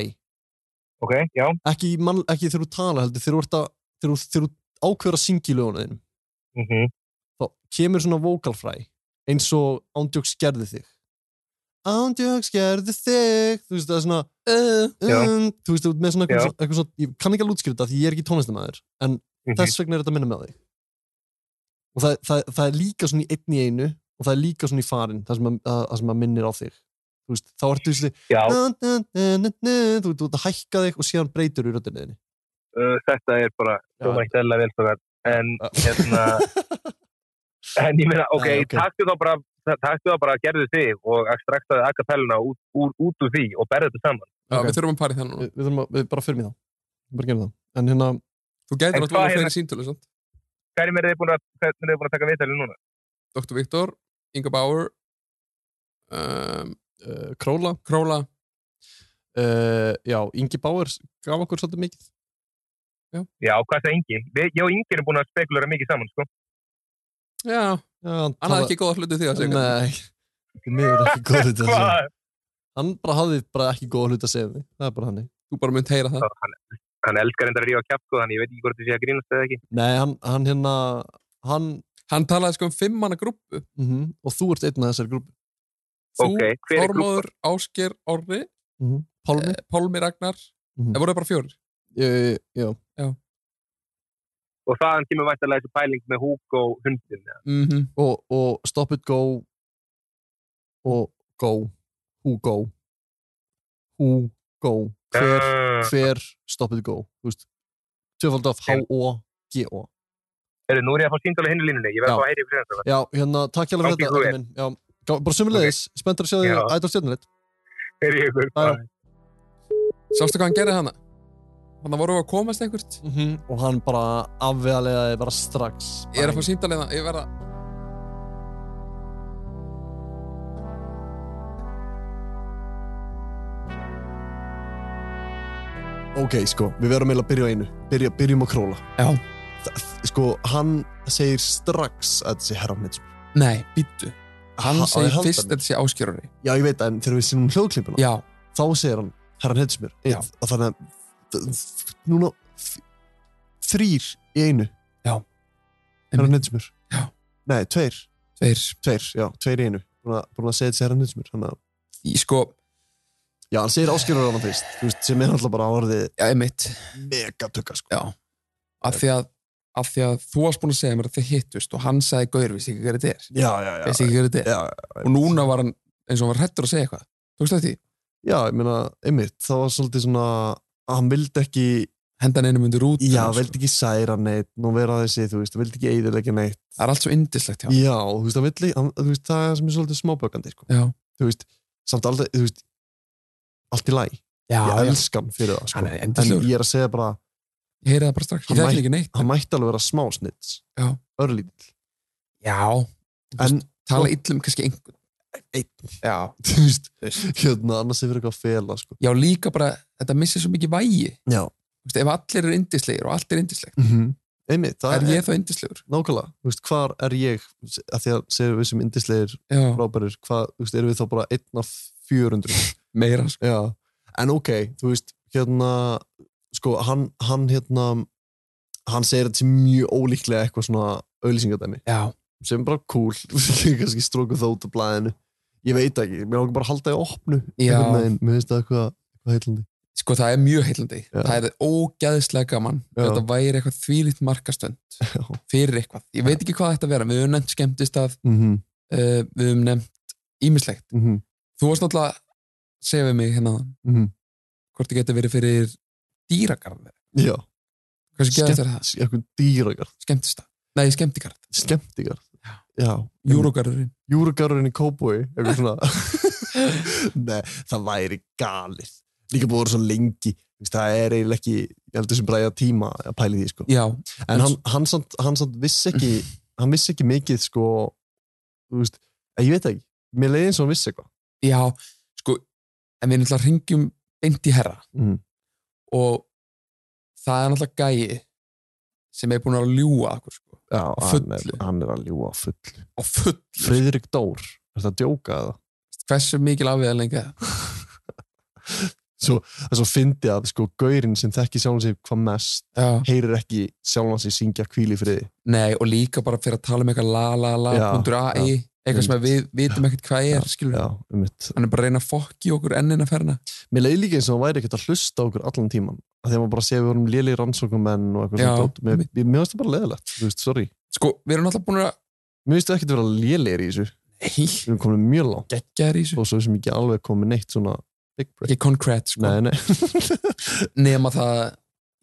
J: ok, já,
B: ekki, í mann, ekki þegar þú tala heldur, þegar þú ert að þegar þú- þegar þú ákveður að syngja í lögunum þínum
J: mm
B: þá kemur svona vokalfræ eins og ándjóks gerði þig Ándjöks gerði þig Þú veist, það er svona uh, um, Þú veist, þú ert með svona eitthvað,
D: Já.
B: svona eitthvað svona Ég kann ekki að lútskýra þetta því ég er ekki tónlistamæður En
G: Mhm.
B: þess vegna er þetta að minna með þig Og það, það, það er líka svona í einn í einu Og það er líka svona í farin Það sem að, að, það sem að minnir á þig Þú veist, þá ertu þessi
G: Já,
B: Þú veist, þú ert að hækka þig og síðan breytur úr röddinni þinni
G: uh, þetta er bara hljóma ekki eðla vel það en hérna en ég meina, ok,
B: Nei,
G: Æ,
B: ok.
G: taktu þá bara taktu þá bara að gerðu þig og extraktaði akapelluna út, úr, út úr því og berðu þetta saman
E: Já,
B: Ok.
E: við þurfum að pari það núna.
B: Við, við þurfum að, við bara fyrir mig þá Við bara gerum það En hérna,
E: Þú
G: En
E: gætir
G: hvað hérna?
E: náttúrulega
G: er-
E: fleiri sko. síntölu, sant?
G: hverjum er þið búin að, hvernig er þið búin að taka viðtælið núna?
E: Dr. Viktor, Inga Bauer, um,
B: uh, Króla
E: Króla,
B: uh, Já, Ingi Báer gaf okkur svolítið mikið
G: Já, hvað það engi? Við, ég og Ingi erum búin að spekulera mikið saman, sko
E: já,
B: Já,
E: hann
B: hann
E: hafði
B: talaði-
E: ekki góða hluti því að segja.
B: Nei, mér er ekki góð hlut að segja
G: Hvað?
B: Hann bara hafði bara ekki góð hlut að segja mig Það er bara hann
E: Þú bara mynd heyra það.
G: Hann, hann elskar enda að rífa kjapt, sko, þannig ég veit ekki hvort þið sé að grínast eða ekki
B: Nei, hann, hann hérna hann,
E: Hann talaði sko um fimm manna grúppu.
B: mm Og þú ert einn af þessari grúpi
E: Þú,
G: Ok, hver er klúpa?
E: Þormóður, Ásker, Orri,
B: mm Pálmi
E: eh, Pálmi Ragnar.
B: Mhm.
E: Það voru bara fjórir.
B: uh, Já,
G: Og þaðan kemur væntalega þessu pæling með húk og hundin ja.
E: Mhm.
B: og, og Stop It Go og Go Who Go Who Go Hver,
E: Ah.
G: uh,
B: hver Stop It Go Þú veist Tjöfald af H-O-G-O
G: Nú er ég að fá síndalega hinn í línunni, ég
B: Já.
G: verð að fá að heyri fyrir þetta
B: Já, hérna, takk hjá fyrir
G: Gangi
B: þetta
G: ykkur
B: Addi minn. Já, gá- bara sömulegis, okay. spenntur að sjá því
G: Já.
B: ætla stjórnulegt
G: Heyri ykkur,
B: Já, já.
E: Sástu hvað hann gerði hana? Þannig voru við að komast einhvert.
B: mm og hann bara afvegalega bara strax
E: Mhm. Ég er að fá síndalega, ég verða...
B: ok, sko, við verðum eiginlega að byrja á einu byrja, byrjum á króla
E: Já.
B: Það, sko, hann segir strax að þessi herrafnitsm
E: Nei, býttu. Hann segir fyrst að
B: mér.
E: þetta sé Ásker Orri.
B: já, ég veit það, en þegar við sínum hljóðklippuna
E: Já,
B: þá segir hann, herran heitst mér
E: Já.
B: að þannig að þ- þ- núna þ- þrír í einu
E: Já.
B: herran heitst mér
E: Já.
B: nei, tveir,
E: tveir.
B: tveir, já, tveir í einu búin að, búin að segja þessi herran heitst mér þannig að,
E: Í sko,
B: já, hann segir áskilur hann fyrst, þú veist, sem er alltaf bara á orðið
E: já, emitt.
B: mega tugga, sko
E: Já, af því að, af því að þú varst búin að segja mér að þið hittust og hann sagði Gaur, veist ekki hvað þetta er,
B: já, já, já,
E: veist ekki hvað þetta er
B: já, já,
E: og núna var hann eins og hann var hrettur að segja eitthvað tókstu þetta í,
B: já, ég meina, einmitt, það var svolítið svona að hann vildi ekki,
E: hendan einum undir út
B: já, vildi ekki særa neitt nú vera þessi, þú veist, vildi ekki eiðilegja neitt
E: það er allt svo indislegt hjá
B: já,
E: hann
B: þú veist, hann vildi, hann, þú veist, það er sem er svolítið smábökandi, sko,
E: já,
B: þú veist samt aldrei, þú veist, allt í læ
E: já,
B: ég
E: já.
B: elska hann fyrir það,
E: hann
B: sko
E: er
B: en
E: endislegur,
B: ég er að segja bara,
E: ég heyri það bara strax
B: Hann
E: ég þekki
B: mæ-
E: ekki neitt,
B: hann mætti alveg vera smá snitts
E: Já.
B: örlítill,
E: já
B: en,
E: tala illum kannski einhvern
B: einn,
E: já,
B: um þú veist hérna, annars er fyrir eitthvað að fela, sko
E: já líka bara, þetta missir svo mikið vægi
B: já,
E: Þú veist, ef allir eru indislegir og allt er indislegt
B: einmitt, það
E: er ég þá indislegur
B: nákvæmlega, þú veist, hvar er ég að því að segjum við sem indislegir
E: já,
B: frábærir, hvað, þú veist, erum við þá bara einn af 400,
E: meira sko.
B: já en ok, þú veist, hérna sko, hann, hann hérna hann segir þetta sem mjög ólíklega eitthvað svona auðlýsingadæmi
E: já,
B: sem er bara cool, kannski strókuð þá út af blæðinu, ég veit ekki mér langar bara að halda í opnu
E: Já.
B: einhvern veginn, mér finnst það eitthvað, eitthvað heillandi
E: sko það er mjög heillandi
B: Já.
E: það er ógæðislega gaman
B: Já.
E: þetta væri eitthvað þvílitt markastönd
B: Já.
E: fyrir eitthvað, ég veit ekki hvað þetta vera við höfum nefnt skemmtist að
B: mm -hmm,
E: uh, við höfum nefnt ímislegt
B: mm -hmm,
E: þú varst náttúrulega að segja við mig hérna áðan,
B: Mhm.
E: hvort þið getur verið fyrir dýragarð
B: já,
E: hversu geðast er það?
B: Skemmt- eitthvað dýragar
E: skemmtist það? Nei, skemmtigarð,
B: skemmtigar
E: Já.
B: já,
E: júrógarðurinn
B: júrugarurinn í Cowboy eitthvað svona Nei, það væri galið líka búið að vera svo lengi þú veist, það er eiginlega ekki, ég heldur sem bara að tíma að pæli því sko,
E: já,
B: en hann, hann, samt, hann samt vissi ekki, hann vissi ekki mikið sko, þú veist eh, ég veit það ekki, mér leiði eins og hann vissi eitthvað
E: já, sko en við náttúrulega ringjum beint í herra
B: Mhm.
E: og það er náttúrulega gæi sem er búin að ljúga að okkur sko,
B: já, hann er,
E: fullu.
B: hann er að ljúa full
E: á full
B: Friðrik Dór, er þetta að djóka eða?
E: hversu mikil afið er lengi það
B: það er svo fyndi að sko, gaurinn sem þekki sjálfan sig hvað mest,
E: já.
B: heyrir ekki sjálfan sig syngja kvíli friði
E: nei, og líka bara fyrir að tala um eitthvað la la la
B: Já,
E: punktur AI eitthvað sem að við vitum ekkert hvað er skilur,
B: Já, um mitt.
E: hann er bara að reyna að fokki okkur ennina ferna
B: Mér leiði líka eins og hann væri ekkert að hlusta á okkur allan tíman. Þegar maður bara sé að við vorum léli rannsókumenn og eitthvað
E: Já,
B: svona dót. Mér,
E: einmitt.
B: mér mér finnst það bara leðilegt, þú veist, sorry.
E: sko, við erum alltaf búin að
B: Mér finnst það ekkert að vera lélir í þessu.
E: Nei,
B: Við erum komin mjög langt
E: geggjaður í þessu
B: og svo sem ekki alveg komið neitt svona big break.
E: ekki konkrétt sko,
B: Nei, nei.
E: nema það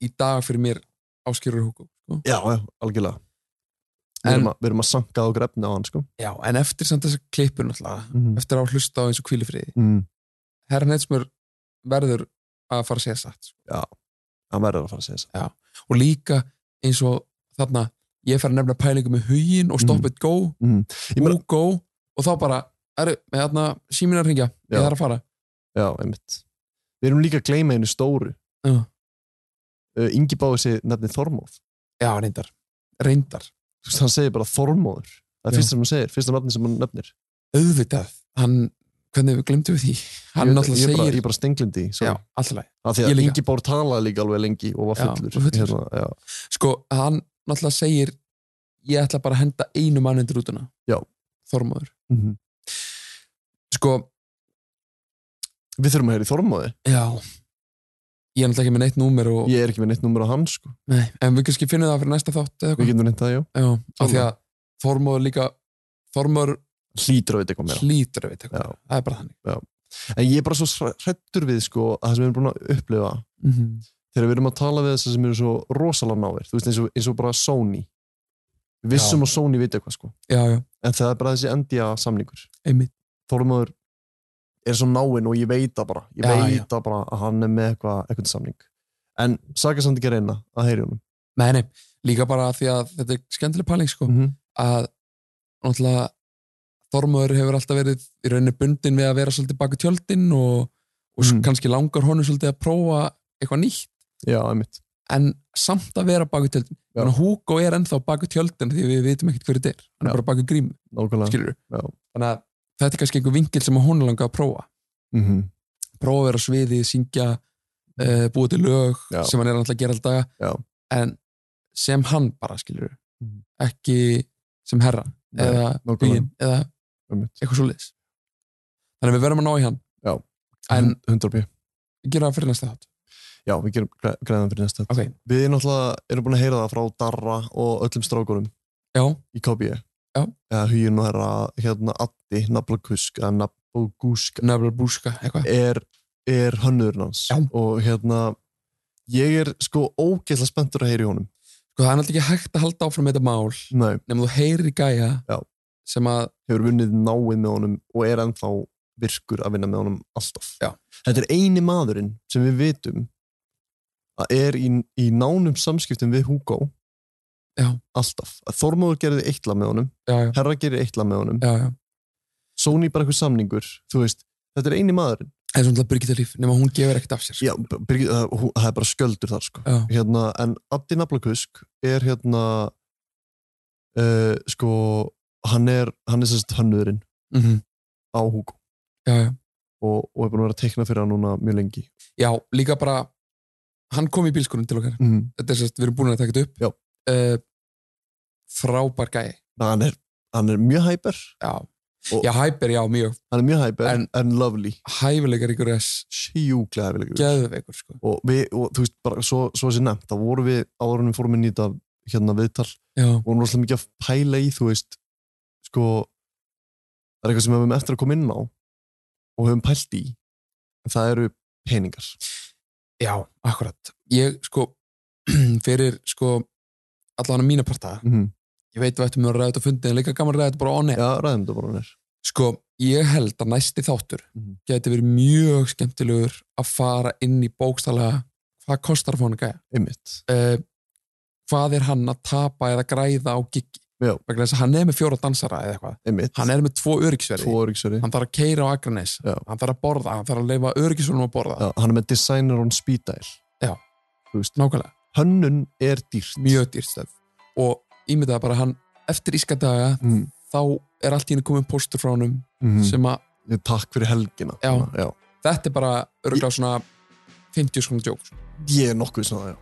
E: í dag fyrir mér áskýrur húku sko.
B: já, já, algjörlega. Við
E: En-
B: erum, að, við erum að sanka okkur efni á hann, sko.
E: já, en eftir samt þessa klippur náttúrulega
B: Mm.
E: eftir að hlusta á eins og kvílifriði
B: Mm.
E: herra neitsmur verður að fara að segja satt sko.
B: Hann verður að fara að segja þess.
E: og líka eins og þarna ég fer að nefna pælingu með hugin og stop
B: Mm.
E: it go
B: Mm. Ég meina-
E: og go og þá bara, eru, með þarna síminn er að ringja, ég
B: Já.
E: þarf að fara
B: Já, einmitt. Við erum líka að gleyma einu stóru.
E: Já.
B: Uh, Ingi báði sig nefni Þormóð.
E: já, reyndar, reyndar,
B: Þú veist, hann segir bara Þormóður. Það er
E: Já.
B: fyrst sem hann segir, fyrsta nafni sem hann nefnir.
E: auðvitað hann, hvernig við glemtum við því hann
B: Ég-
E: náttúrulega
B: ég er bara-
E: segir
B: Ég er bara stenglindi í.
E: já,
B: sorry.
E: alltaf
B: Af því að
E: ég líka.
B: Ingi Bár talaði líka alveg lengi og var
E: Já,
B: fullur.
E: og fullur.
B: Hérna, já.
E: sko, hann náttúrulega segir ég ætla bara að henda einu mann undir rútuna
B: Já.
E: Þormóður
B: Mm
E: sko,
B: Við þurfum að heyra í Þormóði.
E: já ég er náttúrulega ekki með neitt númer og,
B: Ég er ekki með neitt nummer á hans, sko.
E: nei, en við kannski finnum það fyrir næsta þátt eða
B: Við
E: eitthvað,
B: getum neitt það, já.
E: já, af því að Þormóður líka, Þormóður
B: Hlýtur að veit eitthvað meira.
E: hlýtur að veit
B: Já.
E: eitthvað, það er bara þannig
B: En ég er bara svo hrettur við, sko, að það sem við erum búin að upplifa
E: mm
B: þegar við erum að tala við þess sem eru svo rosalega náir, þú veist eins og, eins og bara Sony við vissum að Sony viti eitthvað sko
E: já, já,
B: en það er bara þessi NDA samningur
E: einmitt
B: Þorumöður er svo náinn og ég veit það bara ég
E: Já,
B: veit það bara að hann er með eitthvað, eitthvað samning en Saka samt ekki að reyna að heyri honum
E: nei, nei, líka bara af því að þetta er skemmtileg pæling sko,
B: mm -hmm.
E: að náttúrulega Þormóður hefur alltaf verið í rauninni bundin við að vera svolítið baku tjöldin og, og
B: Mm.
E: mm. kannski langar honum svolítið að prófa eitthvað nýtt
B: já, einmitt
E: en samt að vera baku tjöldin
B: Já.
E: þannig að Hugo er ennþá baku tjöldin því við vitum ekkert hverju þetta er hann
B: Já.
E: er bara baku grím,
B: nákvæmlega
E: skilur
B: Já.
E: þannig að þetta er kannski einhver vingil sem hún langar að prófa
B: mm
E: prófa að vera á sviði, syngja uh, búa til lög
B: Já.
E: sem hann er alltaf að gera alltaf
B: Já.
E: en sem hann bara skilur
B: Mhm.
E: ekki sem herra
B: Nei,
E: eða
B: nákvæmlega.
E: bíin eða
B: Einmitt.
E: eitthvað svo liðs þannig að við verðum að ná í hann
B: Já.
E: en
B: Hund- 100 pjö
E: gera það fyrir næsta þátt
B: já, við gerum græ- græðan fyrir næsta
E: Ok.
B: við erum náttúrulega erum búin að heyra það frá Darra og öllum strákurum
E: já,
B: í KB
E: Já.
B: eða hugin og herra hérna Addi Nablakusk eða Nabogusk
E: nefnilega búska eitthvað
B: er, er hönnurinn hans
E: Já.
B: og hérna ég er sko ógeðslega spenntur að heyra í honum
E: sko, það er náttúrulega ekki hægt að halda áfram með þetta mál
B: Nei,
E: nema þú heyrir gæja
B: Já.
E: sem að
B: hefur vunnið náið með honum og er ennþá virkur að vinna með honum alltaf
E: Já.
B: þetta er eini maðurinn sem við vitum að er í, í nánum samskiptum við Hugo
E: Já.
B: alltaf, að Þormóður gerði eitla með honum
E: já, já,
B: Herra gerði eitla með honum
E: já, já.
B: Sony bara eitthvað samningur, þú veist þetta er eini maðurinn
E: en svona alltaf Birgitta líf nema hún gefur ekkert af sér sko.
B: Já, Birgit, það, hún- það er bara sköldur þar sko
E: Já.
B: hérna, en Abdi Nablakusk er hérna uh, sko hann er, hann er sérst hönnurinn
E: Mhm.
B: á Hugo
E: já, já.
B: og, og er búin að vera að teikna fyrir hann núna mjög lengi
E: já, líka bara hann kom í bílskurinn til okkar
B: mm.
E: þetta er sérst, við erum búin að taka þetta
B: Já.
E: upp uh, frábær gæi
B: hann, er, hann er mjög hæper
E: já,
B: Og-
E: já hæper, já, mjög
B: hann er mjög hæper en,
E: En-
B: lovely
E: hæfilegar ykkur þess
B: sjúklega hæfilegur
E: geðveikur, sko
B: og, við, og þú veist bara svo, svo sem nefnt þá vorum við áðurinn við fórum inn í þetta hérna viðtal
E: já,
B: og hún er rosalega mikið að pæla í þú veist sko það er eitthvað sem við höfum eftir að koma inn á og höfum pælt í en það eru peningar
E: já akkurat ég, sko, fyrir sko, allan að mína parta
B: mm
E: ég veit að við ættum að ræða þetta á fundi en líka gaman að ræða þetta bara onni
B: já, ræðum þetta bara nér
E: sko, ég held að næsti þáttur
B: Mhm.
E: geti verið mjög skemmtilegur að fara inn í bókstælega hvað kostar að fá hann gæja
B: einmitt,
E: uh, hvað er hann að tapa eða græða á giggi
B: Já.
E: vegna þess að hann er með fjóra dansara eða eitthvað
B: einmitt
E: hann er með tvo öryggisverði
B: tvo öryggsverði
E: hann þarf að keira á Akranes
B: Já.
E: hann þarf að borða, hann þarf að leifa öryggisverðum að borða
B: já, hann er með designer on speed dial
E: Já.
B: þú veist,
E: nákvæmlega,
B: hönnun er dýrt
E: mjög dýrt stöf og ímyndaði bara hann eftir íska daga
B: mm.
E: þá er allt í henni komið póstur frá honum
B: Mm.
E: sem að
B: Ég, takk fyrir helgina
E: Já.
B: Svona, já.
E: þetta er bara öruglega svona 50 skona djók sko.
B: ég er nokkuð svona já.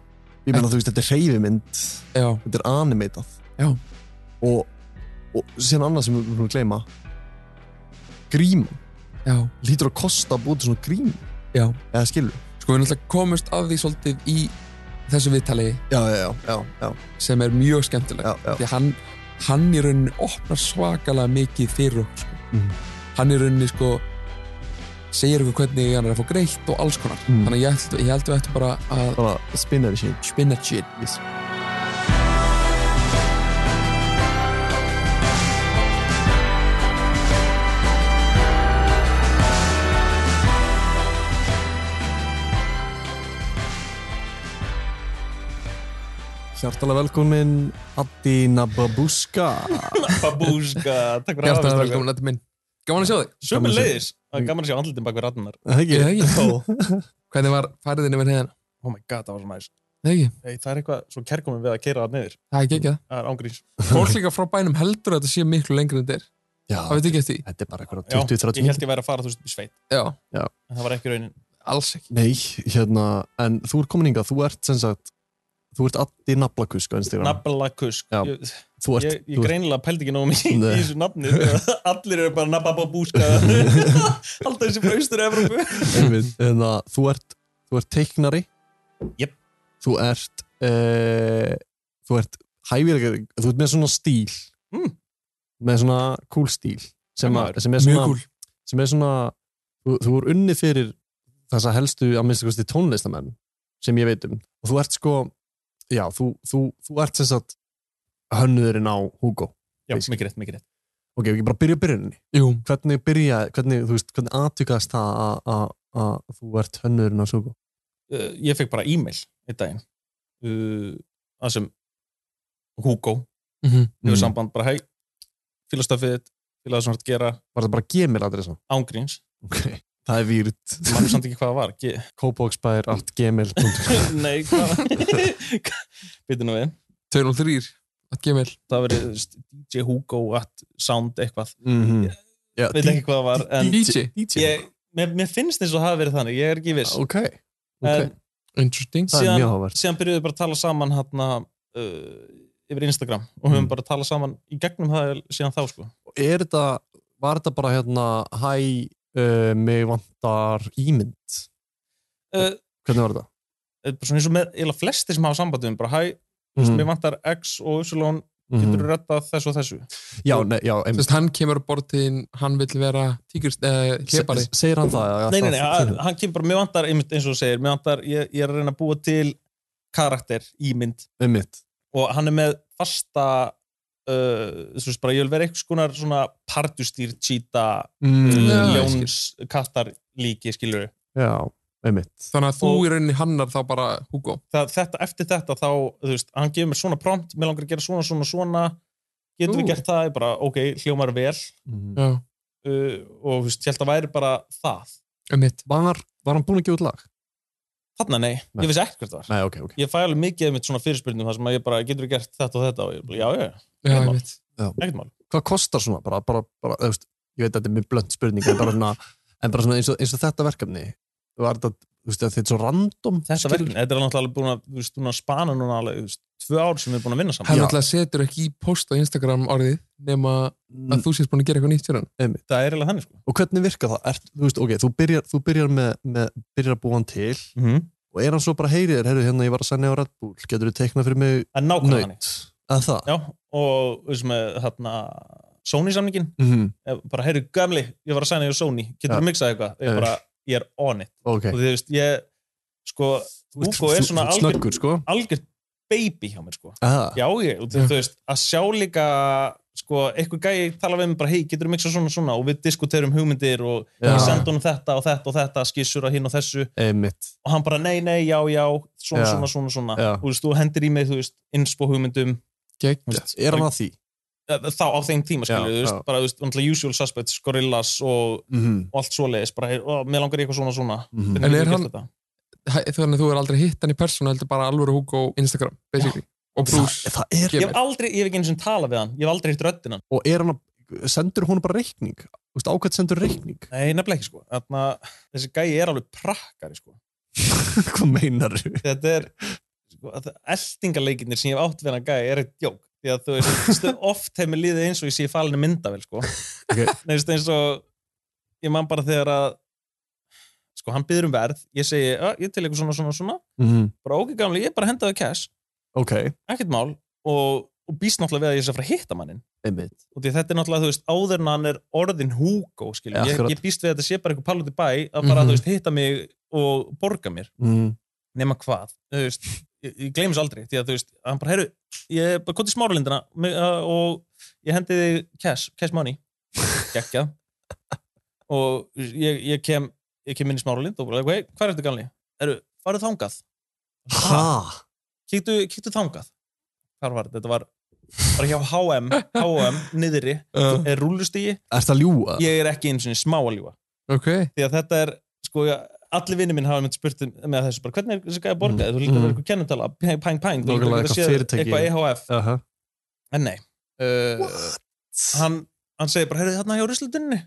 B: ég meina þú veist, þetta er hreyfimynd
E: já,
B: þetta er animatað
E: Já.
B: og, og síðan annað sem við erum að gleyma grím
E: já,
B: lítur að kosta að búa til svona grím
E: já
B: eða skilur
E: sko við náttúrulega komumst að því svolítið í þessu viðtali
B: já, já, já, já, já,
E: sem er mjög skemmtileg
B: já, já.
E: því að hann, hann í rauninni opnar svakalega mikið fyrir okkur sko.
B: Mhm.
E: hann í rauninni sko segir okkur hvernig hann er að fá greitt og alls konar
B: Mhm.
E: þannig að ég, held- ég held við ættum bara að
B: bara spinner shit
E: spinna shit
B: yes. Hjartalega velkomin Adina Babuska
K: Babúska, takk fyrir
E: Hjartalega
K: strákar.
E: velkomin, þetta minn Gaman að sjá þig
K: Sömu leiðis, það er gaman að sjá andlitin bak við ratnar
B: Hegi,
E: Ég hef ekki.
K: Oh
E: Hvernig var færðin yfir Oh heiðan?
K: my god, það var svo næs
E: Nei, ekki.
K: Nei, Það er eitthvað svo kerkomum við að keira það niður
E: það er ekki ekki það
K: Það er ángríns
E: Fólk líka frá bænum heldur að þetta sé miklu lengri en þetta er
B: Já,
E: Það veit ekki eftir því?
B: þetta er bara
K: Já,
B: eitthvað 20-30
K: Ég held ég væri að fara þú veist í sveit
E: Já,
K: En það var ekki raunin
E: alls ekki
B: Nei, hérna, en þú ert komin hingað, þú ert sem sagt, þú ert addi naflakusk á Instagram.
K: Nabla kusk
B: Já.
K: Ég,
B: þú ert,
K: ég, ég
B: þú ert,
K: greinilega pældi ekki nóg mikið í
B: Nei.
K: þessu nafni Allir eru bara nabba babúska Alltaf þessi frá austur Evrópu
B: einmitt, hérna, þú ert, þú ert teiknari.
K: Jep.
B: Þú ert, uh, þú ert hæfilega, þú ert með svona stíl,
K: Mm.
B: með svona cool stíl, sem,
K: Já,
B: að, sem er
E: Mjög
B: svona,
E: kúl
B: sem er svona, þú, þú er unni fyrir þessa helstu, að minnst kosti tónlistamenn, sem ég veit um. Og þú ert sko, já, þú, þú, þú ert sem sagt hönnuðurinn á Hugo.
K: Já, mikið rétt, mikið rétt
B: ok, við ekki bara byrja byrjuninni
E: Jú,
B: hvernig byrja, hvernig, þú veist, hvernig aðtökast það að- að að þú ert hönnurinn á Sugo
K: uh, Ég fekk bara e-mail einn daginn uh, Það sem Hugo
E: Mhm.
K: hefur
B: Mm.
K: samband bara hei fílastöfið þitt, fílaðu svona að gera
B: var það bara gmail adressa
K: ángríns
B: ok, það er výrt
K: mann samt ekki hvað það var Ge
B: kópóksbæðir allt gmail
K: nei, hvað bitur nú við
E: 203 að gemil
K: það eh, verið þú veist, DJ Hugo at sound eitthvað
B: mm -hmm. já,
K: veit ekki hvað það var en
E: DJ,
K: ég, mér, mér finnst eins og það hafi verið þannig ég er ekki viss
B: ok,
K: En-
B: ok,
E: interesting
B: það er
K: síðan-
B: mjög hávert
K: síðan byrjuðum við bara að tala saman hérna uh, yfir Instagram og höfum
B: Mm.
K: bara að tala saman í gegnum það síðan þá sko
B: er þetta, var þetta bara hérna hæ, uh, mig vantar ímynd
K: uh,
B: hvernig var þetta?
K: þetta er bara svona eins og með eiginlega flesti sem hafa sambandum bara hæ,
B: Mm
K: mér vantar X og Y getur
B: -hmm.
K: þú rettað þessu og þessu
B: já, nei, já,
E: Þú
B: einmitt
E: veist, hann kemur á bortin, hann vill vera tíkurs, eh, hlebari
B: Se- segir hann það? að
K: Nei, nei,
B: það-
K: nei, að- hann kemur bara, mér vantar, einmitt eins og þú segir, mér vantar, ég, ég er að reyna að búa til karakter í mynd
B: einmitt,
K: og hann er með fasta, uh, þú veist bara, ég vil vera einhvers konar svona partustýr, cheetah,
B: mm,
E: já,
K: uh,
E: ég
K: ljóns, kattar líki, skilur
B: já, einmitt
E: Þannig að þú
K: Og-
E: í rauninni hannar þá bara Hugo
K: það, þetta, Eftir þetta þá, þú veist, hann gefur mér svona prompt, mér langar að gera svona, svona, svona, getum
E: Ú.
K: við gert það, ég bara, ok, hljómar vel
B: mm.
E: Já,
K: uh, og þú veist, ég held að væri bara það.
E: um mitt
B: var, var hann búin að gefa út lag?
K: Þarna, nei,
B: Nei.
K: ég vissi ekkert hvað það var.
B: Nei, ok, ok.
K: Ég fæ alveg mikið einmitt svona fyrirspyrnum þar sem að ég bara, getur við gert þetta og þetta og ég bara, já, já, já.
E: Já,
K: Gaman.
E: um mitt
K: ekkert mál
B: Hvað kostar svona? Bara, bara, bara, þú veist, ég veit að þetta er mjög blönd spurning, en bara svona, en bara svona eins, og, eins og þetta verkefni, var þetta, þú veist, þetta er svo random.
K: þetta verkefni, þetta er náttúrulega alveg búin að, þú veist, búin að spana núna alveg, þú veist, tvö ár sem við erum búin að vinna saman
E: Hann
B: Já.
E: alltaf setur ekki í post á Instagram orðið nema
B: Mm.
E: að þú sést búin að gera eitthvað nýtt fyrir hann
K: það er eiginlega þannig sko
B: Og hvernig virka það? Er, þú veist, ok, þú byrjar, þú byrjar með, með, byrjar að búa hann til
K: mm -hmm.
B: og er hann svo bara heyrið þér, heyrðu, hérna, ég var að sænja á Red Bull, getur þú teiknað fyrir mig
K: en nákvæmlega þannig
B: nöyt? Að það?
K: já, og þú veist með þarna Sony samningin,
B: Mhm,
K: Ef bara heyrðu gamli ég var að sæna ég á Sony, getur
B: Já.
K: þú miksað eitthvað ég
B: Já.
K: bara, ég er on it
B: ok.
K: og þú veist, ég, sko Hugo er
B: Þú-
K: svona
B: þú-
K: algjör-
B: Snöggur, sko.
K: algjör baby hjá mér sko
B: Aha.
K: já, ég, og þú þú veist, að sjá líka sko, eitthvað gæi tala við mig bara hei, getur þú miksað svona og svona og við diskuterum hugmyndir og
B: Já.
K: ég sendi honum þetta og þetta og þetta, skissur að hinn og þessu
B: Einmitt.
K: og hann bara nei, nei, já, já, svona,
B: Já.
K: svona, svona, svona.
B: Já.
K: Þú, veist, þú hendir í mig, þú veist, inspo hugmyndum
E: Gegn,
B: Er hann að því?
K: eh, þá á þeim tíma, skilur,
B: Já,
K: þú veist,
B: já.
K: bara, þú veist, náttúrulega usual suspects, gorillas og,
B: Mhm,
K: og allt svoleiðis, bara, hey, ó, mér langar í eitthvað svona, svona.
B: mhm.
K: Hvernig
E: En er
K: getur þú
E: hann-
K: gert þetta?
E: þannig að þú er aldrei hitt hann í persónu heldur bara alvöru Hugo á Instagram basically og
B: Það,
E: pluss
B: það er
K: Ég hef aldrei, ég hef ekki eins og talað við hann, ég hef aldrei hitt röddina.
B: og er hann að, sendur hún bara reikning Þú veist, ákvæmt sendur reikning
K: Nei, nefnilega ekki, sko. Þannig að þessi gæi er alveg prakkari, sko.
B: hvað meinar þú?
K: Þetta er, sko, eldingarleikinir sem ég hef átt við hann gæi er eitt jók. Því að þú veist, stu- oft hefur mér liðið eins og ég sé falinu myndavel, sko.
B: Ok.
K: Nei, þú veist, eins og ég man bara þegar að sko, hann byður um verð, ég segi "Ah, ég til eitthvað svona, svona, svona,
B: Mhm.
K: bara ok gamli ég bara hendaði cash,
B: Ok,
K: ekkert mál og, og býst náttúrulega við að ég sé að fara að hitta mannin
B: einmitt.
K: og því að þetta er náttúrulega, þú veist, áður en hann er orðin Hugo, skiljum, ég,
B: Akkurat.
K: ég býst við að þetta sé bara eitthvað pál út í bæ, að bara,
B: Mhm.
K: þú veist, hitta mig og borga mér,
B: Mm.
K: nema hvað þú veist, ég, ég gleymis aldrei, því að þú veist hann bara, herru, ég er bara kom til smáralindina mig- uh, og ég hendi þig cash, cash money, gekkja og ég, ég kem ég kem inn í smáralind og bara, hey, hvað er þetta ganli? Herru, farið þangað
B: Ha?
K: kíktu, kíktu þangað hvar var þetta, þetta var bara hjá HM, HM niðri
E: Uh.
K: er rúllustígi,
B: Er það ljúa?
K: ég er ekki eins og smá að ljúa
E: ok,
K: því að þetta er sko, ég- allir vinnir minn hafa einmitt spurt um- með þessu, bara hvernig er þessi gæði að borga þú lítur að vera eitthvað kennutala, pæng, pæng, pæng þú lítur að
B: Nákvæmlega, eitthvað
K: vera
B: fyrirtæki.
K: eitthvað E EHF
B: Uh -huh.
K: en nei, uh, hann, hann segir bara, heyrðu þarna hjá ruslutinni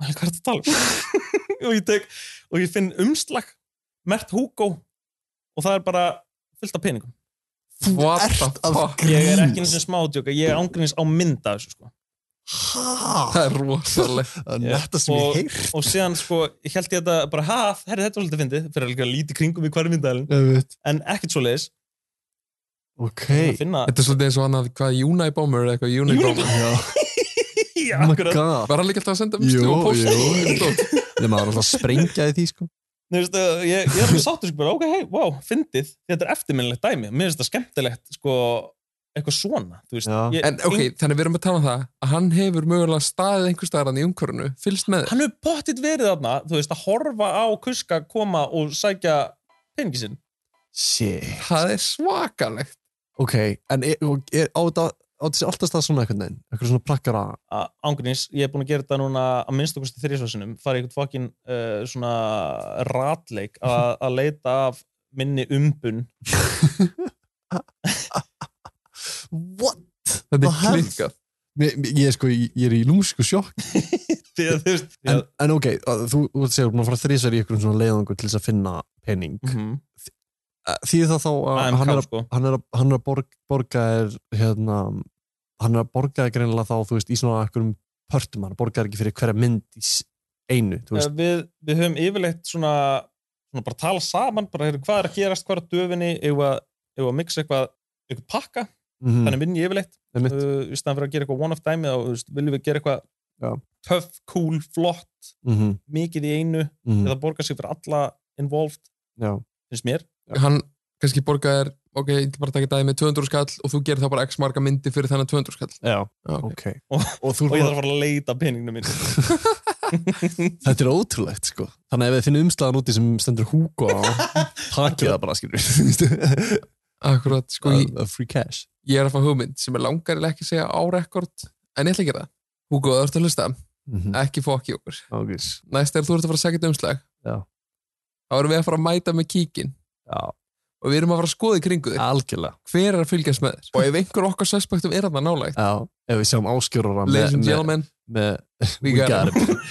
K: og hann, hvað er þetta að tala um?" og ég tek, og ég finn umslag mert Hugo og það er bara fullt af peningum
E: what the fuck
K: ég er ekki eins og smá djóka, ég er ángriðins á mynda þessu sko
B: Ha?
E: það er rosalegt
B: Ah. Það er
K: Já.
B: netta sem
K: Og-
B: ég heyr.
K: og síðan sko, ég held ég þetta bara, ha, herri þetta var svolítið fyndið fyrir alveg að líti kringum í hverju myndalinn
B: Einmitt.
K: en ekkert svo leiðis
B: Ok.
K: að finna
E: þetta er svolítið eins og hann að hvað Unibomber eða eitthvað Unibomber
B: Já,
K: Já,
B: oh my
K: akkurat.
B: god.
E: var hann líka alltaf að senda
B: Jú,
E: umstu og posta
B: jú.
E: Dót.
B: Nei, maður er alltaf að sprengja í því, sko.
K: Nei, veistu, uh, ég, ég er alveg sáttur sko bara, ok, hei, wow, fyndið þetta er eftirminnilegt dæmi, mér finnst þetta skemmtilegt sko, eitthvað svona þú veist,
B: Já.
K: ég,
E: en ok, þannig við erum að tala um það að hann hefur mögulega staðið einhver staðar hann í umhverfinu fylgst með þér
K: hann hefur pottitt verið þarna þú veist, að horfa á kuska koma og sækja peningi sinn
B: Shit.
E: það er svakalegt
B: Ok, en er, og er, á þetta á þessi alltaf stað svona einhvern veginn, einhver svona prakkara
K: ángrins, ég er búin að gera þetta núna að minnst okkur þrjusvarsinum, fara í eitthvað fokkin uh, svona ratleik að að leita af minni umbun
B: What?
E: þetta
B: Og
E: er
B: hefð.
E: klikkað
B: Mér, mér- ég, er sko, ég ég er í lúmsku sjokk
K: því að þú veist
B: en, en ok, að, þú, þú segir búin að fara þrísar í einhverjum svona leiðangur til þess að finna pening mm.
K: Mhm.
B: Þýðir það þá að hann
K: AMK
B: er að,
K: sko
B: hann er að, hann er að borg, borga er hérna, hann er að borga er greinilega þá, þú veist, í svona einhverjum pörtum, hann borgar ekki fyrir hverja mynd í s- einu, þú
K: Eh,
B: veist
K: við, við höfum yfirleitt svona, svona bara tala saman, bara heyrðu hvað er að gerast hvað er að döfinni, eigum að, eigum að mixa eitthvað, eitthvað pakka,
B: mm
K: þannig vinn ég yfirleitt
B: Einmitt.
K: uh, í staðan fyrir að gera eitthvað one of time eða þú veist, viljum við gera
B: Já.
K: eitthvað töff, cool, flott,
B: mm -hmm.
K: mikið í einu
B: Mm
K: eða borga sig fyrir alla involved,
B: Já,
K: finnst mér
E: hann kannski borgað er ok, ég ætla bara að taka dæmi með 200 skall og þú gerir þá bara x marga myndi fyrir þennan 200 skall
B: já,
E: Já, ok.
B: ok
K: Og-
B: þú
K: og ég þarf að fara að leita peninginu mín
B: Þetta er ótrúlegt sko Þannig að ef við finnum umslagan úti sem stendur Hugo á Hakið það bara skilur við
E: Akkurat, sko, ég,
B: Free cash
E: ég er að fá hugmynd sem er langarilega ekki að segja á rekord en ég ætla að gera það. Hugo, þú ert að hlusta,
B: Mhm.
E: ekki fokk í okkur
B: Ágis
E: næst er þú ert að fara að segja þetta umslag
B: Já.
E: þá erum við að fara að mæta með kíkin
B: Já.
E: og við erum að fara að skoða í kringu þig
B: Algjörlega
E: hver er að fylgjast með þér og ef einhver okkar suspektum er að það nálægt
B: Já, ef við sjáum áskjörara
E: ladies and gentlemen,
B: með,
E: we
B: We
E: got
B: got
E: it
B: it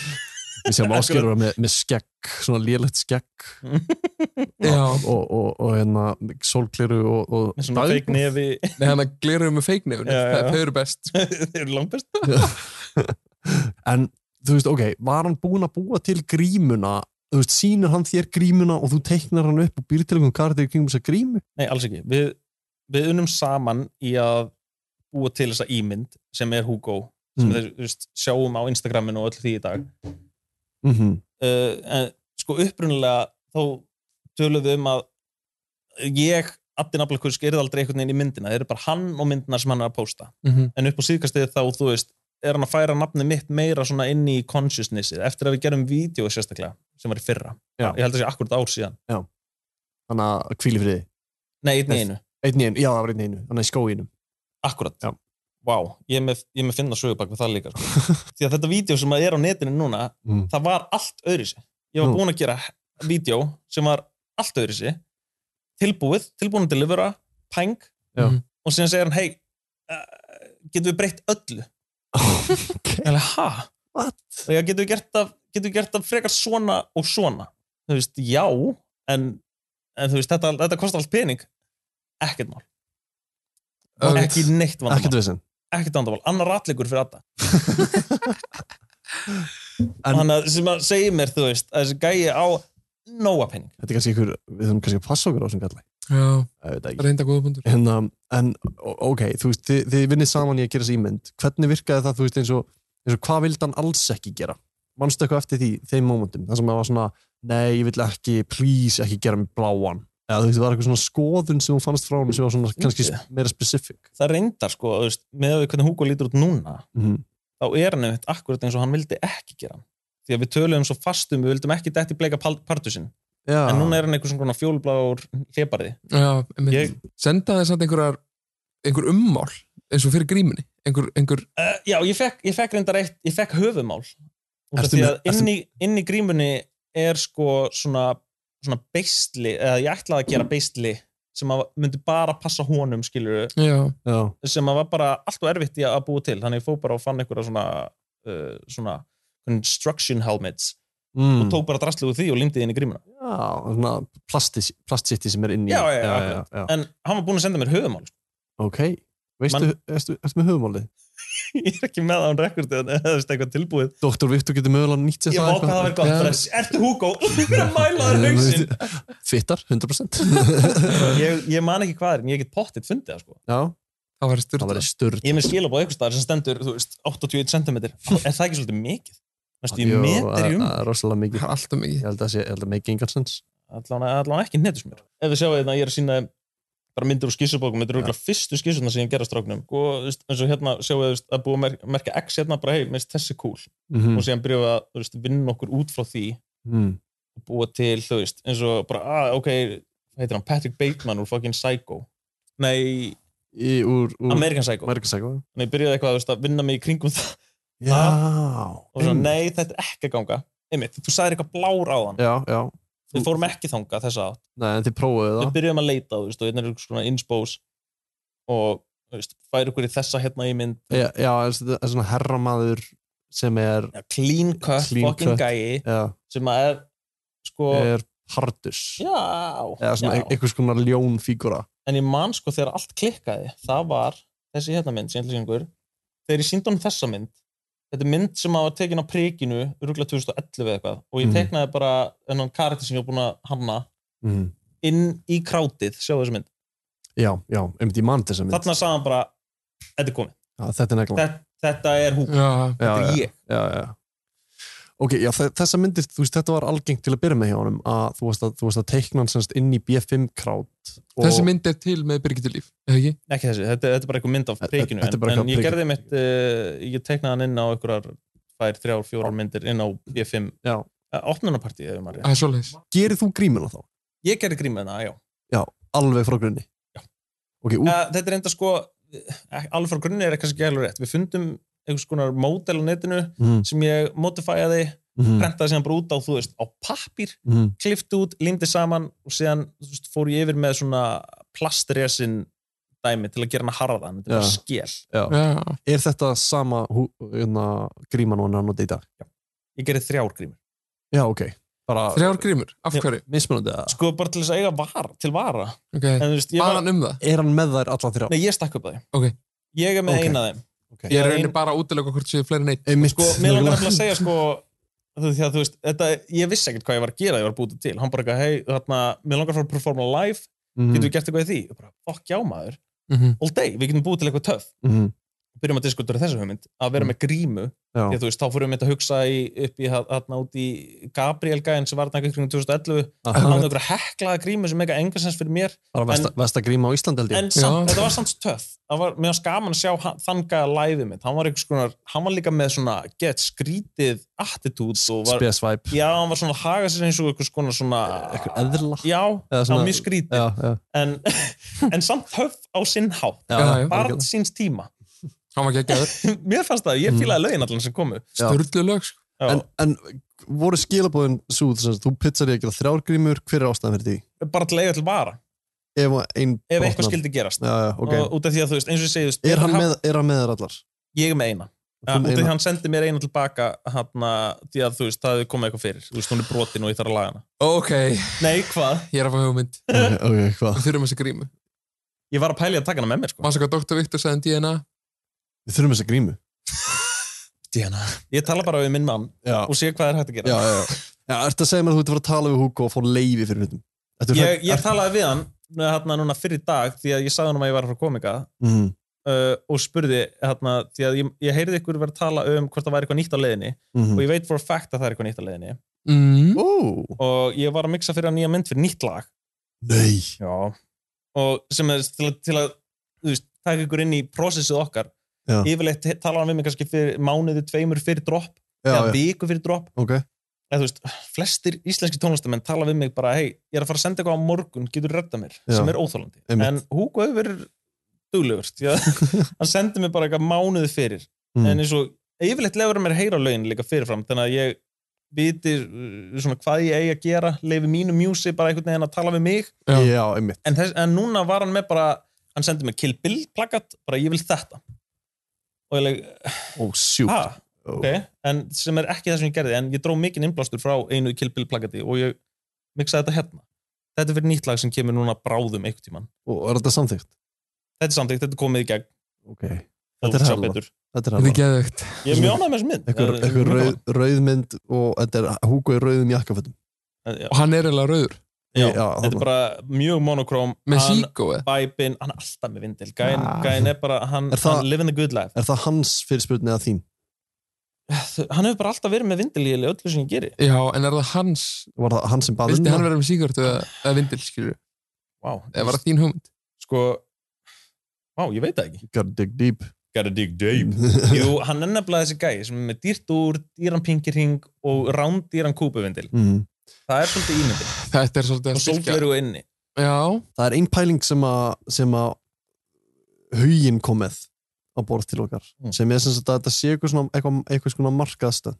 B: Við sjáum áskjörara með, með skegg Svona lélegt skegg
E: Já.
B: Og, og, og hérna sólkleru og, og
K: með svona feik nefi,
E: Nei, hann að glerum með feiknefinu
K: Já, já, já.
E: þau eru best sko.
K: þeir eru langbest
B: En þú veist, ok, var hann búinn að búa til grímuna Þú veist, sýnir hann þér grímuna og þú teiknar hann upp og býr til einhvern karakter í kringum þessa grímu
K: Nei, alls ekki. Við, við unum saman í að búa til þessa ímynd sem er Hugo, sem mm.
B: Mm.
K: þeir þú veist, sjáum á Instagraminu og öll því í dag.
B: mm -hmm.
K: Uh, en sko upprunalega þá tölum við um að ég, Abdi Naflakursk, er aldrei einhvern veginn í myndina. Það eru bara hann og myndina sem hann er að posta.
E: Mhm.
K: En upp á síðkastið þá, þú veist, er hann að færa nafnið mitt meira svona inn í consciousnessið eftir að við gerum vídeo sérstaklega sem var í fyrra.
B: Já.
K: Ég held að sé akkurat ár síðan.
B: Þannig að hvíli fyrir þið
K: Nei, einn í
B: Yes.
K: einu.
B: Einn í einu, já það var einn í einu, þannig að í skóinum
K: Akkurat.
B: Já.
K: Vá, ég er með, ég er með finna sögubak við það líka. Sko. Því að þetta vídeo sem er á netinu núna,
B: Mm.
K: það var allt öðrisi. Ég var
B: Nú.
K: búinn að gera vídeo sem var allt öðrisi, tilbúið, tilbúin að delivera, pæng,
B: Já.
K: og síðan segir hann, hei, uh, getum við breytt öllu?
B: okay.
K: Eller, ha?
B: What?
K: Og ég getum við gert það, getum við gert það frekar svona og svona? Þú veist, já, en, en þú veist, þetta, þetta kostar allt pening. Ekkert mál.
E: Öll.
K: Ekki neitt vandamál
B: Ekkert vissin
K: ekkert vandamál, annar ratleikur fyrir Adda Þannig að sem að segja mér, þú veist, að þessi gæi á nóa penning.
B: Þetta er kannski ykkur, við þurfum kannski að passa okkur á þessum galli.
E: Já,
B: Ég veit það ekki.
E: reynda góða bundur.
B: En, um, en ó- ok, þú veist, þið, þið vinnið saman í að gera þessi ímynd. Hvernig virkaði það, þú veist, eins og, eins og hvað vildi hann alls ekki gera? Manstu eitthvað eftir því, þeim mómentum, þar sem það var svona, nei, ég vil ekki, please, ekki gera mig bláan. Eða þú veist, það var eitthvað svona skoðun sem hún fannst frá hann sem var svona kannski
K: Fyndið.
B: meira specific.
K: Það reyndar, sko, þú veist, með að við hvernig Hugo lítur út núna,
B: Mm
K: þá er hann einmitt akkurat eins og hann vildi ekki gera hann. Því að við töluðum svo fastum, við vildum ekki detti bleika partusinn.
B: Já,
K: En núna er hann einhver svona fjólblár hleparði.
E: Já, einmitt.
K: Ég-
E: Senda þeir samt einhverjar, einhver ummál, eins og fyrir gríminni. Einhver, einhver,
K: Uh, já, ég fekk, ég fekk reyndar eitt, ég fekk höfumál. Út af
B: Ertu
K: því
B: með-
K: að inn í, inn í grímunni er sko svona, svona beistli, eða ég ætlaði að gera beistli sem að myndi bara passa honum, skilur
E: já,
B: já,
K: sem að var bara allt og erfitt í að að búa til þannig ég fór bara og fann einhverja svona uh, svona construction helmets
B: mm.
K: og tók bara drastlu úr því og lindið inn í grímuna
B: já, svona plastis, plastsitti sem er inn í.
K: Já, já, já,
B: já,
K: akkurat.
B: já.
K: en hann var búinn að senda mér höfumál sko.
B: Ok, veistu, Man... ertu, ertu með höfumálið?
K: ég er ekki með það án rekord eða eða þú veist, eitthvað tilbúið
B: Dr. Viktor getur mögulega nýtt sér
K: ég vá hvað það verið gott
E: Já.
K: bara, ertu Hugo og þú verður að mæla þér hausinn
B: Fittar, 100%.
K: ég, ég man ekki hvað er en ég get pottitt fundið það sko
B: já,
E: það var
B: það
E: styrta.
B: verið stört.
K: ég er með skilabóð eitthvað staðar sem stendur þú veist, 81 cm er það ekki svolítið mikið? Næstu, ég
B: Jú,
K: metir í
B: það-
K: um
B: það er rosalega mikið.
E: Það er alltaf mikið.
B: Ég held að það sé- ég held að það make engan sens.
K: allan, allan ekki netusmjör ef við sjáum þetta, ég er að sína bara myndir úr skissubókum, þetta eru
B: Já.
K: ja. fyrstu skissuna sem ég gera stráknum og þú veist, eins og hérna sjáum við þú veist, að búa að merk- merkja X hérna bara hei, minnst þessi cool
B: Mhm.
K: og síðan byrjuðum við að þú veist, vinna okkur út frá því
B: Mm.
K: og búa til, þú veist, eins og bara ah, ok, hvað heitir hann, Patrick Bateman úr fucking Psycho, nei
B: Í, úr, úr
K: American Psycho, Amer
B: American Psycho.
K: en ég byrjuði eitthvað þú veist, að vinna mig í kringum það
B: Já.
K: Ah. og svona,
B: einmitt.
K: nei, þetta er ekki að ganga einmitt, þú sagðir eitthvað blár á þann
B: Já, já.
K: við fórum ekki þanga þessa átt
B: Nei, en þið prófuðu
K: við
B: það.
K: byrjum að leita þú veist, og hérna er einhvers konar inspós og þú veist, fær okkur í þessa hérna í mynd
B: Já, já en þetta er svona herramaður sem er,
K: Já, clean cut,
B: Clean
K: fucking
B: cut.
K: gæi
B: já,
K: sem að er sko,
B: er hardus.
K: já,
B: Eða svona
K: já.
B: ein- einhvers konar ljónfígura.
K: en ég man sko þegar allt klikkaði það var þessi hérna mynd sem ég ætla að sýna ykkur. þegar ég síndi honum þessa mynd þetta er mynd sem að var tekin á prikinu rúglega 2011 eða eitthvað og ég
B: Mhm.
K: teknaði bara hennan karakter sem ég var búin að hanna Mhm.
B: Mm.
K: inn í krátið, sjáu þessa mynd
B: Já, já, einmitt ég mann þessa mynd.
K: þarna sagði hann bara, þetta er komið
B: Já, þetta er negla.
K: þetta, þetta er húk,
E: Já,
B: Já,
K: þetta
B: já.
K: er ég
B: já, já. Ok, já, þe- þessa myndir, þú veist, þetta var algengt til að byrja með hjá honum að þú veist að, þú veist að teikna hann semst inn í B5-krát og
E: þessi mynd er til með Birgitur Líf, eða ekki?
K: ekki þessi, þetta, þetta er bara eitthvað mynd af
B: Þetta-
K: prikinu
B: þetta er bara
K: en, en
B: eitthvað af
K: ég
B: prikinu.
K: gerði mitt uh, ég teknaði hann inn á einhverjar fær, þrjár, fjórar myndir inn á B5
B: Já.
K: opnunarpartíð ef maður rétt.
E: Það er svoleiðis.
B: gerir þú grímuna þá?
K: ég gerði grímuna, já
B: Alveg frá grunni? Ok, út,
K: uh, þetta er enda sko eh, alveg frá grunni er kannski ekki alveg rétt við fundum einhvers konar módel á netinu
B: mm,
K: sem ég modifiaði,
B: mm,
K: prentaði síðan bara út á þú veist, á pappir,
B: mm,
K: klifti út limdi saman og síðan þú veist, fór ég yfir með svona plastresin dæmi til að gera hana harðan, þetta er bara
B: Já.
K: skél
B: já.
E: Já,
B: Er þetta sama hú, hérna, gríman og hann nota í dag?
K: ég gerði þrjár grímur
B: Já, ok. Bara
E: þrjár grímur, af
K: Já.
E: hverju?
B: mismunandi eða?
K: sko bara til þess að eiga var, til vara
E: Ok,
K: en þú veist, ég,
E: bara
K: var,
E: um það.
B: Er hann með þær alla þrjá?
K: nei, ég stakk upp að þeim
E: Ok.
K: ég er með
B: Ok.
K: eina af þeim
B: Ok.
E: Ég er
K: Ein-
E: rauninni bara að útilega hvort séu fleiri neitt.
B: Einmitt,
K: sko, mér langar nefnilega
B: nefnilega.
K: að segja sko þú, því að, þú veist, þetta, ég vissi ekkert hvað ég var að gera ég var að búta til, hann bara eitthvað, hei, þarna mér langar að fara að performa live, getum
B: Mhm,
K: við gert eitthvað í því ég bara, fuck já maður,
E: Mhm.
K: all day, við getum búið til eitthvað töff
B: mhm,
K: byrjum að diskutera þessa hugmynd, að vera með grímu
B: Já,
K: því að þú veist, þá fyrir við að hugsa í, upp í þa- þarna út í Gabriel gæðin sem var þarna eitthvað í kringum 2011, hann
B: Aha,
K: hafði einhverja heklaða grímu sem eitthvað engasens fyrir mér
B: bara vesta, vesta gríma á Íslandi held ég.
K: en samt,
E: Já.
K: þetta var samt töff það var mjög skaman að sjá hann- þann gæða live mitt, hann var einhvers konar, hann var líka með svona get skrítið attitudes og var,
B: Spesvæp,
K: já, hann var svona að haga sér eins og einhvers konar svona
B: eitthvað eðla.
K: já,
B: Eða
K: það
B: svona-
K: var mjög skrítið
B: Já, já.
K: en, en samt töff á sinn hátt
B: Já,
E: Já, já.
K: barn síns tíma
E: Hann var geggjaður.
K: mér fannst það, ég fílaði lögin allan sem komu
B: Mm. Já.
E: Sturlu lög, sko.
K: Já.
B: en, en voru skilabóðin svo þess að þú pizzar ég að gera þrjár grímur hver er ástæðan fyrir því?
K: bara til að eiga til vara,
B: Ef, ein
K: ef
B: brotnar.
K: eitthvað skildi gerast
B: já, já, ok.
K: og, út af því að þú veist, eins og ég segi þú veist,
B: er, hann
K: haf-
B: með, er hann með þær allar?
K: ég er með eina
B: Þú
K: Ja, út af því
B: eina.
K: hann sendi mér eina tilbaka hana, því að þú veist, það hefði komið eitthvað fyrir þú veist, hún er brotin og ég þarf að laga hana
E: Ok,
K: Nei, hvað?
E: ég er að fá hugmynd.
B: ok, ok, hvað?
E: Við þurfum þessi grímu.
K: Ég var að pæla í að taka hana með mér, sko.
E: Massa hvað Dr. Viktor sagði um DNA?
B: Við þurfum þessa grímu hitt ég hana
K: Ég tala bara við minn mann
B: Hérna. Já.
K: og sé hvað er hægt að gera.
B: já, já, já. já ertu að segja mér að þú ert að fara að tala við Hugo og fá leifi fyrir hlutum Ertu
K: Ég,
B: hrædd-
K: ég
B: ertu-
K: talaði við hann hérna núna fyrir dag því að ég sagði hann að ég var frá komika
B: Mhm.
K: uh, og spurði hérna því að ég, ég heyrði ykkur verið að tala um hvort það væri eitthvað nýtt á leiðinni
B: Mhm.
K: og ég veit for a fact að það er eitthvað nýtt á leiðinni
E: mm.
B: Ó,
K: og ég var að mixa fyrir hann nýja mynd fyrir nýtt lag
B: nei
K: Já. og sem er til, að- til að þú veist, taka ykkur inn í prósessið okkar
B: Já.
K: yfirleitt he- talar hann við mig kannski fyrir mánuði tveimur fyrir dropp
B: Já,
K: eða
B: já,
K: viku fyrir dropp
B: ok
K: eða þú veist, flestir íslenski tónlistamenn tala við mig bara, hei, ég er að fara að senda eitthvað á morgun getur redda mér,
B: Já.
K: sem er óþálandi
B: Einmitt.
K: en Hugo hefur verið duglegur því að hann sendi mér bara eitthvað mánuði fyrir
B: Mm.
K: en eins og, yfirleitt lefur hann mér að heyra lögin líka fyrirfram, þannig að ég viti uh, svona hvað ég eigi að gera leifi mínu mjúsi bara einhvern veginn að tala við mig
B: Já, já einmitt
K: en, þess, en núna var hann með bara hann sendi mér Kill Bill plakat bara ég vil þetta og ég leik,
B: Ó, sjúk
K: ha, ok, en sem er ekki það sem ég gerði en ég dró mikinn innblástur frá einu Kill Bill plakati og ég miksaði þetta hérna þetta er fyrir nýtt lag sem kemur núna bráðum einhvern tíman,
B: Og er þetta samþykkt?
K: þetta er samtíkt, þetta er komið í gegn
B: Ok
K: fólk
B: Þetta er
K: sjá
B: herlað.
K: betur.
B: Þetta er
E: Þetta
B: hann
E: er geðvögt
K: ég er mjög ánægð með þessum mynd
B: Ekkur,
K: Það er-
B: ekkur
K: mjög
B: rauð, rauðmynd og þetta er Hugo í rauðum jakkafötum
K: gaman. Já,
E: og hann er eiginlega rauður
K: já,
B: já,
K: þetta
B: þarna.
K: er bara mjög monokróm
E: með
K: hann
E: síkó eða
K: bæbin, hann er alltaf með vindil gæn,
B: Ah.
K: gæn er bara, hann,
B: Er það-
K: hann living the good life
B: Er það hans fyrirspurn eða þín?
K: hann hefur bara alltaf verið með vindil í öllu sem ég geri
E: já en er það hans
B: Var það hann sem baði
E: vildi hann vera með síkort eða, eða vindil skilur
K: wow,
E: eða var það þín hugmynd
K: sko Vá, ég veit það ekki.
B: Gotta dig deep
K: Gotta dig deep. Jú, hann er nefnilega þessi gæi sem er með dýrt úr, dýran pingirhing og rándýran kúpuvindil.
B: mm.
K: Það er svolítið ímyndin.
E: þetta er svolítið
K: Og
E: að styrkja
K: sólgleru inni.
E: já
B: Það er ein pæling sem að sem að hugin kom með á borð til okkar
K: Mm.
B: sem er sem sagt að þetta sé eitthvað svona eitthvað, eitthvað svona markaðstönd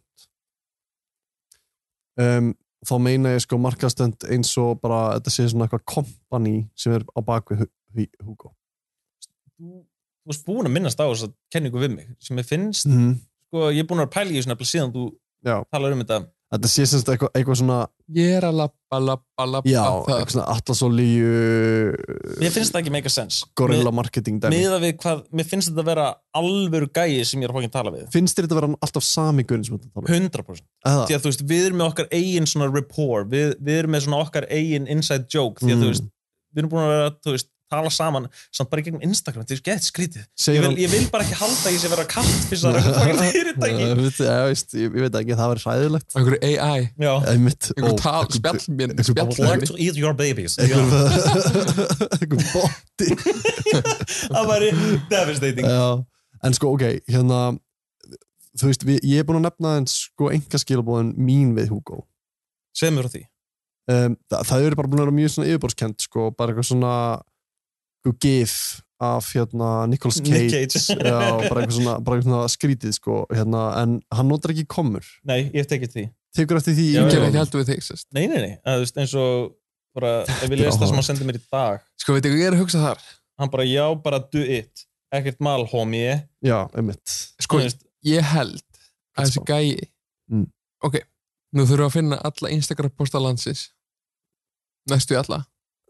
B: um, þá meina ég sko markaðstönd eins og bara þetta sé svona eitthvað kompani sem er á bakvið Hu- Hu- Hugo
K: Þú þú varst búin að minnast á þess að kenningu við mig sem ég finnst,
B: mm.
K: sko, ég er búin að pæla í þessu nefnilega síðan þú
B: Já.
K: talar um þetta.
B: Þetta sé sem sagt eitthvað, eitthvað svona
E: ég er að lappa, lappa, lappa
B: já,
E: það.
B: eitthvað svona atlasolíu
K: Mér finnst það ekki meika sens.
B: gorilla marketing
K: Mér,
B: dæmi
K: miða við hvað, mér finnst þetta að vera alvöru gæi sem ég er hókin að tala við.
B: Finnst þér þetta vera alltaf sami gurin sem þetta um?
K: 100%.
B: tala?
K: því að þú veist, við erum með okkar eigin svona rapport, við, við erum með svona okkar eigin inside joke, því að
B: Mm.
K: þú veist við erum búin að vera, þú veist, tala saman samt bara í gegnum Instagram, þetta er gett skrítið ég
B: Segir
K: vil,
B: hann
K: ég vil bara ekki halda að ég sé vera kallt fyrst að það er eitthvað fyrirtæki
B: Ég veit- já, veist, ég, ég veit ekki, það verður hræðilegt
E: einhverju AI,
K: já,
B: einmitt
E: einhverju
B: ó,
E: tal,
B: einhver-
E: spjall mér
B: einhver
E: spjall
B: bolla-
K: like to eat your babies Já,
B: einhver einhver botti
K: það væri devastating
B: já. en sko ok hérna þú veist við, ég er búin að nefna en sko enga skilabóðin mín við Hugo
K: segð mér frá því
B: um, það, það eru bara búin að vera mjög svona yfirborðskend sko bara eitthvað svona eitthvað gif af hérna Nicolas Cage,
K: Nick Cage.
B: já, bara, eitthvað svona, bara eitthvað svona skrítið sko hérna, en hann notar ekki komur
K: nei, ég hef tekið því
B: tekur eftir því í
K: Já,
E: ég ger
B: umgjörðinni?
E: ekki heldur við þig sest.
K: nei, nei, nei, að, þú veist, eins og bara, ef
B: er
K: við lesum það sem
B: áhugavert.
K: hann sendi mér í dag
E: sko veit ekki, ég er að hugsa þar
K: hann bara, já, bara do it ekkert mál, homie
B: já, einmitt
K: Þú
E: sko,
K: veist,
E: ég held að þessi gæi
B: Mm.
E: ok, nú þurfum við að finna alla Instagram posta landsins næstu í alla,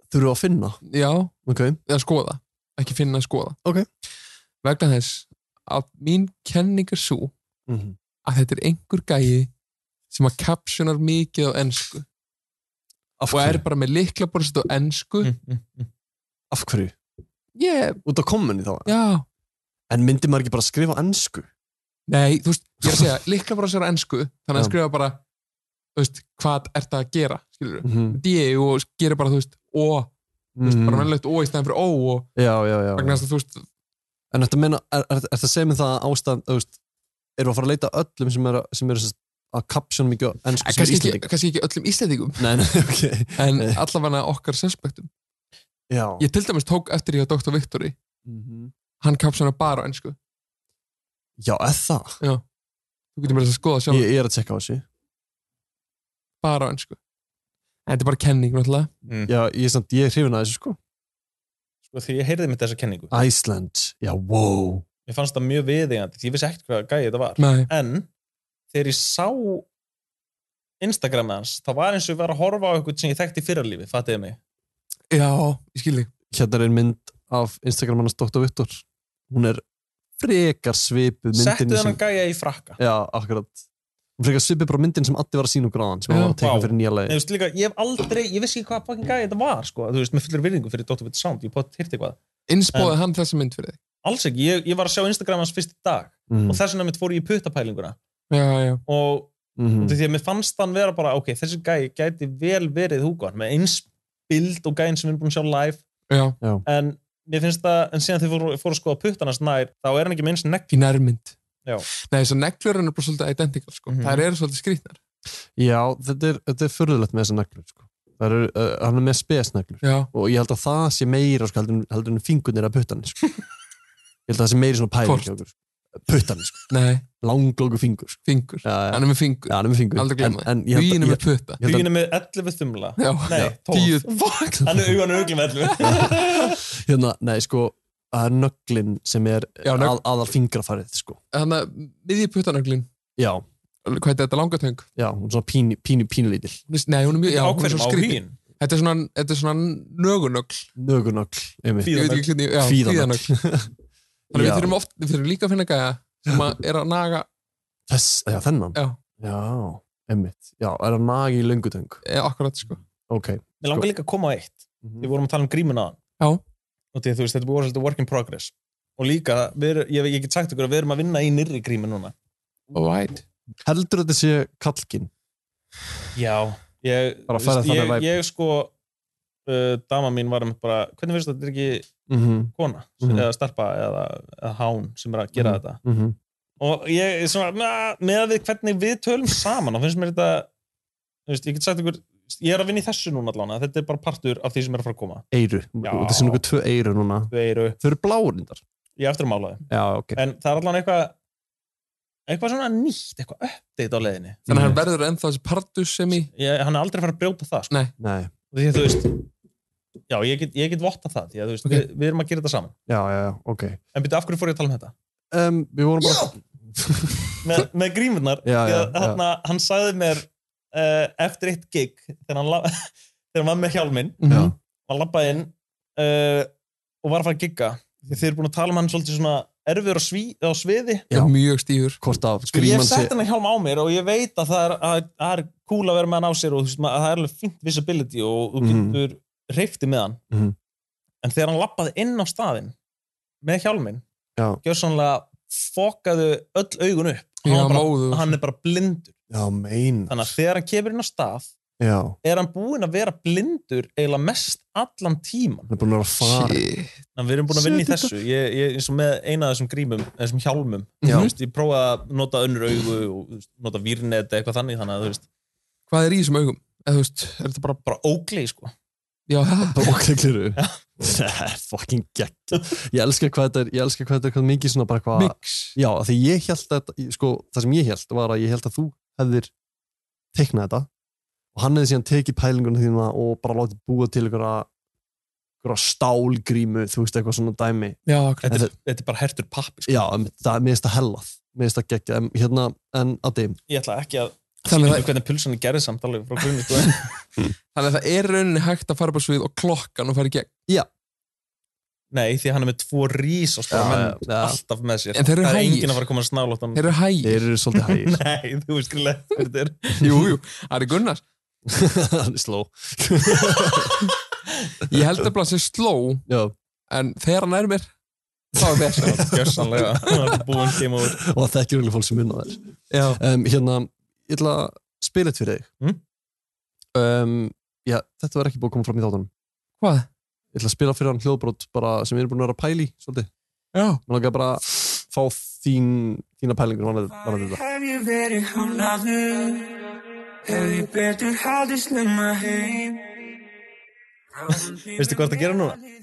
B: þurfu að finna
E: já,
B: ok,
E: eða skoða ekki finna að skoða
B: Ok.
E: vegna þess að mín kenning er svo
B: Mhm.
E: að þetta er einhver gæi sem að captionar mikið á ennsku
B: af,
E: og er
B: hverju?
E: bara með liklaborðsett á ennsku
K: mm, mm, mm.
B: af hverju?
E: ég,
B: út á kommenni þá
E: já,
B: en myndi maður ekki bara skrifa ennsku
E: Nei, þú veist, ég er að segja, líkla bara sér á ennsku þannig að
B: Já.
E: skrifa bara, þú veist, hvað er það að gera, skilur við
B: mm -hmm.
E: og gera bara, þú veist, ó, þú veist, bara mennlegt ó í stæðan fyrir ó og
B: Mhm. já, já, já,
E: vegna
B: já.
E: þess að þú veist,
B: en þetta meina, er, er, er það sem það að ástæðan þú veist, erum við að fara að leita öllum sem eru sem er að kapsjóna mikið á ennsku
E: Eh,
B: sem er
E: kannski ekki,
B: íslending
E: kannski ekki öllum íslendingum
B: nei, nei, ok
E: en
B: Nei.
E: allavega okkar suspektum
B: já,
E: Ég til dæmis tók eftir ég á Dr. Victory
B: Mhm.
E: hann kapsa hana bara á ennsku
B: já eða það
E: þú getur mér að skoða sjálf
B: ég, ég er að tjekka á þessu
E: bara á ennsku en þetta er bara kenning, náttúrulega
K: Mm.
B: já, ég, er samt, ég er hrifin að þessu sko
K: Sko, því ég heyrði mitt þessa kenningu
B: Iceland, já, wow
K: ég fannst það mjög viðeigandi, því ég vissi ekkert hvað gæi þetta var
E: Nei,
K: en þegar ég sá Instagram hans, það var eins og ég var að horfa á eitthvað sem ég þekkti í fyrralífi, fattiði mig
E: já, ég skil þig
B: hérna er ein mynd af Instagram hans Dr. Vittur hún er frekar svipuð myndinni
K: Settu þennan gæja í frakka
B: Já, akkurat Frekar svipuð bara myndin sem Addi var að sína okkur aðan sem hann var að teka
K: Vá.
B: fyrir nýja
K: Nei,
B: leið
K: þú veist, líka, ég hef aldrei, ég vissi ekki hvað fucking gæja þetta var sko, þú veist, með fullur virðingu fyrir Dr. Vitt Sound, ég bótt hirti eitthvað
E: Innspóði hann þessa mynd fyrir þig?
K: alls ekki, ég, ég var að sjá Instagram hans fyrst í dag og þess vegna mitt fór ég í puttapælinguna
E: Já, já.
K: og
B: mm
E: Mhm.
K: mm. því að mér fannst hann vera bara, ok, þessi gæi gæti vel verið Hugo, hann með eins bild og gæin sem við erum búin að sjá live
E: Já.
B: Já.
K: en mér finnst það, en síðan þegar fóru, fóru að skoða puttanast nær, þá er hann ekki með eins negli
E: Í nærmynd.
K: Já.
E: Nei, þessar neglur hann er bara svolítið identical, sko.
K: Mhm.
E: Þær eru svolítið skrýtnar.
B: Já, þetta er, þetta er förðulegt með þessa neglur sko. Það eru, uh, hann er með spesneglur
E: Já.
B: og ég held að það sé meira sko, heldur, en- heldur en fingurnir að puttan sko. Ég held að það sé meira svona pæling
E: Hvort?
B: hjá okkur, sko. Puttan, sko.
E: Nei,
B: langlóku fingur sko.
E: fingur.
B: Já, já,
E: Hann er með fingur.
B: já, hann er með fingur
E: Aldrei
B: en,
E: glemma
B: en ég held
E: Hugin
B: að,
E: er
B: ég,
E: með putta.
B: ég held að
K: hugin er með 11 þumla
E: Já.
K: nei, 12
E: Tíu. Fuck.
K: hann er hugan auglum 11
B: hérna, nei, sko, það er nöglin sem er
E: Já, nögl-
B: að, aðal fingrafarið sko.
E: Þannig að miðji puttanöglin,
B: já,
E: hvað heitir þetta langatöng?
B: já, hún er svona pínu, pínu, pínulítil
E: Hún er- Nei, hún er mjög, já, hún er
K: ákveðum
E: svo
K: á
E: skrýtn.
K: hugin
E: Þetta er svona, þetta er svona nögunögl.
B: nögunögl, einmitt
E: Ég veit
K: Fíðanögl.
E: ekki hvernig, já,
B: Fíðanögl.
E: fíðanögl. Þannig við
B: Já.
E: þurfum oft, við þurfum líka að finna gæja sem að er að naga,
B: Þess, já, þennan?
E: Já.
B: Já, emmitt. Já, er hann nagi í löngutöng?
E: eh, akkurat, sko.
B: Ok.
K: mér langar líka að koma á eitt
E: Mhm.
K: við vorum að tala um grímuna
E: Já.
K: og því, að, þú veist, þetta voru svolítið work in progress og líka, við, erum- ég, ég get sagt ykkur að við erum að vinna í nyrri grími núna
E: Alright.
B: sko. Heldur þetta sé kallkin?
K: Já, ég,
B: Bara færa
K: veist,
B: þannig
K: ég,
B: væp.
K: ég sko uh, dama mín var um bara hvernig finnst þetta er ekki
B: Mm -hmm.
K: kona
B: Mhm.
K: eða starpa eða, eða hán sem er að gera
B: Mhm.
K: þetta og ég er svona, na, með við hvernig við tölum saman, þá finnst mér þetta þú veist, ég get sagt ykkur ég er að vinna í þessu núna allan, þetta er bara partur af því sem er að fara að koma,
B: Eiru.
K: Já.
B: Þetta sé nokkuð tvö eiru núna.
K: þau eru
B: Þau eru blárindar.
K: í eftirmálaði,
B: Já, ok.
K: en það er allan eitthvað eitthvað svona nýtt, eitthvað uppdate á leiðinni
E: Þannig
B: Mm.
E: að hann verður ennþá þessi pardus sem í,
K: ég, hann er aldrei að fara að brjóta það sko.
B: Nei.
K: Og því að þú veist já, ég get, ég get votta það því að þú veist,
E: Ok.
K: við, við erum að gera þetta saman
B: Já, já, já, ok.
K: en byrju, af hverju fór ég að tala um þetta?
B: Um, við vorum bara...
K: með, með grímurnar,
B: Já,
K: því
B: já,
K: að þarna, hann sagði mér uh, eftir eitt gig þegar hann, la- þegar hann var með hjálminn
E: Mhm.
B: Já.
K: hann labbaði inn uh, og var að fara að gigga því þeir eru búin að tala um hann svolítið svona erfiður á, sví, á sviði
E: er
B: Já.
E: mjög stífur.
B: Hvort að
K: Sko, ég
B: gríman sé...
K: sett hennar hjálm á mér og ég veit að það er, að, að er cool að vera með hann á sér og þú veist, maður- að það er alveg fint visibility og þú
B: Mhm.
K: getur hreifti með hann
B: Mhm.
K: en þegar hann lappaði inn á staðinn með hjálminn
B: Já.
K: gjörsanlega fokaðu öll augun upp
E: Já,
K: hann, var
E: móður.
K: bara, hann er bara blindur
B: Já, mein.
K: þannig að þegar hann kemur inn á stað
B: Já.
K: er hann búinn að vera blindur eiginlega mest allan tíman
B: Hann er búin að vera að fara.
E: Shit.
K: þannig að við erum búin að vinna í
B: Shit,
K: þessu ég, ég, eins og með eina af þessum grímum þessum hjálmum
E: Já.
K: Þú veist, ég prófaði að nota önnur augu og þú veist, nota vírnet eða eitthvað þannig þannig að þú veist,
E: Hvað er í þessum augum? Eða þú veist, er þetta bara,
K: bara óglei sko
E: já, það,
B: Það ok, kliru. Það er fucking gegn. Ég elska hvað þetta er, ég elska hvað þetta er hvað mikið svona bara hvað...
E: mix.
B: Já, af því ég held að, sko, það sem ég held var að ég held að þú hefðir teiknað þetta og hann hefði síðan tekið pælingunum þína og bara látið búa til einhverja, einhverja stálgrímu, þú veist, eitthvað svona dæmi.
E: Já, akkurat.
K: þetta, er- þetta er bara hertur pappi sko.
B: Já, einmitt, það er mest að hellað, mest að gegja, en hérna, en Addi,
K: ég ætla ekki að
E: Þannig að
K: skilja hvernig pulsan er gerðið samt alveg frá grunni sko.
E: Þannig að það er rauninni hægt að fara bara svið og klokkan og fara í gegn.
K: nei, því að hann er með tvo rís og
B: Já,
K: stóra menn
B: já, já.
K: alltaf með sér
E: En þeir eru
K: það er
E: hægir.
K: enginn að fara að koma að snála
E: Þeir eru hægir.
B: þeir eru svolítið hægir.
K: nei, þú veist skilja þetta er
E: Jú, jú, Ari Gunnars.
B: hann er sló.
E: Ég held að bara sé sló,
B: Já,
E: en þegar hann er mér, þá er mér sér.
K: gjörsanlega búinn kemur úr
B: og það þekkir alveg fólk sem unna þér.
E: Já.
B: Um, hérna, ég ætla að spila þetta fyrir þig.
K: Mm.
B: Um, já, þetta var ekki búið að koma fram í þáttunum.
E: Hvað?
B: Ég ætla að spila fyrir hann hljóðbrot bara sem við erum búin að vera að pæli svolítið.
E: Já.
B: Mér langar bara að fá þín, þína pælingur varðið þetta.
F: Hef ég verið hann lagður Hef ég betur haldið snemma heim
K: Veistu hvað ertu að gera núna?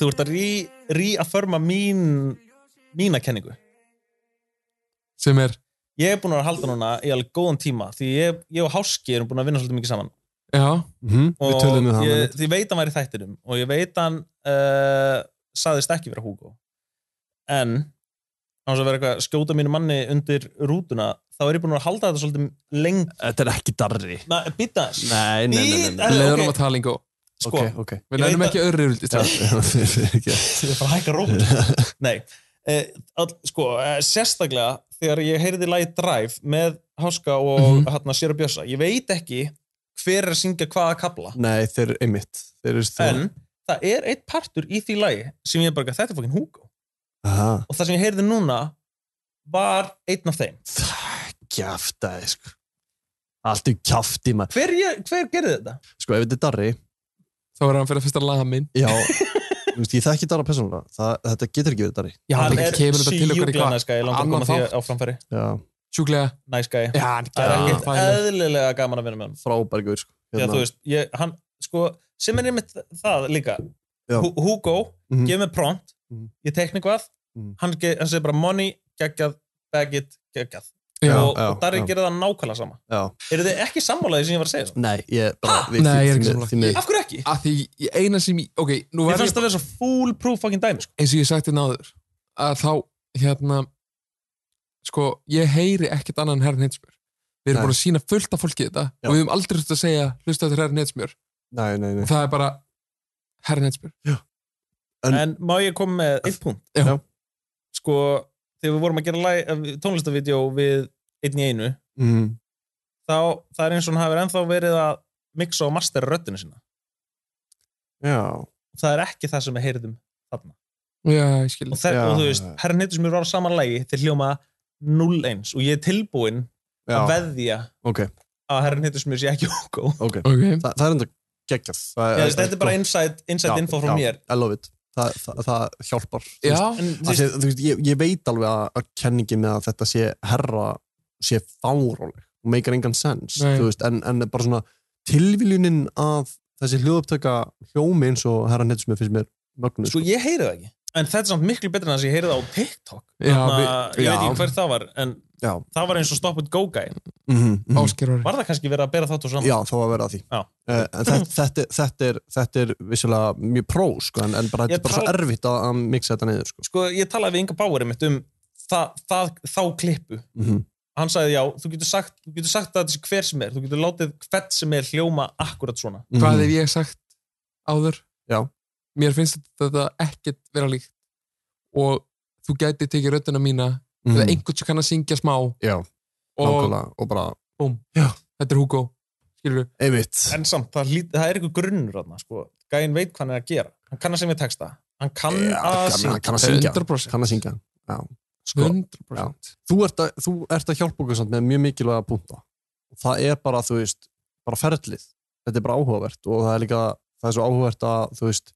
K: þú ert að rí-affirma mín mína kenningu
E: Sem er,
K: ég er búinn að vera að halda núna í alveg góðan tíma því ég, ég og Háski erum búin að vinna svolítið mikið saman
E: já,
B: Mm -hmm. Við
K: og
B: töluðum um það.
K: ég,
B: einmitt.
K: ég veit hann væri í þættinum og ég veit hann uh, saðist ekki vera Hugo en án þess að vera eitthvað að skjóta mínu manni undir rútuna þá er ég búinn að vera að halda þetta svolítið lengi
B: Þetta er ekki darri.
K: Na, býta aðeins.
B: Nei, nei, nei, nei. nei.
K: Eh,
E: við leiðum
K: ok.
E: að tala yngu.
K: sko,
B: Ok, ok.
E: Við
K: Ég
E: leiðum
K: veit
E: ekki öðru yfirleitt.
B: Já, fyrir ekki.
K: ég er bara að hækka rót nei, eh, all, sko, eh, sérstaklega þegar ég heyrði lagi Drive með Háska og mm
B: Mhm.
K: -hmm. hérna Sjöra Björsa ég veit ekki hver er að syngja hvaða kabla
B: Nei, þeir er einmitt. Þeir eru
K: en það er eitt partur í því lagi sem ég bara, þetta er fokkin Hugo
B: Aha,
K: og það sem ég heyrði núna var einn af þeim
B: kjaftaði, sko. Allt í kjafti, maður.
K: hver, ég, hver gerði þetta?
B: Sko, ef þetta er Darri,
E: Þá er hann fyrir að fyrsta lamin
B: já, þú veist, ég þekki Darra persónulega. Það, þetta getur ekki verið Darri.
E: Já, hann
K: er
E: kemur þetta til okkur í
K: sjúklega
E: hvað
K: næskæði, langar að koma
E: Annan
K: því
E: þátt.
K: á framfæri
B: Já,
E: Sjúklega
K: næskæði,
E: Já, hann
K: það er
E: gerir
K: ekkert
E: það fæl.
K: eðlilega gaman að vinna með hann
B: frábærgur, sko.
K: Já, þú veist, ég, hann, sko, sem er einmitt það líka
B: Já.
K: Hu- Hugo,
B: Mhm.
K: gef mér prompt
B: Mhm.
K: ég teikna eitthvað
B: Mhm.
K: hann, ge- hann segir bara money, geggjað, bag it, geggjað
E: Já.
K: og,
B: já,
K: og Darri
B: já.
K: gerir það nákvæmlega sama
B: Já.
K: eru þið ekki sammálaði sem ég var að segja svona?
B: Nei, ég bara...
K: Ha?
B: við-
E: Nei, ég er
B: því
E: ekki
B: miður-
E: sammála.
B: því miður.
K: af hverju ekki?
E: Af því ég- eina sem ég, ok, nú
K: Ég
E: verður
K: fannst að vera svo full proof fucking dæmi sko.
E: eins og ég sagti náður að þá hérna sko ég heyri ekkert annan herr Netsmjör við erum
B: Nei.
E: búin að sína fullt af fólki þetta
B: Já.
E: og við höfum aldrei þurft að segja hlusta til herr Netsmjör
B: Nei, nei, nei.
E: og það er bara herr Netsmjör
B: En-
K: en má ég koma með eitt punkt?
E: Já.
B: Já.
K: sko, þegar við vorum að gera eh, tónlistavídeó við einn í einu
B: Mm.
K: þá það er eins og hann hafi ennþá verið að mixa og mastera röddina sína
B: Já.
K: það er ekki það sem við heyrðum þarna
E: já ég skil
K: og, þe-
B: Já.
K: og þú veist, herra neytur sem eru á saman lægi til hljóma 0-1 og ég er tilbúinn að
B: Já,
K: veðja
B: ok,
K: að herra neytur sem sé ekki okko
B: ok.
E: okay.
B: Þa, það er enda geggjað. Það
K: þetta er bara inside, inside
B: Já,
K: info frá
B: já,
K: mér
B: I love it. Það, það, það hjálpar. þú
E: já,
B: veist.
K: en, þú
B: Af því
K: veist,
B: að, Þú veist, ég, ég veit alveg að, að kenningi með að þetta sé herra sé fáróleg og meikar engan sens
E: Nei.
B: þú veist, en, en bara svona tilviljunin að þessi hljóðupptöka hljómi eins og herra neitt sem finnst mér mögnu
K: sko ég heyri það ekki en þetta er samt miklu betur en það sem ég heyri það á TikTok
E: já
K: Þannig
E: við,
K: að ég veit
B: já.
K: ekki hver það var en
B: Já.
K: það var eins og Stop and Go Guy
B: mm -hmm.
E: ásker ári
K: var það kannski verið að bera þátt og saman
B: Já, þá var að vera að því
K: Já.
B: Eh, en þetta, þetta, er- þetta, er, þetta er vissulega mjög pró sko, en, en bara, þetta
K: Ég
B: er bara svo
K: tala-
B: erfitt að, að mixa þetta niður sko.
K: sko ég talaði við Inga Bauer einmitt um það, það, þá klippu
B: mm -hmm.
K: hann sagði já, þú getur sagt, þú getur sagt að þessi hver sem er, þú getur látið hvert sem er hljóma akkurat svona
B: Mhm.
E: hvað hef ég sagt áður
B: Já.
E: mér finnst þetta ekkert vera líkt og þú gæti tekið röddina mína eða einhvern sem kann að syngja smá og
B: Mhm. Já, nákvæmlega og bara,
E: þetta er Hugo skilur
B: einmitt
K: en samt, það, lít, það er eitthvað grunnur þarna, sko. gæinn veit hvað hann er að gera hann kann að semja texta, hann kann
B: Já,
K: að
B: kann-
K: syngja
B: kann að syngja
E: 100%.
B: kann að syngja já. sko,
E: 100%
B: þú, ert að, þú ert að hjálpa okkur samt með mjög mikilvæga punta það er bara, þú veist, bara ferlið þetta er bara áhugavert og það er líka það er svo áhugavert að, þú veist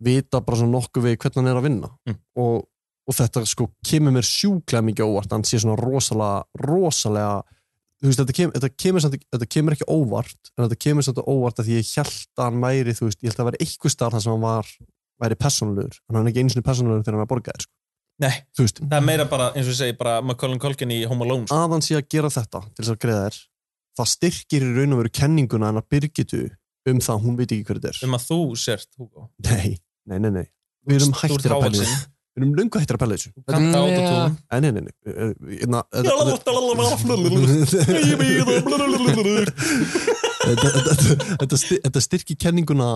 B: vita bara svona nokkuð við hvernig hann er að vinna
K: Mm.
B: og, og þetta sko kemur mér sjúklega mikið á óvart hann sé svona rosalega, rosalega þú veist, þetta, kem, þetta, kemur samt, þetta kemur ekki óvart en þetta kemur samt á óvart að því ég held að hann væri, þú veist, ég held að það væri eitthvað starf þar sem hann var, væri persónulegur en hann er ekki einu sinni persónulegur þegar hann er að borga þér sko.
K: Nei.
B: þú veist,
K: það er meira bara, eins og ég segi, bara McCollum Culkin í Home Alone, sko.
B: að hann sé að gera þetta til þess að greiða þér það styrkir í raun og veru kenninguna hennar Birgitu um það að hún veit ekki hver þetta er
K: um að þú sért Hugo,
B: nei, nei, nei, nei við erum
K: þú
B: hættir að pæla í þessu
K: hávaxinn.
B: við erum löngu hættir að pæla í þessu Þetta-
K: Kanta
E: Mm,
K: autotune.
B: Nei, nei, nei, nei. Eh, eh, na-
K: Ég
B: þetta-
K: býð að-
B: Þetta- þetta- þetta styr- þetta styrkir kenninguna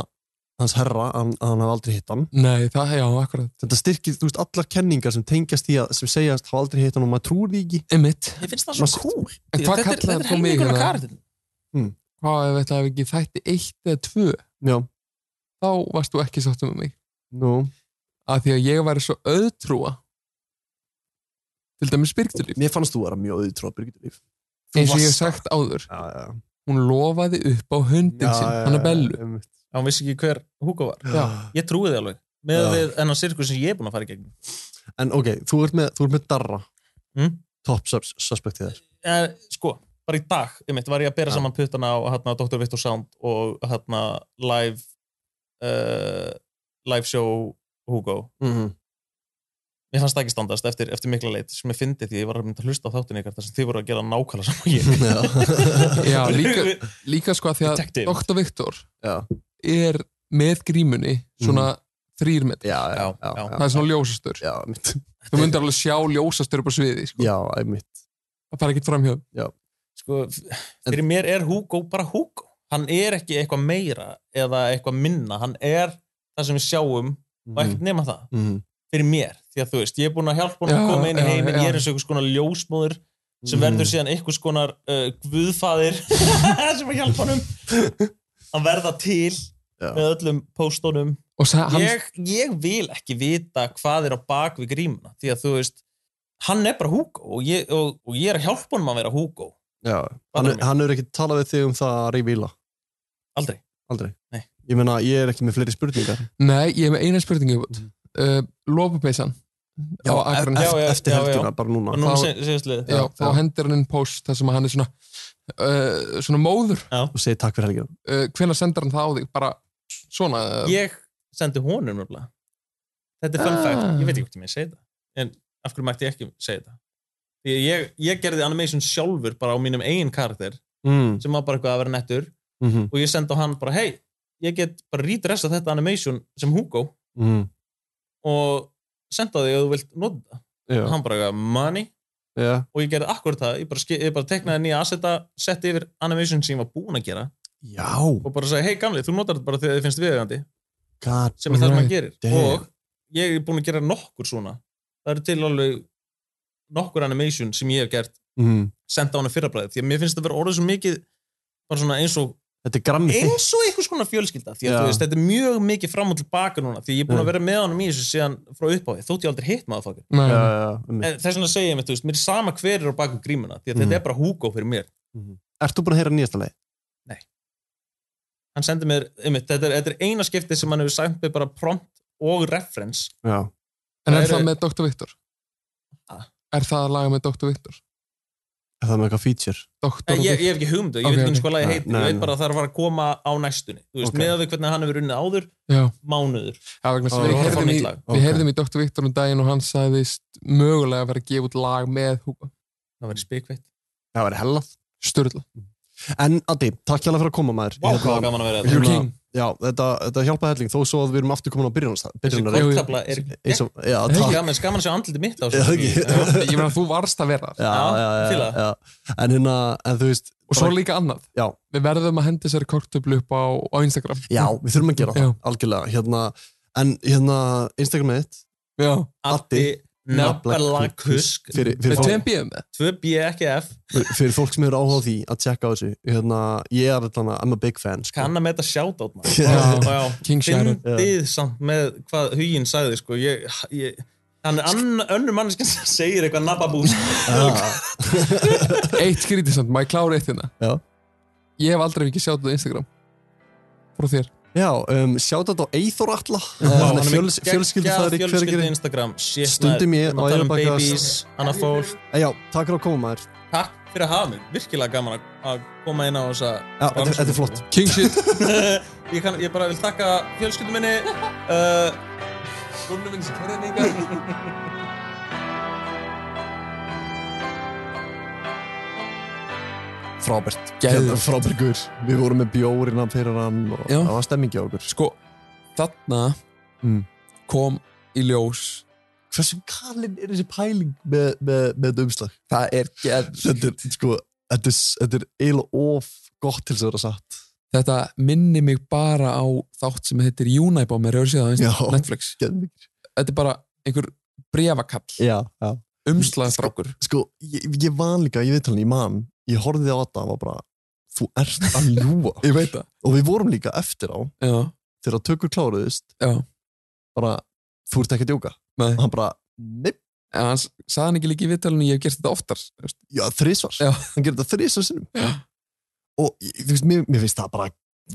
B: hans herra að að hann hafa aldrei hitt hann
E: Nei, það, já, akkurat.
B: þetta styrkir, þú veist, allar kenningar sem tengjast því að sem segjast hafa aldrei hitt hann og maður trúir því ekki
E: Einmitt.
K: Ég finnst það svo cool
E: En hvað
K: Þetta er-
E: kallaði
K: þetta er
E: þú mig
K: helmingurinn af
E: hérna?
K: karakterinn.
E: Hvað ef þetta hef ekki þætti eitt eða tvö,
B: já,
E: þá varst þú ekki sáttum með mig.
B: nú,
E: Af því að ég væri svo auðtrúa til dæmis Birgitulíf.
B: mér fannst þú að vera mjög auðvitað Birgitu líf
E: Eins og ég hef
B: varst
E: sagt áður,
B: já, já, já.
E: hún lofaði upp á hundin
B: Já,
E: sinn,
B: já,
E: hann er
B: já,
E: bellu.
B: einmitt.
K: hann vissi ekki hver Hugo var
E: Já.
K: ég trúi þið alveg, með
B: Já.
K: við enn að sirkus sem ég er búin að fara í gegnum
B: En ok, þú ert með, þú ert með Darra
K: Mm.
B: Top sus suspectið þér
K: en, sko, bara í dag, einmitt, var ég að bera
B: Já.
K: saman puttana á hérna, Dr. Victor Sound og hérna live uh, live show Hugo
B: mm -hmm.
K: Mér fannst það ekki standast eftir, eftir mikla leit sem ég fyndi því ég var að mynda að hlusta á þáttin ykkar þar sem þið voru að gera nákvæmlega saman og ég.
E: Já, líka, líka sko að því að
K: Detective.
E: Dr. Viktor
B: Já. Mm.
E: er með grímunni svona þrýr metri.
B: Já, já,
K: Já,
B: já,
K: já.
B: já,
E: Það er svona ljósastur.
B: já, mitt
E: Þú myndir alveg sjá ljósastur upp á sviði, sko.
B: Já, ég mitt
E: Það fara ekkert framhjóð.
K: Sko, f- fyrir mér er Hugo bara Hugo. Hann er ekki eitthvað meira eða eitthvað minna. Hann er það sem við sjáum og ekkert nema það.
B: Mhm.
K: fyrir mér því að þú veist, ég er búin að hjálpa hún
E: Já,
K: að koma inn í
E: já,
K: heiminn,
E: já.
K: ég er eins og einhvers konar ljósmóður sem
E: Mm.
K: verður síðan einhvers konar uh, guðfaðir sem að hjálpa honum að verða til með öllum póstunum
E: Og sa- hann-
K: ég, ég vil ekki vita hvað er á bak við grímuna því að þú veist, hann er bara Hugo og ég, og, og ég er að hjálpa honum að vera Hugo
B: Já, hann,
K: Fattar mig.
B: hann er ekki talað við þig um það að revíla
K: Aldrei.
B: Aldrei
K: Nei.
B: Ég meina, ég er ekki með fleiri spurningar
E: Nei, ég hef með eina spurningu mm. uh, Lopupeysan
B: Já,
E: á Akran
K: já, já,
B: Eftir
K: já,
B: helgina,
K: já.
B: bara núna
K: og núna
E: Þá-
K: se- síðast liðið
E: já,
B: já,
E: þá
B: já.
E: hendir hann inn post þar sem hann er svona uh, svona móður
B: Og segi takk fyrir helgina
E: uh, hvenær sendir hann það á þig bara svona uh,
K: ég sendi honum náttúrulega þetta er fun
E: Ah.
K: fact, ég veit ekki hvort ég með segja þetta en af hverju mætti ég ekki segja þetta Því að ég, ég gerði animation sjálfur bara á mínum eigin karakter
B: mm.
K: sem var bara eitthvað að vera nettur
B: Mm
K: og ég sendi á hann bara hei, ég get bara redressa þetta animation sem Hugo
B: mm.
K: og senda þig að þú vilt nota það.
B: Já,
K: hann bara eitthvað money
B: já,
K: og ég gerði akkur það, ég bara, ske- ég bara teknaði nýja asseta, setti yfir animation sem ég var búinn að gera
B: já
K: og bara sagði hei gamli, þú notar þetta bara þegar þið finnst viðegandi
B: God
K: sem er það sem hann
E: Right.
K: gerir
B: Damn.
K: og ég er búin að gera nokkur svona það eru til alveg nokkur animation sem ég hef gert
B: mm.
K: senda á hana fyrrabræðið því að mér finnst þetta vera orðið svo mikið bara svona eins og
B: Þetta er grammi þitt
K: eins og einhvers konar fjölskylda því að
B: Já.
K: þú veist, þetta er mjög mikið fram og tilbaka núna því ég er búin
B: Mm.
K: að vera með honum í þessu síðan frá uppáði þótt ég aldrei hitt maður fokkar
E: nei,
B: Já,
E: nei.
B: já, já, um
K: en þess vegna segi ég mér, þú veist, mér er sama hver er á bakum grímuna því að
B: Mm.
K: þetta er bara Hugo fyrir mér
B: Ert þú búin að heyra nýjasta leið?
K: hann sendi mér, um, þetta, er, þetta er eina skipti sem hann hefur sæmt mig bara prompt og reference
B: Já
E: en
K: það
E: er
K: eru-
E: það með Dr. Viktor
K: Ah.
E: er það að laga með Dr. Viktor
B: Er það með eitthvað feature?
E: Dr.
K: Eh, Ég, ég ég
E: Viktor
K: hef ekki hugmyndu, ég
E: Ok,
K: veit
E: ok.
K: ekki sko hvað ég
B: Nei,
K: heitir,
B: nei,
K: ég veit
B: nei.
K: bara að það er að fara að koma á næstunni, þú veist,
B: Ok.
K: okay. með að við hvernig hann hefur unnið áður,
E: já,
K: mánuður
E: já, vegna þess að
B: Ó,
K: og
E: við
K: fá
E: heyrðum í
K: nýtt lag.
E: Við
B: Ok.
E: heyrðum í Dr. Viktor um daginn og hann sagðist mögulega að vera að gefa út lag með Hugo.
K: Það væri spikveitt.
B: Það væri hellað
E: Sturla.
B: En Addi, takk hjá fyrir að koma maður
K: Vá,
B: Hérna,
K: hvað var gaman að vera hérna.
B: You're
K: þetta.
E: You're
B: king.
E: king.
B: Já, þetta, þetta hjálpaði helling þó svo að við erum aftur komin á
K: Þessi
B: byrjunar byrjunar
K: kortabla er
B: eins og, já,
E: Hey,
B: takk
K: gaman, gaman að sjá andliti mitt á
B: Já, ekki.
K: Já.
E: Ég meina þú varst að vera. þar.
B: já,
K: Já,
B: já, já,
K: fíla.
B: já. En hérna, en þú veist
E: Og svo líka annað.
B: Já.
E: Við verðum að henda þessari kortöflu upp á, á Instagram.
B: Já, við þurfum að gera það,
E: Já.
B: algjörlega hérna, En hérna, Instagramið þitt
E: Já.
K: Addi, nafnala,
B: Nafnala-
K: kusk,
B: fyrir, fyrir,
E: Með
B: fólk,
E: tveim bíðum með.
K: 2B, ekki F,
B: fyrir fólk sem eru áhuga á því að tjekka á þessu hérna, Ég er allan að, I'm a big fan sko.
K: kann að meta shoutout maður.
B: Já.
K: Já, já.
E: King Sharon.
K: Fyndið samt með hvað huginn sagði, sko, ég, ég hann er ann, önnur manneskinn sem segir eitthvað nababús.
B: ah,
E: Eitt skrítið samt, maður klára eitt hérna.
B: Já.
E: Ég hef aldrei ekki sjátt á Instagram. Frá þér.
B: Já, um, sjáta þetta á Eithor Alla
K: Hann
B: uh,
K: er með
B: fjöls,
K: geggjað
B: Fjölskyldufæðir í
K: fjölskyldu
B: hvergeri
K: Instagram, shit,
B: Stundum
K: maður.
B: ég
K: Við erum að
B: á
K: tala um
B: Eyrarbakka-
K: babies, annað fólk.
B: Eh, Já, takk fyrir að koma maður
K: Takk fyrir að hafa mig, virkilega gaman að- að koma inn á þessa
B: Já, þetta-
K: rannsókn.
B: þetta er flott.
E: King shit.
K: ég, kann, ég bara vil þakka fjölskyldum minni uh,
E: Góðnum minn sem kerðin ykkar.
B: Frábært
E: Geðveikt.
B: Hérna, Frábært guður Við vorum með bjórina fyrir hann og
E: Já.
B: það var stemmingi á okkur
E: Sko, þarna
B: Mm.
E: kom í ljós.
B: Hversu kalinn er þessi pæling með, með, með þetta umslag?
E: Það er geð.
B: Þetta er, sko, þetta er, þetta er eiginlega of gott til þess að vera satt
E: Þetta minni mig bara á þátt sem heitir Unibom með rjóðsíða á Instagram,
B: Já.
E: Netflix.
B: Geðvikir
E: Þetta er bara einhver brefakall,
B: Já, já
E: umslagstrákur.
B: Sko, ég, ég van líka, ég veit hann, ég man Ég horfði á þetta og var bara Þú ert að ljúa
E: Ég veit það.
B: Og við vorum líka eftir á
E: Já,
B: Þegar tökur kláruðist
E: Já.
B: Bara, þú ert ekki að djóka
E: nei.
B: Og hann bara, neip,
E: En hann s- sagði hann ekki líka í viðtalinu, ég hef gert þetta oftar. þú veist.
B: já, þrísvar
E: Já.
B: Hann gerir þetta þrísvar sinnum
E: Já.
B: Og, ég- þú veist, mér, mér finnst það bara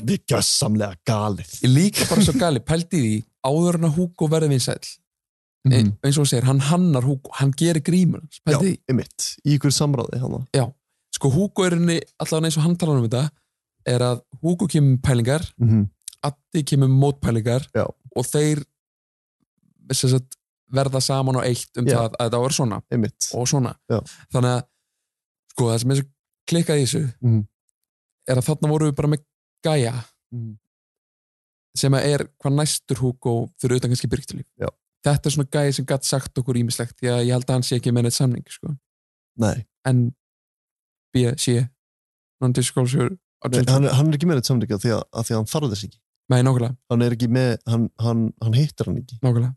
B: Við gjössamlega galið
E: Ég líka bara svo gali, pældi því áður en að Hugo verði vinsæll. Mm. Eins og hann segir, hann hannar Hugo, hann gerir grímur. hans.
B: Mhm. Já,
E: Pældi því,
B: einmitt, í ykkur samráði hana.
E: sko Hugo er henni, allavega eins og hann talar um þetta, er að Hugo kemur með pælingar,
B: Mm -hmm.
E: Addi kemur með mótpælingar
B: Já.
E: og þeir sem sagt, verða saman á eitt um
B: Já.
E: það að þetta var svona.
B: Einmitt,
E: og svona
B: Já.
E: þannig að sko það sem er svo klikkað í þessu
B: Mhm.
E: er að þarna vorum við bara með gæja
B: Mhm.
E: sem að er hvað næstur Hugo fyrir utan kannski Birgtulíf
B: Já.
E: þetta er svona gæja sem gætt sagt okkur ímislegt því að ég held að hann sé ekki með neitt samning sko.
B: nei,
E: en B, C non-disclosure
B: nei
E: agreement.
B: hann, er- hann er ekki með þetta samlíka því að, að því að hann þarf þess ekki
E: nei, nákvæmlega,
B: hann er ekki með, hann, hann, hann hittir hann ekki
E: nákvæmlega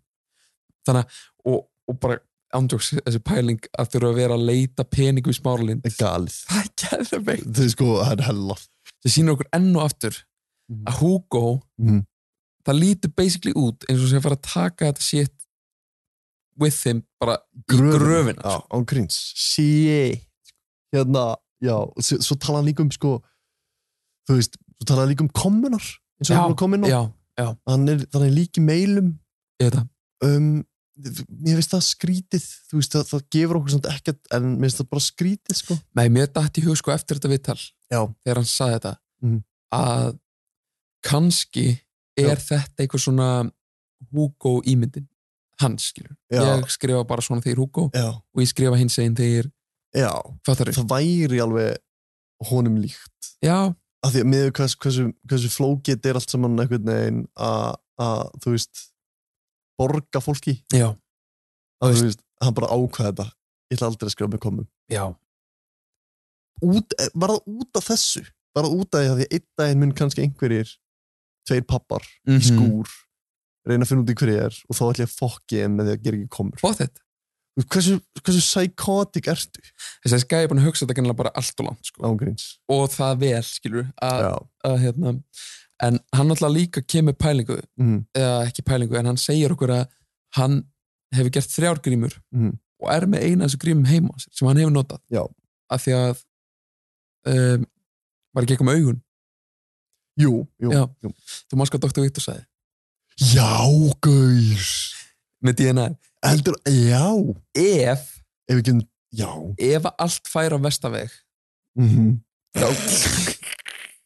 E: þannig að, og, og bara ándjóks þessi pæling að þurfa að vera að leita peningu í smáralind
B: galið
E: það er geðveikt.
B: það er sko, það er hella
E: sem sýnir okkur enn og aftur að Hugo
B: Mhm.
E: það lítur basically út eins og sem fara að taka þetta shit with him bara
B: Gröfin.
E: í gröfina sko.
B: Já, án gríns Shit Hérna, já, svo, svo tala hann líka um sko Þú veist, svo tala hann líka um kommunar eins og hann er búinn að koma inn á
E: já,
B: hann er, þannig líki meilum
E: ég veit það
B: um, Mér finnst það skrítið Þú veist, það, það gefur okkur samt ekkert En mér finnst það bara skrítið sko
E: Nei, mér datt í hug sko eftir þetta viðtal
B: Já.
E: þegar hann saði þetta
B: Mhm.
E: að kannski er þetta eitthvað svona Hugo ímyndin hans skilur,
B: Já.
E: ég skrifa bara svona þegar Hugo
B: Já,
E: og ég skrifa hins einn þegar
B: já
E: fattar
B: Það væri alveg honum líkt
E: já,
B: Af því að miður hvers, hversu, hversu flókið þetta er allt saman einhvern veginn að, að, þú veist, borga fólki
E: já,
B: að þú veist, hann bara ákvaði þetta ég ætla aldrei að skrifa með komum
E: já
B: út, var það út af þessu var það út af því að því að einn daginn mun kannski einhverjir tveir pappar
E: Mhm.
B: í skúr reyna að finna út í hverju ég er og þá ætla ég að fokki þeim með því að gera ekki komur
E: fóð þetta,
B: Þú veist, hversu, hversu psychotic ertu
E: þess að skæði búin að hugsa þetta kannilega bara allt og langt sko.
B: ángríns
E: og það vel skilur að,
B: já,
E: að hérna en hann alltaf líka kemur pælingu
B: mm,
E: eða ekki pælingu, en hann segir okkur að hann hefur gert þrjár grímur
B: Mhm.
E: og er með eina af þessu grímum heima á sér sem hann hefur notað
B: Já.
E: af því að um, var ekki eitthvað með augun
B: jú, jú
E: Já.
B: jú.
E: þú manst hvað Dr. Victor sagði
B: já, gaur
E: með DNA
B: heldur, já,
E: ef,
B: ef ekki já,
E: ef að allt fær á vestaveg
B: mhm
E: þá,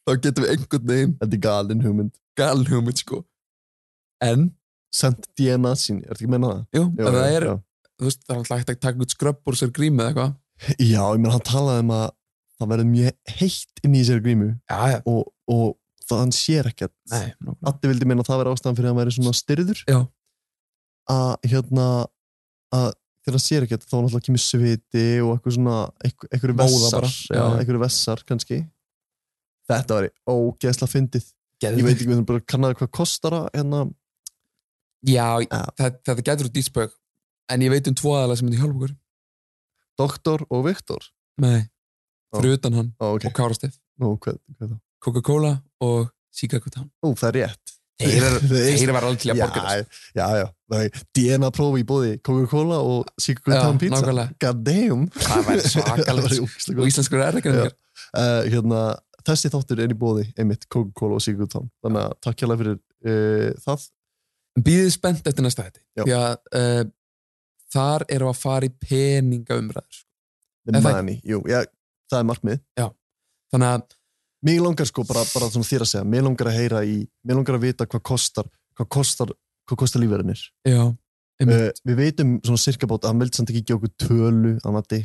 E: þá getum við einhvern veginn
B: þetta er galin hugmynd
E: gal hugmynd sko en,
B: sent DNA sín, er þetta ekki að menna það?
E: jú,
B: Já,
E: ef það
B: já,
E: er
B: já.
E: þú veist, það er alltaf hægt að taka út skröpp úr sér grími eða eitthvað
B: Já, ég meina hann talaði um að það verður mjög heitt inn í sér grímu
E: já, já,
B: og, og það hann sér ekkert
E: nei, nokkuð.
B: Addi vildi meina að það verður ástæðan fyrir að hann verður svona styrður
E: Já.
B: að hérna að þegar hann sér ekkert þá náttúrulega kemur sviti og eitthvað svona einhver- einhverju
E: Móða
B: vessar,
E: bara,
B: já,
E: já, já.
B: einhverju vessar kannski Þetta var ógeðslega fyndið Ég veit ekki, við þurfum bara að kannaði hvað kostar að hérna,
E: Já,
B: Já.
E: það, þetta getur úr dýspög en ég veit um tvo aðalega sem myndi hjálpa okkur
B: doktor og Viktor
E: Nei,
B: Já.
E: fyrir utan hann
B: Ó, ok,
E: og Kárastef,
B: nú, hvað, hvað er það?
E: Coca-Cola og Chicago Town
B: Ó, það er rétt Þeir-
E: Þeir var alveg til að borga
B: já, já, já, það er DNA prófi í bóði Coca-Cola og Secret Town Pizza
E: nákvæmlega.
B: God damn
E: Það væri svakalegt sko. og
B: svakalegt
E: íslenskur er ekki
B: Já.
E: nefnir
B: hérna, Þessi þáttur er í bóði einmitt Coca-Cola og Secret Town þannig að takk hérlega fyrir uh, það
E: Býðið spennt eftir næsta þetta
B: Já.
E: því að uh, þar eru að fara í peningaumræður sko.
B: The
E: En það-
B: Money, jú, já, það er markmið
E: þannig að
B: Mér langar sko bara, bara svona þér að segja Mér langar að heyra í, mér langar að vita hvað kostar hvað kostar, hvað kostar lífverðinir
E: já,
B: uh,
E: einmitt,
B: Við veitum svona cirka bóta, hann vildi samt ekki gefa okkur tölu annati,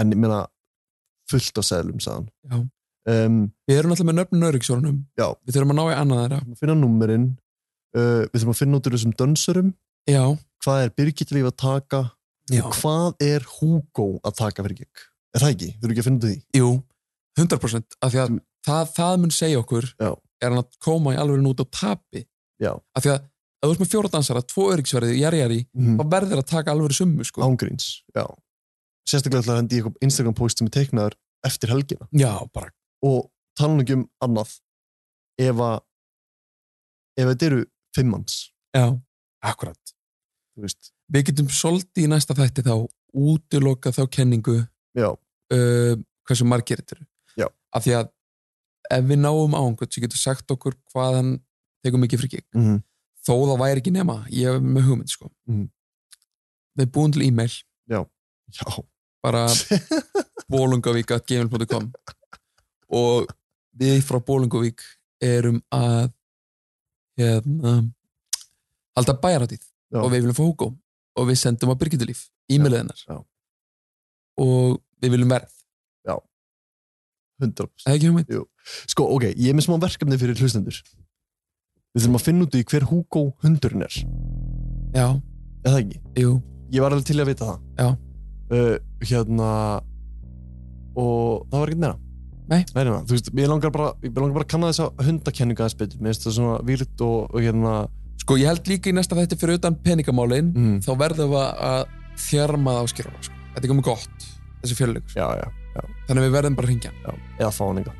B: en ég meina fullt á seðlum, sagðan
E: já.
B: um,
E: Við erum alltaf með nöfnum nörgingsórunum
B: Já.
E: Við þurfum að ná í annað þeirra
B: þurfum að finna númerinn uh, við þurfum að finna út úr þessum dönsurum
E: Já,
B: hvað er Birgit líf að taka
E: já.
B: og hvað er Hugo að taka fyrir gig er það ekki, þurfum ekki að finna út úr því Mm.
E: Jú, 100% af því að það, það mun segja okkur
B: Já.
E: er hann að koma í alveg út á tapi
B: Já.
E: af því að ef þú ert með fjóra dansara, tvo öryggsverði, jari jari
B: mm.
E: þá verður að taka alveg summu sko.
B: ángríns, já sérstaklega ætla að hendi ég Instagram post sem er teiknaður eftir helgina
E: Já, bara
B: og tala nú ekki um annað ef að ef þetta eru fimm manns
E: Já, akkurat
B: þú veist,
E: Við getum svolítið í næsta þætti þá útiloka þá kenningu
B: já,
E: uh, hversu margir þetta
B: Já.
E: eru af því að ef við náum á einhvern sem getur sagt okkur hvað hann tekur mikið fyrir gig
B: mm
E: þó það væri ekki nema, ég er með hugmynd sko.
B: Mhm.
E: við búum til e-mail
B: já
E: bara bólungavík.gmail.com og við frá Bólungavík erum að hérna halda bæjarhátíð
B: Já.
E: og við viljum fá Hugo og við sendum að Birgitulíf e-mailið hennar
B: Já.
E: og við viljum verð,
B: 100%
E: eða ekki um hugmynd?
B: sko, ok, ég er með smá verkefni fyrir hlustendur við þurfum að finna út í hver Hugo hundurinn er,
E: Já,
B: er það ekki?
E: jú,
B: ég var alveg til að vita það
E: Já.
B: uh, hérna og það var ekkert meira
E: Nei.
B: hérna, þú veist, ég langar bara, ég langar bara að kanna þessa hundakenninga aðeins betur, mér finnst það svona výrt og, og hérna
E: Sko, ég held líka í næsta þetta fyrir utan peningamálin
B: Mm.
E: þá verðum við að þjarma það á skýrana sko. Þetta er komið gott, þessi fjöluleikur
B: Já, já, já,
E: Þannig að við verðum bara að ringja
B: já. Eða fá hann enga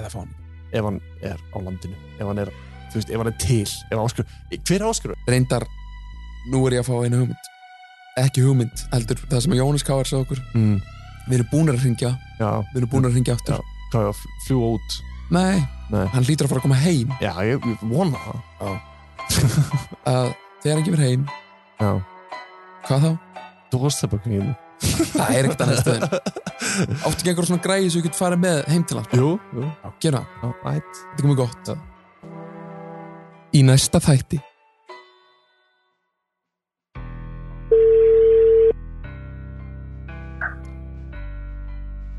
E: eða fá hann
B: ef hann er á landinu ef hann er, þú veist, ef hann er til ef áskur, hver er áskur?
E: Reyndar, nú er ég að fá einu hugmynd Ekki hugmynd, heldur það sem að Jónas Káar sagði okkur
B: Mm.
E: Við erum búnir að ringja,
B: Já,
E: við erum búnir að ringja aftur
B: Já. hvað er að fljúa út?
E: Nei,
B: Nei.
E: hann lítur að fara að koma heim
B: Já, ég, ég vona það
E: að Þegar hann kemur heim,
B: Já,
E: hvað þá?
B: þú varst það bara kringin
E: Það er ekkert annað stöðin Áttu ekki einhver svona græði sem við getum farið með heim til hann
B: Jú, jú,
E: Gera,
B: já, ætt
E: þetta er komið gott Í næsta þætti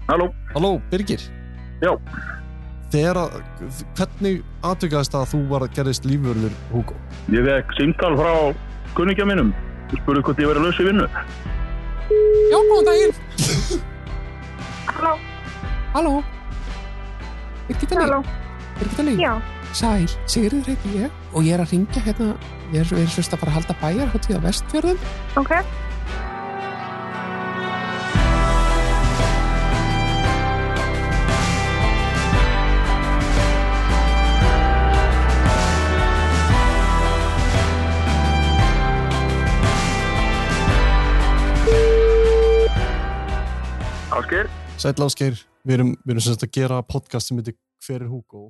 J: Halló,
B: Halló, Birgir
J: Já.
B: Þegar að, hvernig atvikaðist það að þú var að gerðist lífvörður Hugo?
J: ég vekk símtal frá kunningja mínum og spurði hvort ég verið laus í vinnu.
E: Já, góðan daginn
L: Halló.
E: Halló Birgitta Líf
L: Halló.
E: Birgitta Líf
L: Já,
E: Sæl, Sigurður heiti ég og ég er að ringja hérna ég er, við erum sérst að fara að halda bæjar hátíð á vestfjörðum
L: ok.
J: Ásker?
B: Sæll Ásgeir, við erum, við erum semst að gera podcast sem heitir Hver er Hugo